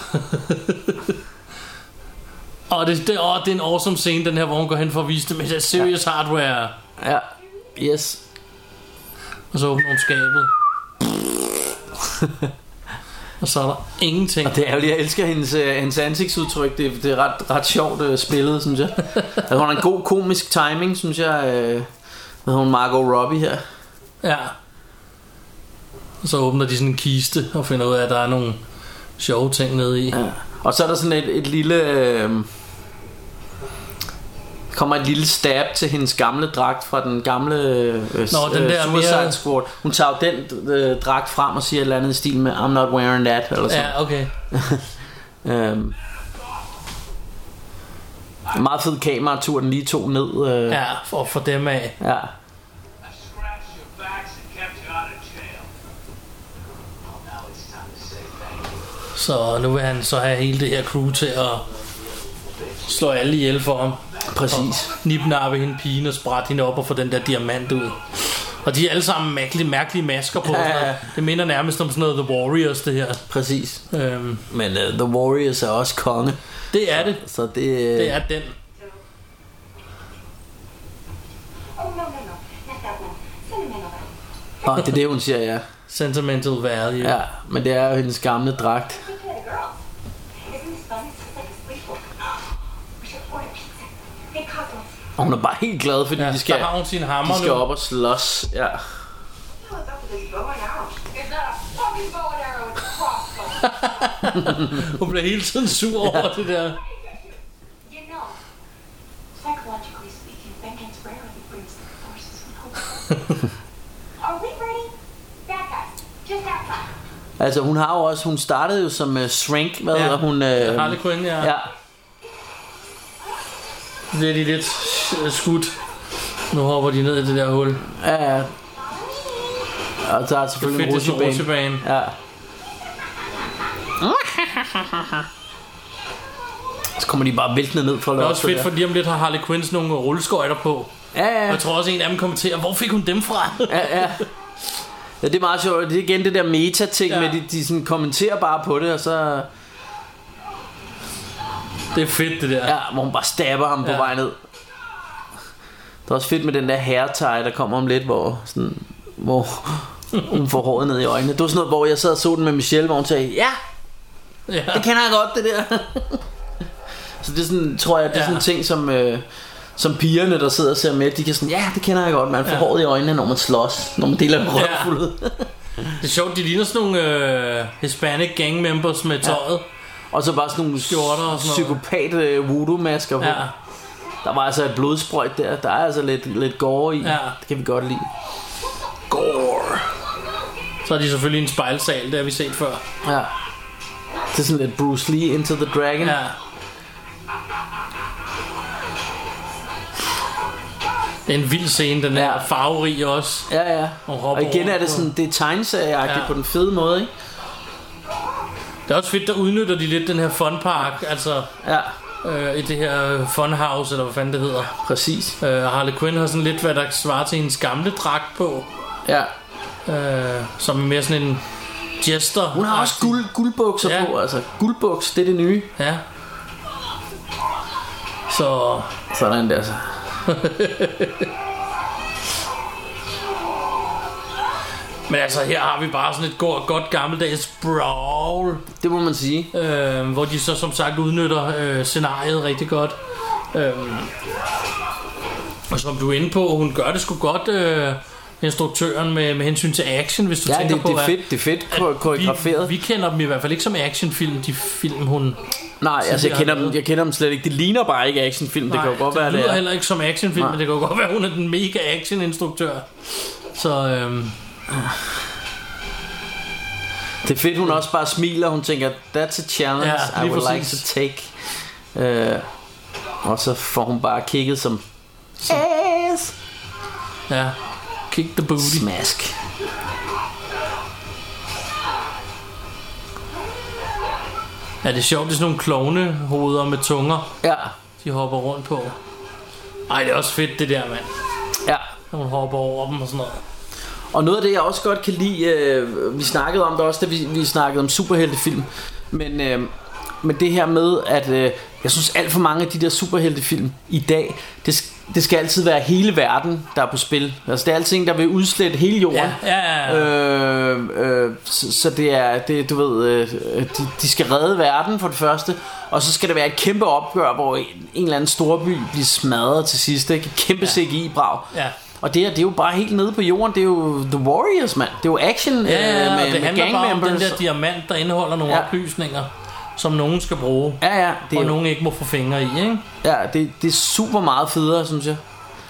(laughs) og det, det, åh, det er en awesome scene, den her, hvor hun går hen for at vise dem. Det er serious ja. hardware.
Ja. Yes.
Og så åbner hun
(laughs)
skabet. og så er der ingenting.
Og det er jo lige, jeg elsker hendes, øh, hendes ansigtsudtryk. Det, det er ret, ret sjovt øh, spillet,
(laughs)
synes jeg. altså, hun har en god komisk timing, synes jeg. Øh, hvad hedder hun? Margot Robbie her.
Ja. Og så åbner de sådan en kiste og finder ud af, at der er nogle sjove ting nede i. Ja.
Ja. Og så er der sådan et, et lille... Øh, kommer et lille stab til hendes gamle dragt fra den gamle øh, Nå,
den der
Suicide
mere-
Squad. Hun tager jo den øh, dragt frem og siger et eller andet i stil med I'm not wearing that eller sådan.
Ja, okay.
Ja. Øhm, meget fed kameratur, den lige tog ned. Øh, ja.
Ja, for, for dem af.
ja.
I scratched your backs and kept you out of jail. Well, now it's time to say thank you.
Så nu vil han så have hele det her crew til at slå alle ihjel for ham.
Præcis.
Nipnappe hende pigen og sprætte hende op og få den der diamant ud. Og de er alle sammen mærkelige, mærkelige masker på.
Ja,
Ja,
ja,
ja.
ja.
Det minder nærmest om sådan noget The Warriors, det her.
Præcis.
Øhm,
Men uh, The Warriors er også konge,
det er det.
så det, øh,
Det er den.
Nå, det er det, hun siger, ja.
Sentimental value.
ja. Men det er jo hendes gamle dragt.
Hey, Cosmos,
Og hun er bare helt glad, fordi
Ja,
de skal...
Der har hun sin hammer
De skal
nu.
op og slås, ja.
what's up with this bow and arrow?
It's not a fucking bow and arrow, it's a crossbow.
Hun bliver hele tiden sur over ja. det der.
You know, psychologically speaking, vengeance rarely brings the forces we hope for.
Are we ready? Bad guys, just outside.
Altså hun har jo også, hun startede jo som uh, shrink, hvad
Ja.
ja. hedder hun? Øh,
Harley Quinn, ja.
ja.
Bliver de lidt øh, skudt. Nu hopper de ned i det der hul.
ja, ja. Og så er selvfølgelig
Fedt, det
en
er sådan en
rutsjebane.
rutsjebane. (laughs)
Ja. Så kommer de bare væltende ned for at
Det er
lave
også
det
fedt,
der.
fordi om lidt har Harley Quinn sådan nogle rulleskøjter på.
Ja,
Og
ja,
jeg tror også, en af dem kommenterer, hvor fik hun dem fra?
ja, ja. Ja, det er meget sjovt. og Det er igen det der meta-ting
Ja.
ja. med, de, de sådan kommenterer bare på det, og så...
Det er fedt, det der.
Ja, hvor hun bare stabber ham ja.
Ja.
på vej ned. Det er også fedt med den der herretej, der kommer om lidt, hvor, sådan, hvor
(laughs)
hun får håret ned i øjnene. Det var sådan noget, hvor jeg sad og så den med Michelle, hvor hun sagde, ja,
Ja.
det kender jeg godt, det der. så det er sådan, tror jeg, det er sådan en
Ja.
ting, som, øh, som pigerne, der sidder og ser med, de kan sådan, ja, det kender jeg godt, man får ja.
Ja.
håret i øjnene, når man slås, når man deler en røvfuld ud.
Det er sjovt, de ligner sådan nogle øh, Hispanic gang members med tøjet.
og så bare sådan nogle
Skjorter og sådan noget.
psykopat øh, voodoo-masker på.
Ja.
Ja.
ja.
Der var altså et blodsprøjt der. Der er altså lidt, lidt gore i.
Ja.
Det kan vi godt lide.
Så er de selvfølgelig en spejlsal, det har vi set før.
Ja. Det er sådan lidt Bruce Lee Into the Dragon.
Ja. Det er en vild scene, den er
Ja.
farverig også.
ja. ja.
Og
Og,
hopper
og igen
rundt
er det
på-
sådan, det er tegneserieagtigt ja.
Ja.
på den fede måde, ikke?
Det er også fedt, der udnytter de lidt den her funpark, altså
Ja,
øh, i det her funhouse, eller hvad fanden det hedder.
præcis.
Øh, Harley Quinn har sådan lidt, hvad der svarer til hendes gamle dragt på,
Ja.
øh, som er mere sådan en jester.
Hun har også guld, guldbukser ja.
Ja.
på, altså. Guldbuks, det er det nye.
Ja. Så
Sådan der, altså. så.
Men altså, her har vi bare sådan et godt, godt gammeldags brawl,
Det må man sige.
øh, hvor de så som sagt udnytter øh, scenariet rigtig godt. Øh, og som du er inde på, hun gør det sgu godt, øh, instruktøren, med, med hensyn til action, hvis du
Ja,
tænker
det,
på,
det er
hvad-
fedt, det er fedt ko-
Vi,
koreograferet.
vi kender dem i hvert fald ikke som actionfilm, de film, hun...
Nej, altså jeg
tidligere
kender, dem,
lavet.
jeg kender dem slet ikke. Det ligner bare ikke actionfilm. Det kan jo godt være,
det
det
lyder
er.
heller ikke som actionfilm,
Nej.
men det kan jo godt være, hun er den mega actioninstruktør. Så øhm,
Det er fedt, hun også bare smiler. Hun tænker, that's a challenge
Ja,
I
lige
would like to
præcis.
take. Øh, og så får hun bare kigget som
ja, kick the booty.
smask.
Ja, det er sjovt, det er sådan nogle klovnehoveder med tunger.
Ja,
de hopper rundt på. Ej, det er også fedt det der, mand.
ja.
Når hun hopper over dem og sådan noget.
Og noget af det, jeg også godt kan lide, øh, vi snakkede om det også, da vi, vi snakkede om superheltefilm, men, øh, men det her med, at øh, jeg synes alt for mange af de der superheltefilm i dag, det, sk- det skal altid være hele verden, der er på spil. Altså det er altid en, der vil udslette hele jorden.
Ja, ja, ja.
Øh, øh, så, så det er, det, du ved, øh, øh, de, de skal redde verden for det første, og så skal der være et kæmpe opgør, hvor en, en eller anden storby bliver smadret til sidst, ikke? Et Kæmpe ja. CGI-brag.
Ja.
Og det her, det er jo bare helt nede på jorden, det er jo The Warriors, mand. Det er jo action
Ja, ja,
øh,
ja,
med,
og det
med
handler
gang
bare om den
members.
der diamant, der indeholder nogle
Ja.
ja. oplysninger, som nogen skal bruge,
ja, ja, det er
og
jo,
nogen ikke må få fingre i, ikke?
ja det, det er super meget federe, synes jeg.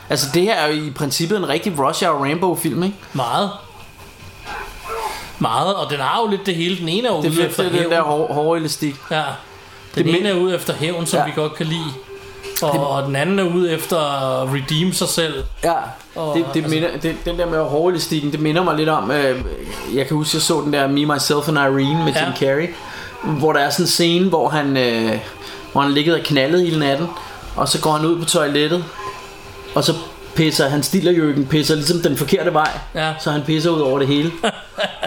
Altså det her er jo i princippet en rigtig Rush Hour Rainbow-film, ikke?
Meget. Meget, og den har jo lidt det hele. Den ene er jo
Det
ude
er
efter
fedt, den
hævn.
der hår- hårde elastik.
Ja. Den
Det
det
men-
ene er ude efter hævn, som
Ja.
ja. vi godt kan lide. Og, og den anden er ude efter at redeem sig selv.
Ja,
Og,
det, det
altså-
minder, det, den der med hårelastikken, det minder mig lidt om, øh, jeg kan huske, jeg så den der Me, Myself and Irene med
Ja.
Jim Carrey, hvor der er sådan en scene, hvor han, øh, hvor han ligger og knaldet hele natten, og så går han ud på toilettet, og så pisser han stillerjøkken, pisser ligesom den forkerte vej,
Ja.
så han pisser ud over det
(laughs)
hele.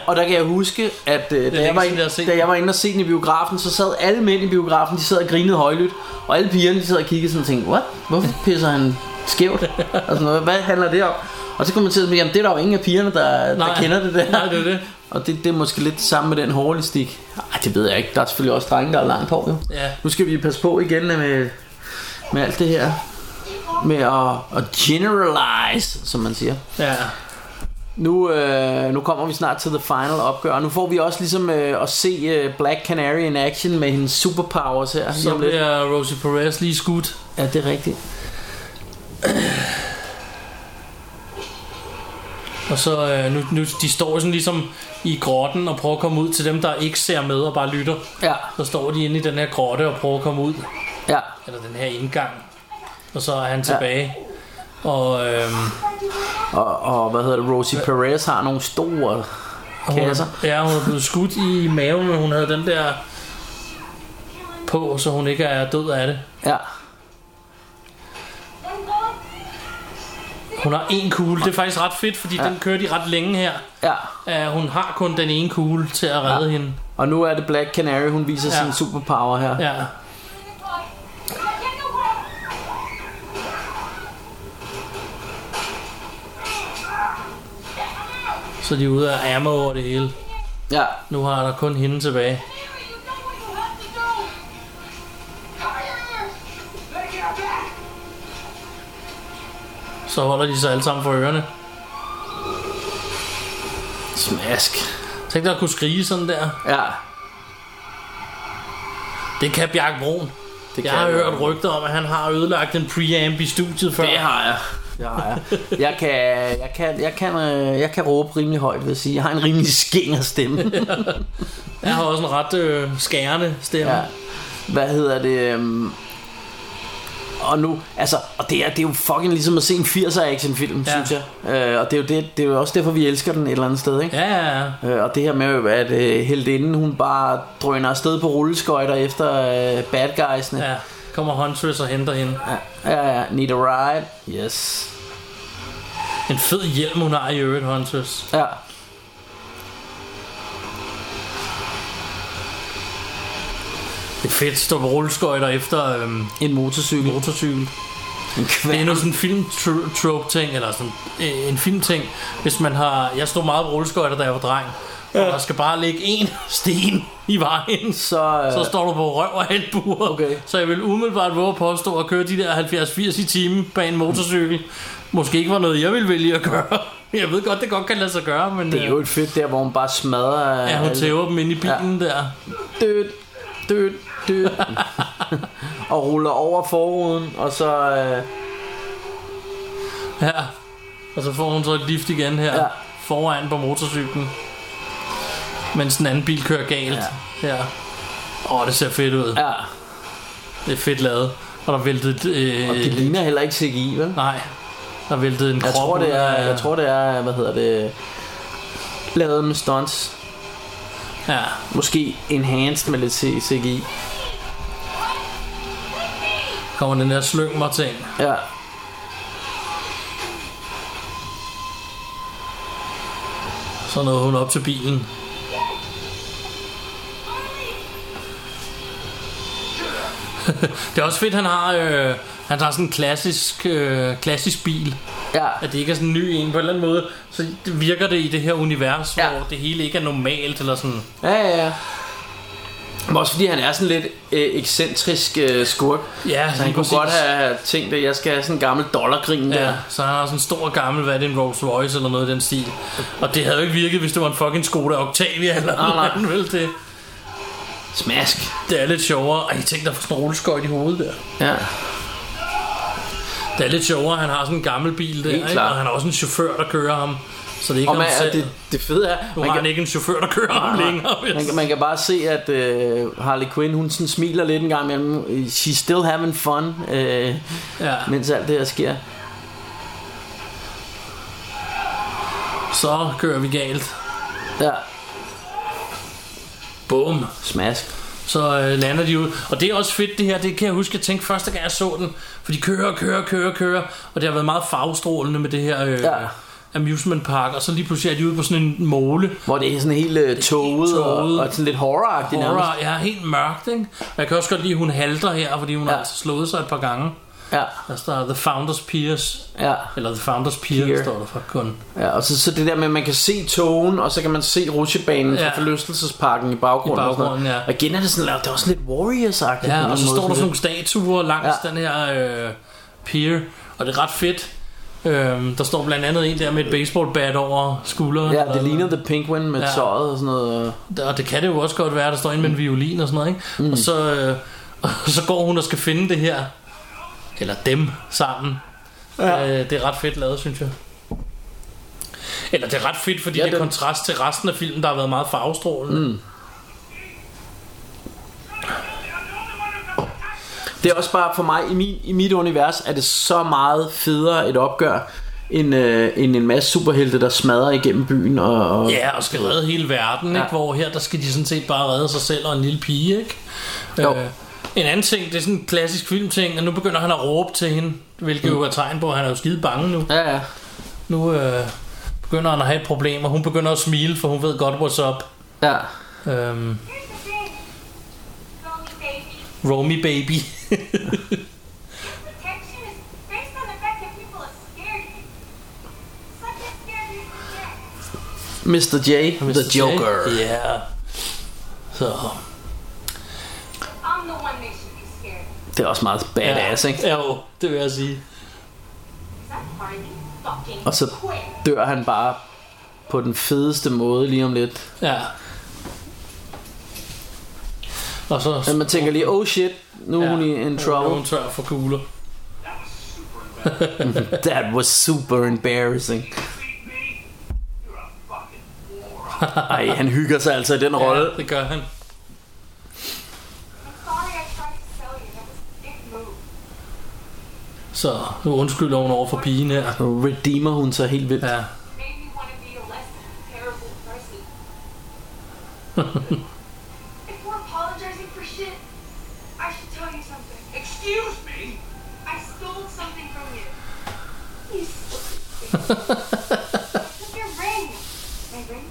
og der kan jeg huske, at øh, da,
længe
jeg var
siden, jeg
inde,
har set
da
den.
jeg var inde og se den i biografen, så sad alle mænd i biografen, de sad og grinede højlydt, og alle pigerne de sad og kiggede sådan og tænkte, what? Hvorfor pisser han skævt? og sådan noget. Hvad handler det om? Og så kom man til at sige, jamen det er der jo ingen af pigerne, der, der
Nej.
kender det der.
Nej, det er det.
Og det, det er måske lidt det samme med den hårlistik. Ej, det ved jeg ikke. Der er selvfølgelig også drenge, der er langt hår, jo.
Ja.
Nu skal vi passe på igen med, med alt det her. Med at, at generalize, som man siger.
Ja.
Nu, øh, nu kommer vi snart til the final opgør. Nu får vi også ligesom øh, at se øh, Black Canary in action med hendes superpowers her. lige
Så
om lidt.
bliver Rosie Perez lige skudt.
Ja, det er rigtigt.
Og så øh, nu, nu, de står sådan ligesom i grotten og prøver at komme ud til dem, der ikke ser med og bare lytter.
Ja,
Så står de inde i den her grotte og prøver at komme ud,
ja.
eller den her indgang. Og så er han tilbage. Og øhm,
Og, og hvad hedder det? Rosie Perez har nogle store
hun,
kasser.
er- ja, hun er blevet skudt i maven, men hun havde den der på, så hun ikke er død af det.
Ja.
Hun har en kugle. Det er faktisk ret fedt, fordi ja. den kører de ret længe her.
Ja.
Uh, hun har kun den ene kugle til at redde ja. hende.
Og nu er det Black Canary, hun viser
Ja.
ja. sin superpower her. Ja.
Ja. Så de er ude af ammo over det hele.
ja.
Nu har der kun hende tilbage. Så holder de sig alle sammen for ørerne.
Smask.
Tænk dig at kunne skrige sådan der.
Ja.
Det kan Bjarke Broen.
Det
Jeg har
jeg
hørt
godt.
rygter om, at han har ødelagt en preamp i studiet før.
Det har jeg. Det har jeg. Jeg kan, jeg kan, jeg kan, øh, jeg kan råbe rimelig højt, vil jeg sige. Jeg har en rimelig skænger stemme.
Jeg har også en ret øh, skærende stemme.
Ja.
Ja.
Hvad hedder det? øhm, Og nu, altså, og det er, det er jo fucking ligesom at se en 80'er actionfilm,
Ja.
ja. synes jeg. Øh, og det er, jo det, det er jo også derfor, vi elsker den et eller andet sted, ikke?
Ja, ja, ja.
Øh, og det her med, at øh, heldinden, hun bare drøner afsted på rulleskøjter efter øh, bad guysene.
ja. Kommer Huntress og henter hende.
Ja. ja, ja. Need a ride? Yes.
En fed hjelm, hun har i øvrigt, Huntress.
Ja.
Det er fedt, stå på rulleskøjter efter øhm,
En motorcykel.
motorcykel.
En
Det er
kværn.
nu sådan en film-trope-ting, eller sådan øh, en film-ting. Hvis man har... Jeg stod meget på rulleskøjter, da jeg var dreng. Ja. Og der skal bare ligge en (laughs) sten i vejen.
(laughs) Så, øh,
Så står du på røv og halvbuer.
Okay.
Så jeg vil umiddelbart våge at påstå at køre de der 70-80 i timen bag en motorcykel. Måske ikke var noget, jeg ville vælge at gøre. Jeg ved godt, det godt kan lade sig gøre, men... øh,
det er jo et fedt der, hvor hun bare smadrer...
Ja, hun
alle-
tæver dem ind i bilen ja. der.
dødt, dødt, dødt. (laughs) og ruller over forruden, og så... Øh,
Ja. Og så får hun så et lift igen her. Ja.
Ja.
Foran på motorcyklen. Mens den anden bil kører galt. Ja. ja. Åh, det ser fedt ud. Ja.
ja,
Det er fedt lavet. Og der væltede... Øh,
og det ligner heller ikke CGI, vel?
Nej. Der væltede en krop
Jeg tror,
ud
det er,
af-
jeg tror, det er, hvad hedder det, lavet med stunts.
Ja.
Måske enhanced med lidt C- CGI.
Kommer den der slyng mig ting.
Ja.
Så nåede hun op til bilen. (laughs) det er også fedt, han har, øh, han har sådan en klassisk, øh, klassisk bil.
Ja.
At det ikke er sådan en ny en på en eller anden måde. Så det virker det i det her univers, ja.
Ja.
hvor det hele ikke er normalt eller sådan.
Ja, ja, ja. Men også fordi han er sådan lidt øh, ekscentrisk øh, skurk.
Ja,
Så han kunne godt have tænkt, at jeg skal have sådan en gammel dollargrin der.
Ja, så han har sådan en stor gammel, hvad er det, en Rolls Royce eller noget i den stil. Og det havde jo ikke virket, hvis det var en fucking Skoda Octavia eller
Nej, nej.
noget andet, vel det.
Smask.
Det er lidt sjovere. Ej, tænk dig for sådan en rulleskøjt i hovedet der.
Ja.
Det er lidt sjovere, han har sådan en gammel bil der,
Helt
ikke?
klart.
og han har også en chauffør, der kører ham. Så det er ikke
Og man,
ham selv.
og det, det fede er,
nu
man
har
kan-
han ikke en chauffør, der kører ham længere. vil jeg
Ah, Man, kan- man kan bare se, at øh, Harley Quinn, hun sådan smiler lidt en gang imellem. She's still having fun, øh,
sige. Ja.
mens alt det her sker.
Så kører vi galt.
Ja,
Bum.
smask.
Så øh, lander de ud. Og det er også fedt det her, det kan jeg huske, jeg tænkte første gang jeg så den. For de kører og kører og kører og kører. Og det har været meget farvestrålende med det her øh, ja.
Ja.
amusement park. Og så lige pludselig er de ude på sådan en måle.
Hvor det er sådan helt øh, toget
toget.
og, og sådan lidt horroragtigt nærmest.
Horror, ja, helt mørkt, ikke? Og jeg kan også godt lide, at hun halter her, fordi hun ja.
Ja.
har altså slået sig et par gange.
Ja,
Der står The Founders Pierce.
ja,
Eller The Founders Pier, Pier.
Pier.
står der for kun.
ja. Og så, så det der med, at man kan se togen, og så kan man se rutsjebanen ja.
Ja.
fra forlystelsesparken i baggrunden.
I
og sådan noget.
baggrunden, ja.
Og igen er det sådan, det er også lidt Warriors-agtigt.
Ja,
på
og
en
så
måde,
står der sådan
lidt.
nogle statuer langs ja.
Ja.
den her øh, pier, og det er ret fedt. Øhm, der står blandt andet en der med et baseballbat over skulderen.
Ja,
eller-
det ligner The Penguin med
Ja.
ja. tøjet og sådan noget.
Og det kan det jo også godt være, der står en med en violin og sådan noget, ikke? Mm. Og så, øh, (laughs) og så går hun og skal finde det her, eller dem sammen. Ja. Øh, det er ret fedt lavet, synes jeg. Eller det er ret fedt, fordi ja,
Ja,
det er
den-
kontrast til resten af filmen, der har været meget farvestrålende. Mm.
Det er også bare for mig, i, min, i mit univers, er det så meget federe et opgør, end, øh, end en masse superhelte, der smadrer igennem byen. Og, og
Ja, og skal redde hele verden, ja.
Ja.
ikke? Hvor her, der skal de sådan set bare redde sig selv og en lille pige, ikke?
Jo.
Øh, En anden ting, det er sådan en klassisk filmting, og nu begynder han at råbe til hende, hvilket jo er tegn på, at han er jo skide bange nu.
Ja, ja.
Nu øh, begynder han at have et problem, og hun begynder at smile, for hun ved godt, what's up.
Ja.
Øhm,
Here's the thing.
Romy
Romy baby.
baby.
Protection is based on the fact that people are scared of you. It's like they're scared of you to
Mr.
death.
J. (laughs) The
Mr. J.
Joker.
Ja. Yeah. Så.
I'm the one they should be scared of.
Det er også meget badass, ikke?
Ja, jo, det vil jeg sige.
'Cause I'm finding fucking
Og så
quick.
dør han bare på den fedeste måde lige om lidt.
Ja. Og så...
Men man tænker lige, oh shit, nu er hun i in
Nu er
trouble.
hun tør for kugler.
That was
That was
super embarrassing.
super (laughs) embarrassing.
Beat me? You're a fucking moron.
Ej, han hygger sig altså i den rolle.
Ja, det gør han.
I'm sorry I tried to sell you. That was a big move.
Så nu undskylder hun over for pigen her.
Nu redeemer hun sig helt vildt.
Ja.
Made me want to be a less terrible
(laughs)
person.
If we're apologizing for shit, I should tell you something.
Excuse me?
I stole something from you. You stupid (laughs) bitch. Look your ring. My ring?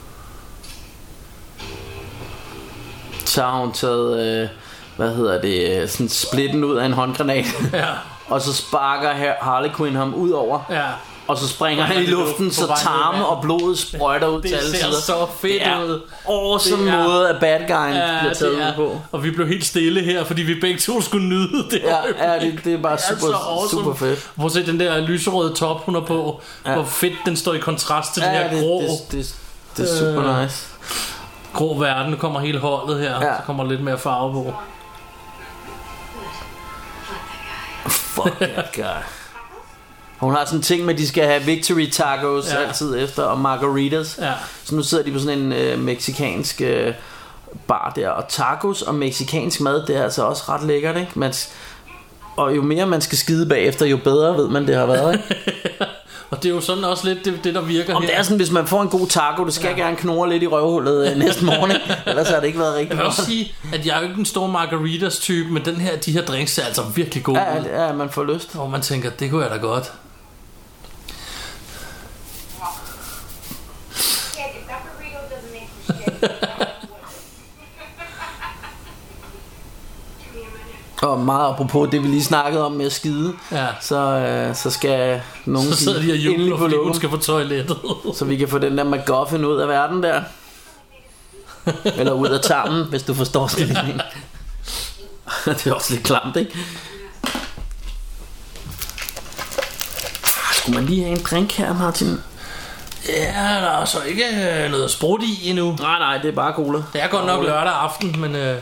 Så har hun taget, øh, hvad hedder det, øh, sådan splitten ud af en
(laughs)
håndgranat.
Ja.
og så sparker her Harley Quinn ham ud over.
Ja.
Og så springer han i luften, så
På vej ned i
tarme
vandet.
og blodet sprøjter ud
Det
til alle
ser
sider.
så fedt
det er
ud.
Awesome
Det er-
måde, at bad guyen
Ja,
bliver taget
det
ud
er.
på.
Og vi blev helt stille her, fordi vi begge to skulle nyde det.
Ja,
øjeblik.
ja det, det er
(laughs)
bare
Det er
super,
så awesome.
super fedt.
Prøv at se den der lyserøde top, hun er på.
Ja.
Ja. Hvor fedt den står i kontrast til ja, den
Ja,
her
det,
grå,
det, det, det er super
Øh.
nice.
grå verden. Nu kommer hele holdet her,
Ja.
ja. så kommer lidt mere farve på.
Fuck that guy. Hun har sådan en ting med, at de skal have victory tacos ja.
Ja.
altid efter, og margaritas.
Ja.
Så nu sidder de på sådan en øh, meksikansk øh, bar der, og tacos og meksikansk mad, det er altså også ret lækkert, ikke? Man, s- og jo mere man skal skide bagefter, jo bedre ved man, det har været,
(laughs)
ikke?
Og det er jo sådan også lidt det, det der virker
Om
her.
det er sådan, hvis man får en god taco, det skal ja. gerne knurre lidt i røvhullet øh, næste morgen,
(laughs)
ikke? Ellers har det ikke været rigtig
Jeg vil også
godt.
sige, at jeg er jo ikke den store margaritas type, men den her, de her drinks er altså virkelig gode.
Ja, Mm,
Ja,
ja, ja, man får lyst.
Hvor man tænker, det kunne jeg da godt.
Yeah, if that burrito doesn't make you shit. (laughs) Give me a minute.
Og meget apropos det, vi lige snakkede om med at skide,
Ja.
så, øh, så skal nogen
Så sidder de og
sige,
jubler,
endelig på
fordi hun
lokum,
skal på toilettet.
så vi kan få den der MacGuffin ud af verden
(laughs)
der. Eller ud af tarmen, hvis du forstår stillingen. (laughs) det er også lidt klamt, ikke? Ah, Skulle man lige have en drink her, Martin?
ja, der er så ikke øh, noget sprudt i endnu.
Nej, nej, det er bare cola.
Det er godt nok lørdag aften, men øh,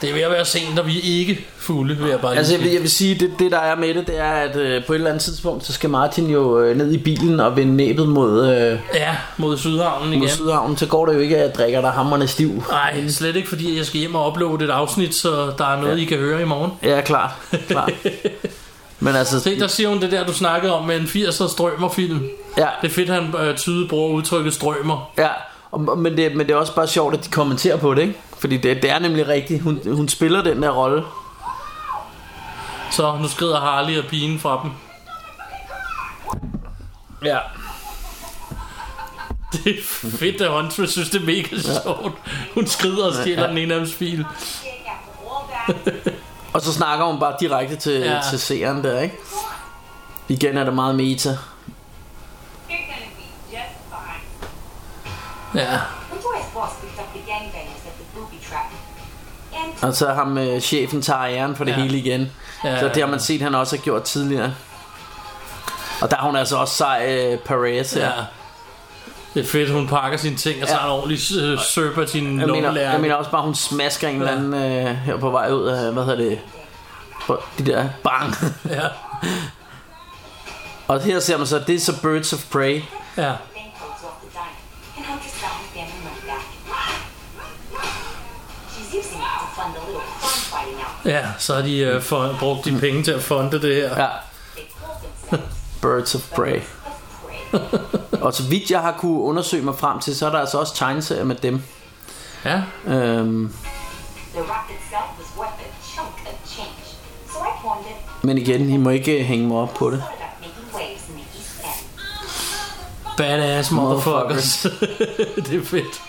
det er ved at være sent, og vi er ikke fulde, vil jeg bare lige
Altså, jeg
sige.
vil, jeg vil sige, det, det der er med det, det er, at øh, på et eller andet tidspunkt, så skal Martin jo øh, ned i bilen og vende næbet mod... Øh,
Ja, mod Sydhavnen
mod
igen.
Sydhavn, så går det jo ikke, at jeg drikker dig hammerne stiv.
Nej, slet ikke, fordi jeg skal hjem og uploade et afsnit, så der er noget, ja. I kan høre i morgen.
Ja, klart. klart. (laughs) Men altså,
Se, der siger hun det der, du snakkede om med en 80'er strømmerfilm.
ja,
Det er fedt, han øh, tydeligt bruger udtrykket strømmer.
ja. Og- og- Men det, men det er også bare sjovt, at de kommenterer på det, ikke? Fordi det, det er nemlig rigtigt. Hun, hun spiller den der rolle.
Så nu skrider Harley og pigen fra dem.
Ja.
(laughs) Det er fedt, at Huntress synes, det er mega sjovt. Hun skrider og stjæler den ene af hans bil.
Shit, after all that.
Og så snakker hun bare direkte til, ja.
Ja.
til seeren der, ikke? Igen er det meget meta.
You're gonna be just fine.
Ja,
The boy's boss picked up the gangbangers at the booby trap. And
Og så ham øh, chefen tager æren for det ja.
Ja.
hele igen. Ja.
Ja.
Så det har man set, han også har gjort tidligere. Og der er hun altså også sej øh, Perez her.
ja. Det er fedt, hun pakker sine ting, og så
Ja.
har en ordentlig øh, søber sin
Jeg mener, jeg
lommelærke.
mener også bare, hun smasker en eller anden øh, her på vej ud af, hvad hedder det, på de der bang.
Ja,
og her ser man så, det er så Birds of Prey.
ja.
raincoats off the diner. And Hunter's got his family money back. She's using it to fund a little crime fighting outfit
ja så har de øh, for, brugt de penge til at fonde det her.
Ja,
they call themselves.
Birds of Prey.
Let's pray.
Og så vidt jeg har kunne undersøge mig frem til, så er der altså også tegneserier med dem.
Ja,
Øhm,
The rock itself was worth a chunk of
Men igen, I må ikke øh, hænge mig op på det.
Badass motherfuckers. (laughs) det er fedt.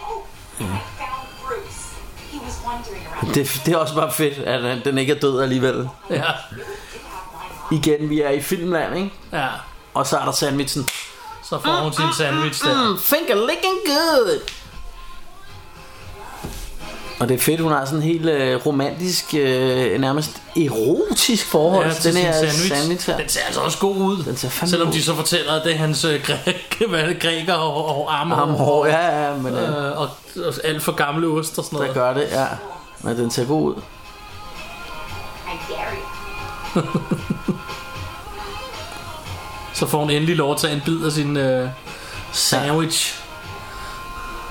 det. Det er også bare fedt, at øh, den ikke er død alligevel.
Ja,
Igen, vi er i filmland, ikke?
ja.
Og så er der sandwichen.
Så får hun sin sandwich der.
Mm, finger licking good. Og det er fedt, hun har sådan en helt øh, romantisk, øh, nærmest erotisk forhold
Ja,
til den
sin
her sandwich. sandwich her.
Den ser altså også god ud.
Den ser fandme
Selvom
god
de
ud.
så fortæller, at det er hans øh, græk, (laughs) hvad er det, græker og, og armhår.
Armhår, ja, ja, men øh,
Øh, og, og alt for gamle ost og sådan
der
noget.
gør det, ja. Men den ser god ud.
Så får hun endelig lov at tage en bid af sin øh, sandwich.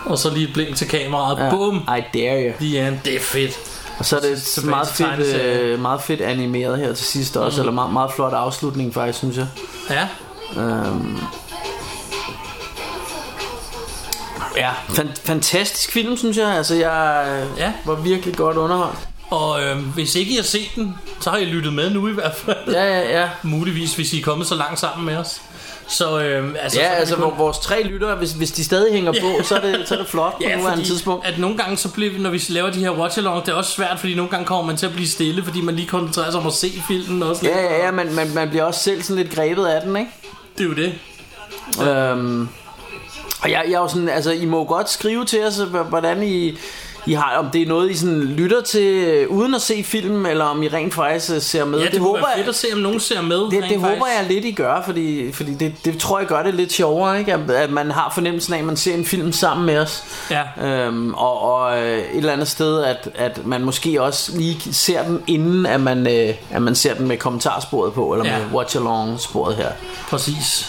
Og så lige et blink til kameraet.
Ja.
Ja. Bum!
I dare you.
Lige an. Det er fedt.
Og så er det
Så- så
et meget
tilbage til
fedt,
tegneserien.
øh, meget fedt animeret her til sidst også, mm. eller meget, meget flot afslutning faktisk, synes jeg.
Ja.
Øhm. Ja, fan- fantastisk film, synes jeg. Altså, jeg øh,
Ja.
var virkelig godt underholdt.
Og øh, hvis ikke I har set den, så har I lyttet med nu i hvert fald.
Ja, ja, ja.
(laughs) Muligvis, hvis I er kommet så langt sammen med os. Så øh, altså,
Ja,
så kan
altså
vi kun-
hvor vores tre lyttere, hvis, hvis de stadig hænger på, så er det, så er det
(laughs)
flot på
Ja,
nuværende
fordi
tidspunkt.
at nogle gange, så bliver, når vi laver de her watch along det er også svært, fordi nogle gange kommer man til at blive stille, fordi man lige koncentrerer sig om at se filmen også.
Ja, ja, ja, men man, man bliver også selv sådan lidt grebet af den, ikke?
Det er jo det.
Øhm, og jeg, jeg er jo sådan, altså, I må jo godt skrive til os, h- hvordan I, I har, om det er noget, I sådan lytter til, øh, uden at se filmen, eller om I rent faktisk øh, ser med.
Ja, det, det håber være
jeg,
fedt at se, om nogen ser med.
det,
rent
det håber
faktisk.
jeg lidt, I gør, fordi, fordi det, det tror jeg gør det lidt sjovere, ikke? At, at man har fornemmelsen af, at man ser en film sammen med os.
Ja.
Øhm, og, og øh, et eller andet sted, at, at man måske også lige ser den, inden at man, øh, at man ser den med kommentarsporet på, eller
Ja.
ja. med watch-along-sporet her.
Præcis.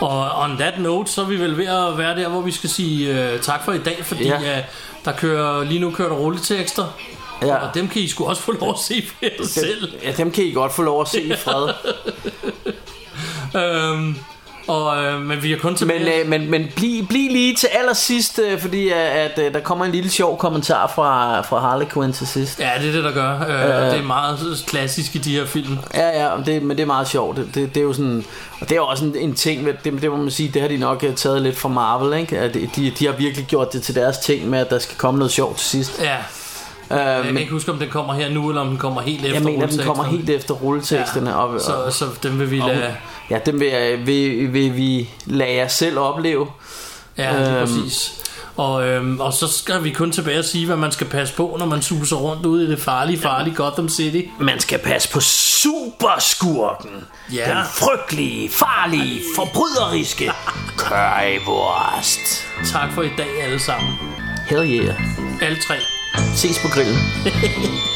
Og on that note, så er vi vel ved at være der, hvor vi skal sige øh, tak for i dag, fordi
Ja.
ja. øh, der kører lige nu kører der rulletekster.
Ja.
Og dem kan I sgu også få lov at se (laughs) for jer selv.
Ja, dem kan I godt få lov at se i fred.
Øhm, og, øh, men vi har kun til
Men, øh, men, men bliv, bliv lige til allersidst, øh, fordi at, at øh, der kommer en lille sjov kommentar fra, fra Harley Quinn til sidst.
Ja, det er det, der gør. Øh, øh. Det er meget klassisk i de her film.
Ja, ja, men det, men det er meget sjovt. Det, det, det er jo sådan, og det er jo også en, en ting, ved- det, det må man sige, det har de nok øh, taget lidt fra Marvel, ikke? At de, de har virkelig gjort det til deres ting med, at der skal komme noget sjovt til sidst.
Ja,
Øh,
jeg
men
kan ikke huske, om den kommer her nu, eller om den kommer helt efter
jeg mener, den
rulleteksterne.
kommer helt efter rulleteksterne. Ja, og,
så,
og,
så den vil vi lade...
ja den vil, jeg- vil, vil vi lade jer selv opleve.
Ja, øhm.
Øhm.
præcis. Og, øhm, og så skal vi kun tilbage og sige, hvad man skal passe på, når man suser rundt ude i det farlige, farlige Gotham City.
Man skal passe på superskurken.
Ja.
Den frygtelige, farlige,
(laughs)
forbryderiske currywurst.
Tak for i dag alle sammen.
Hell yeah.
Alle tre.
Ses på grillen.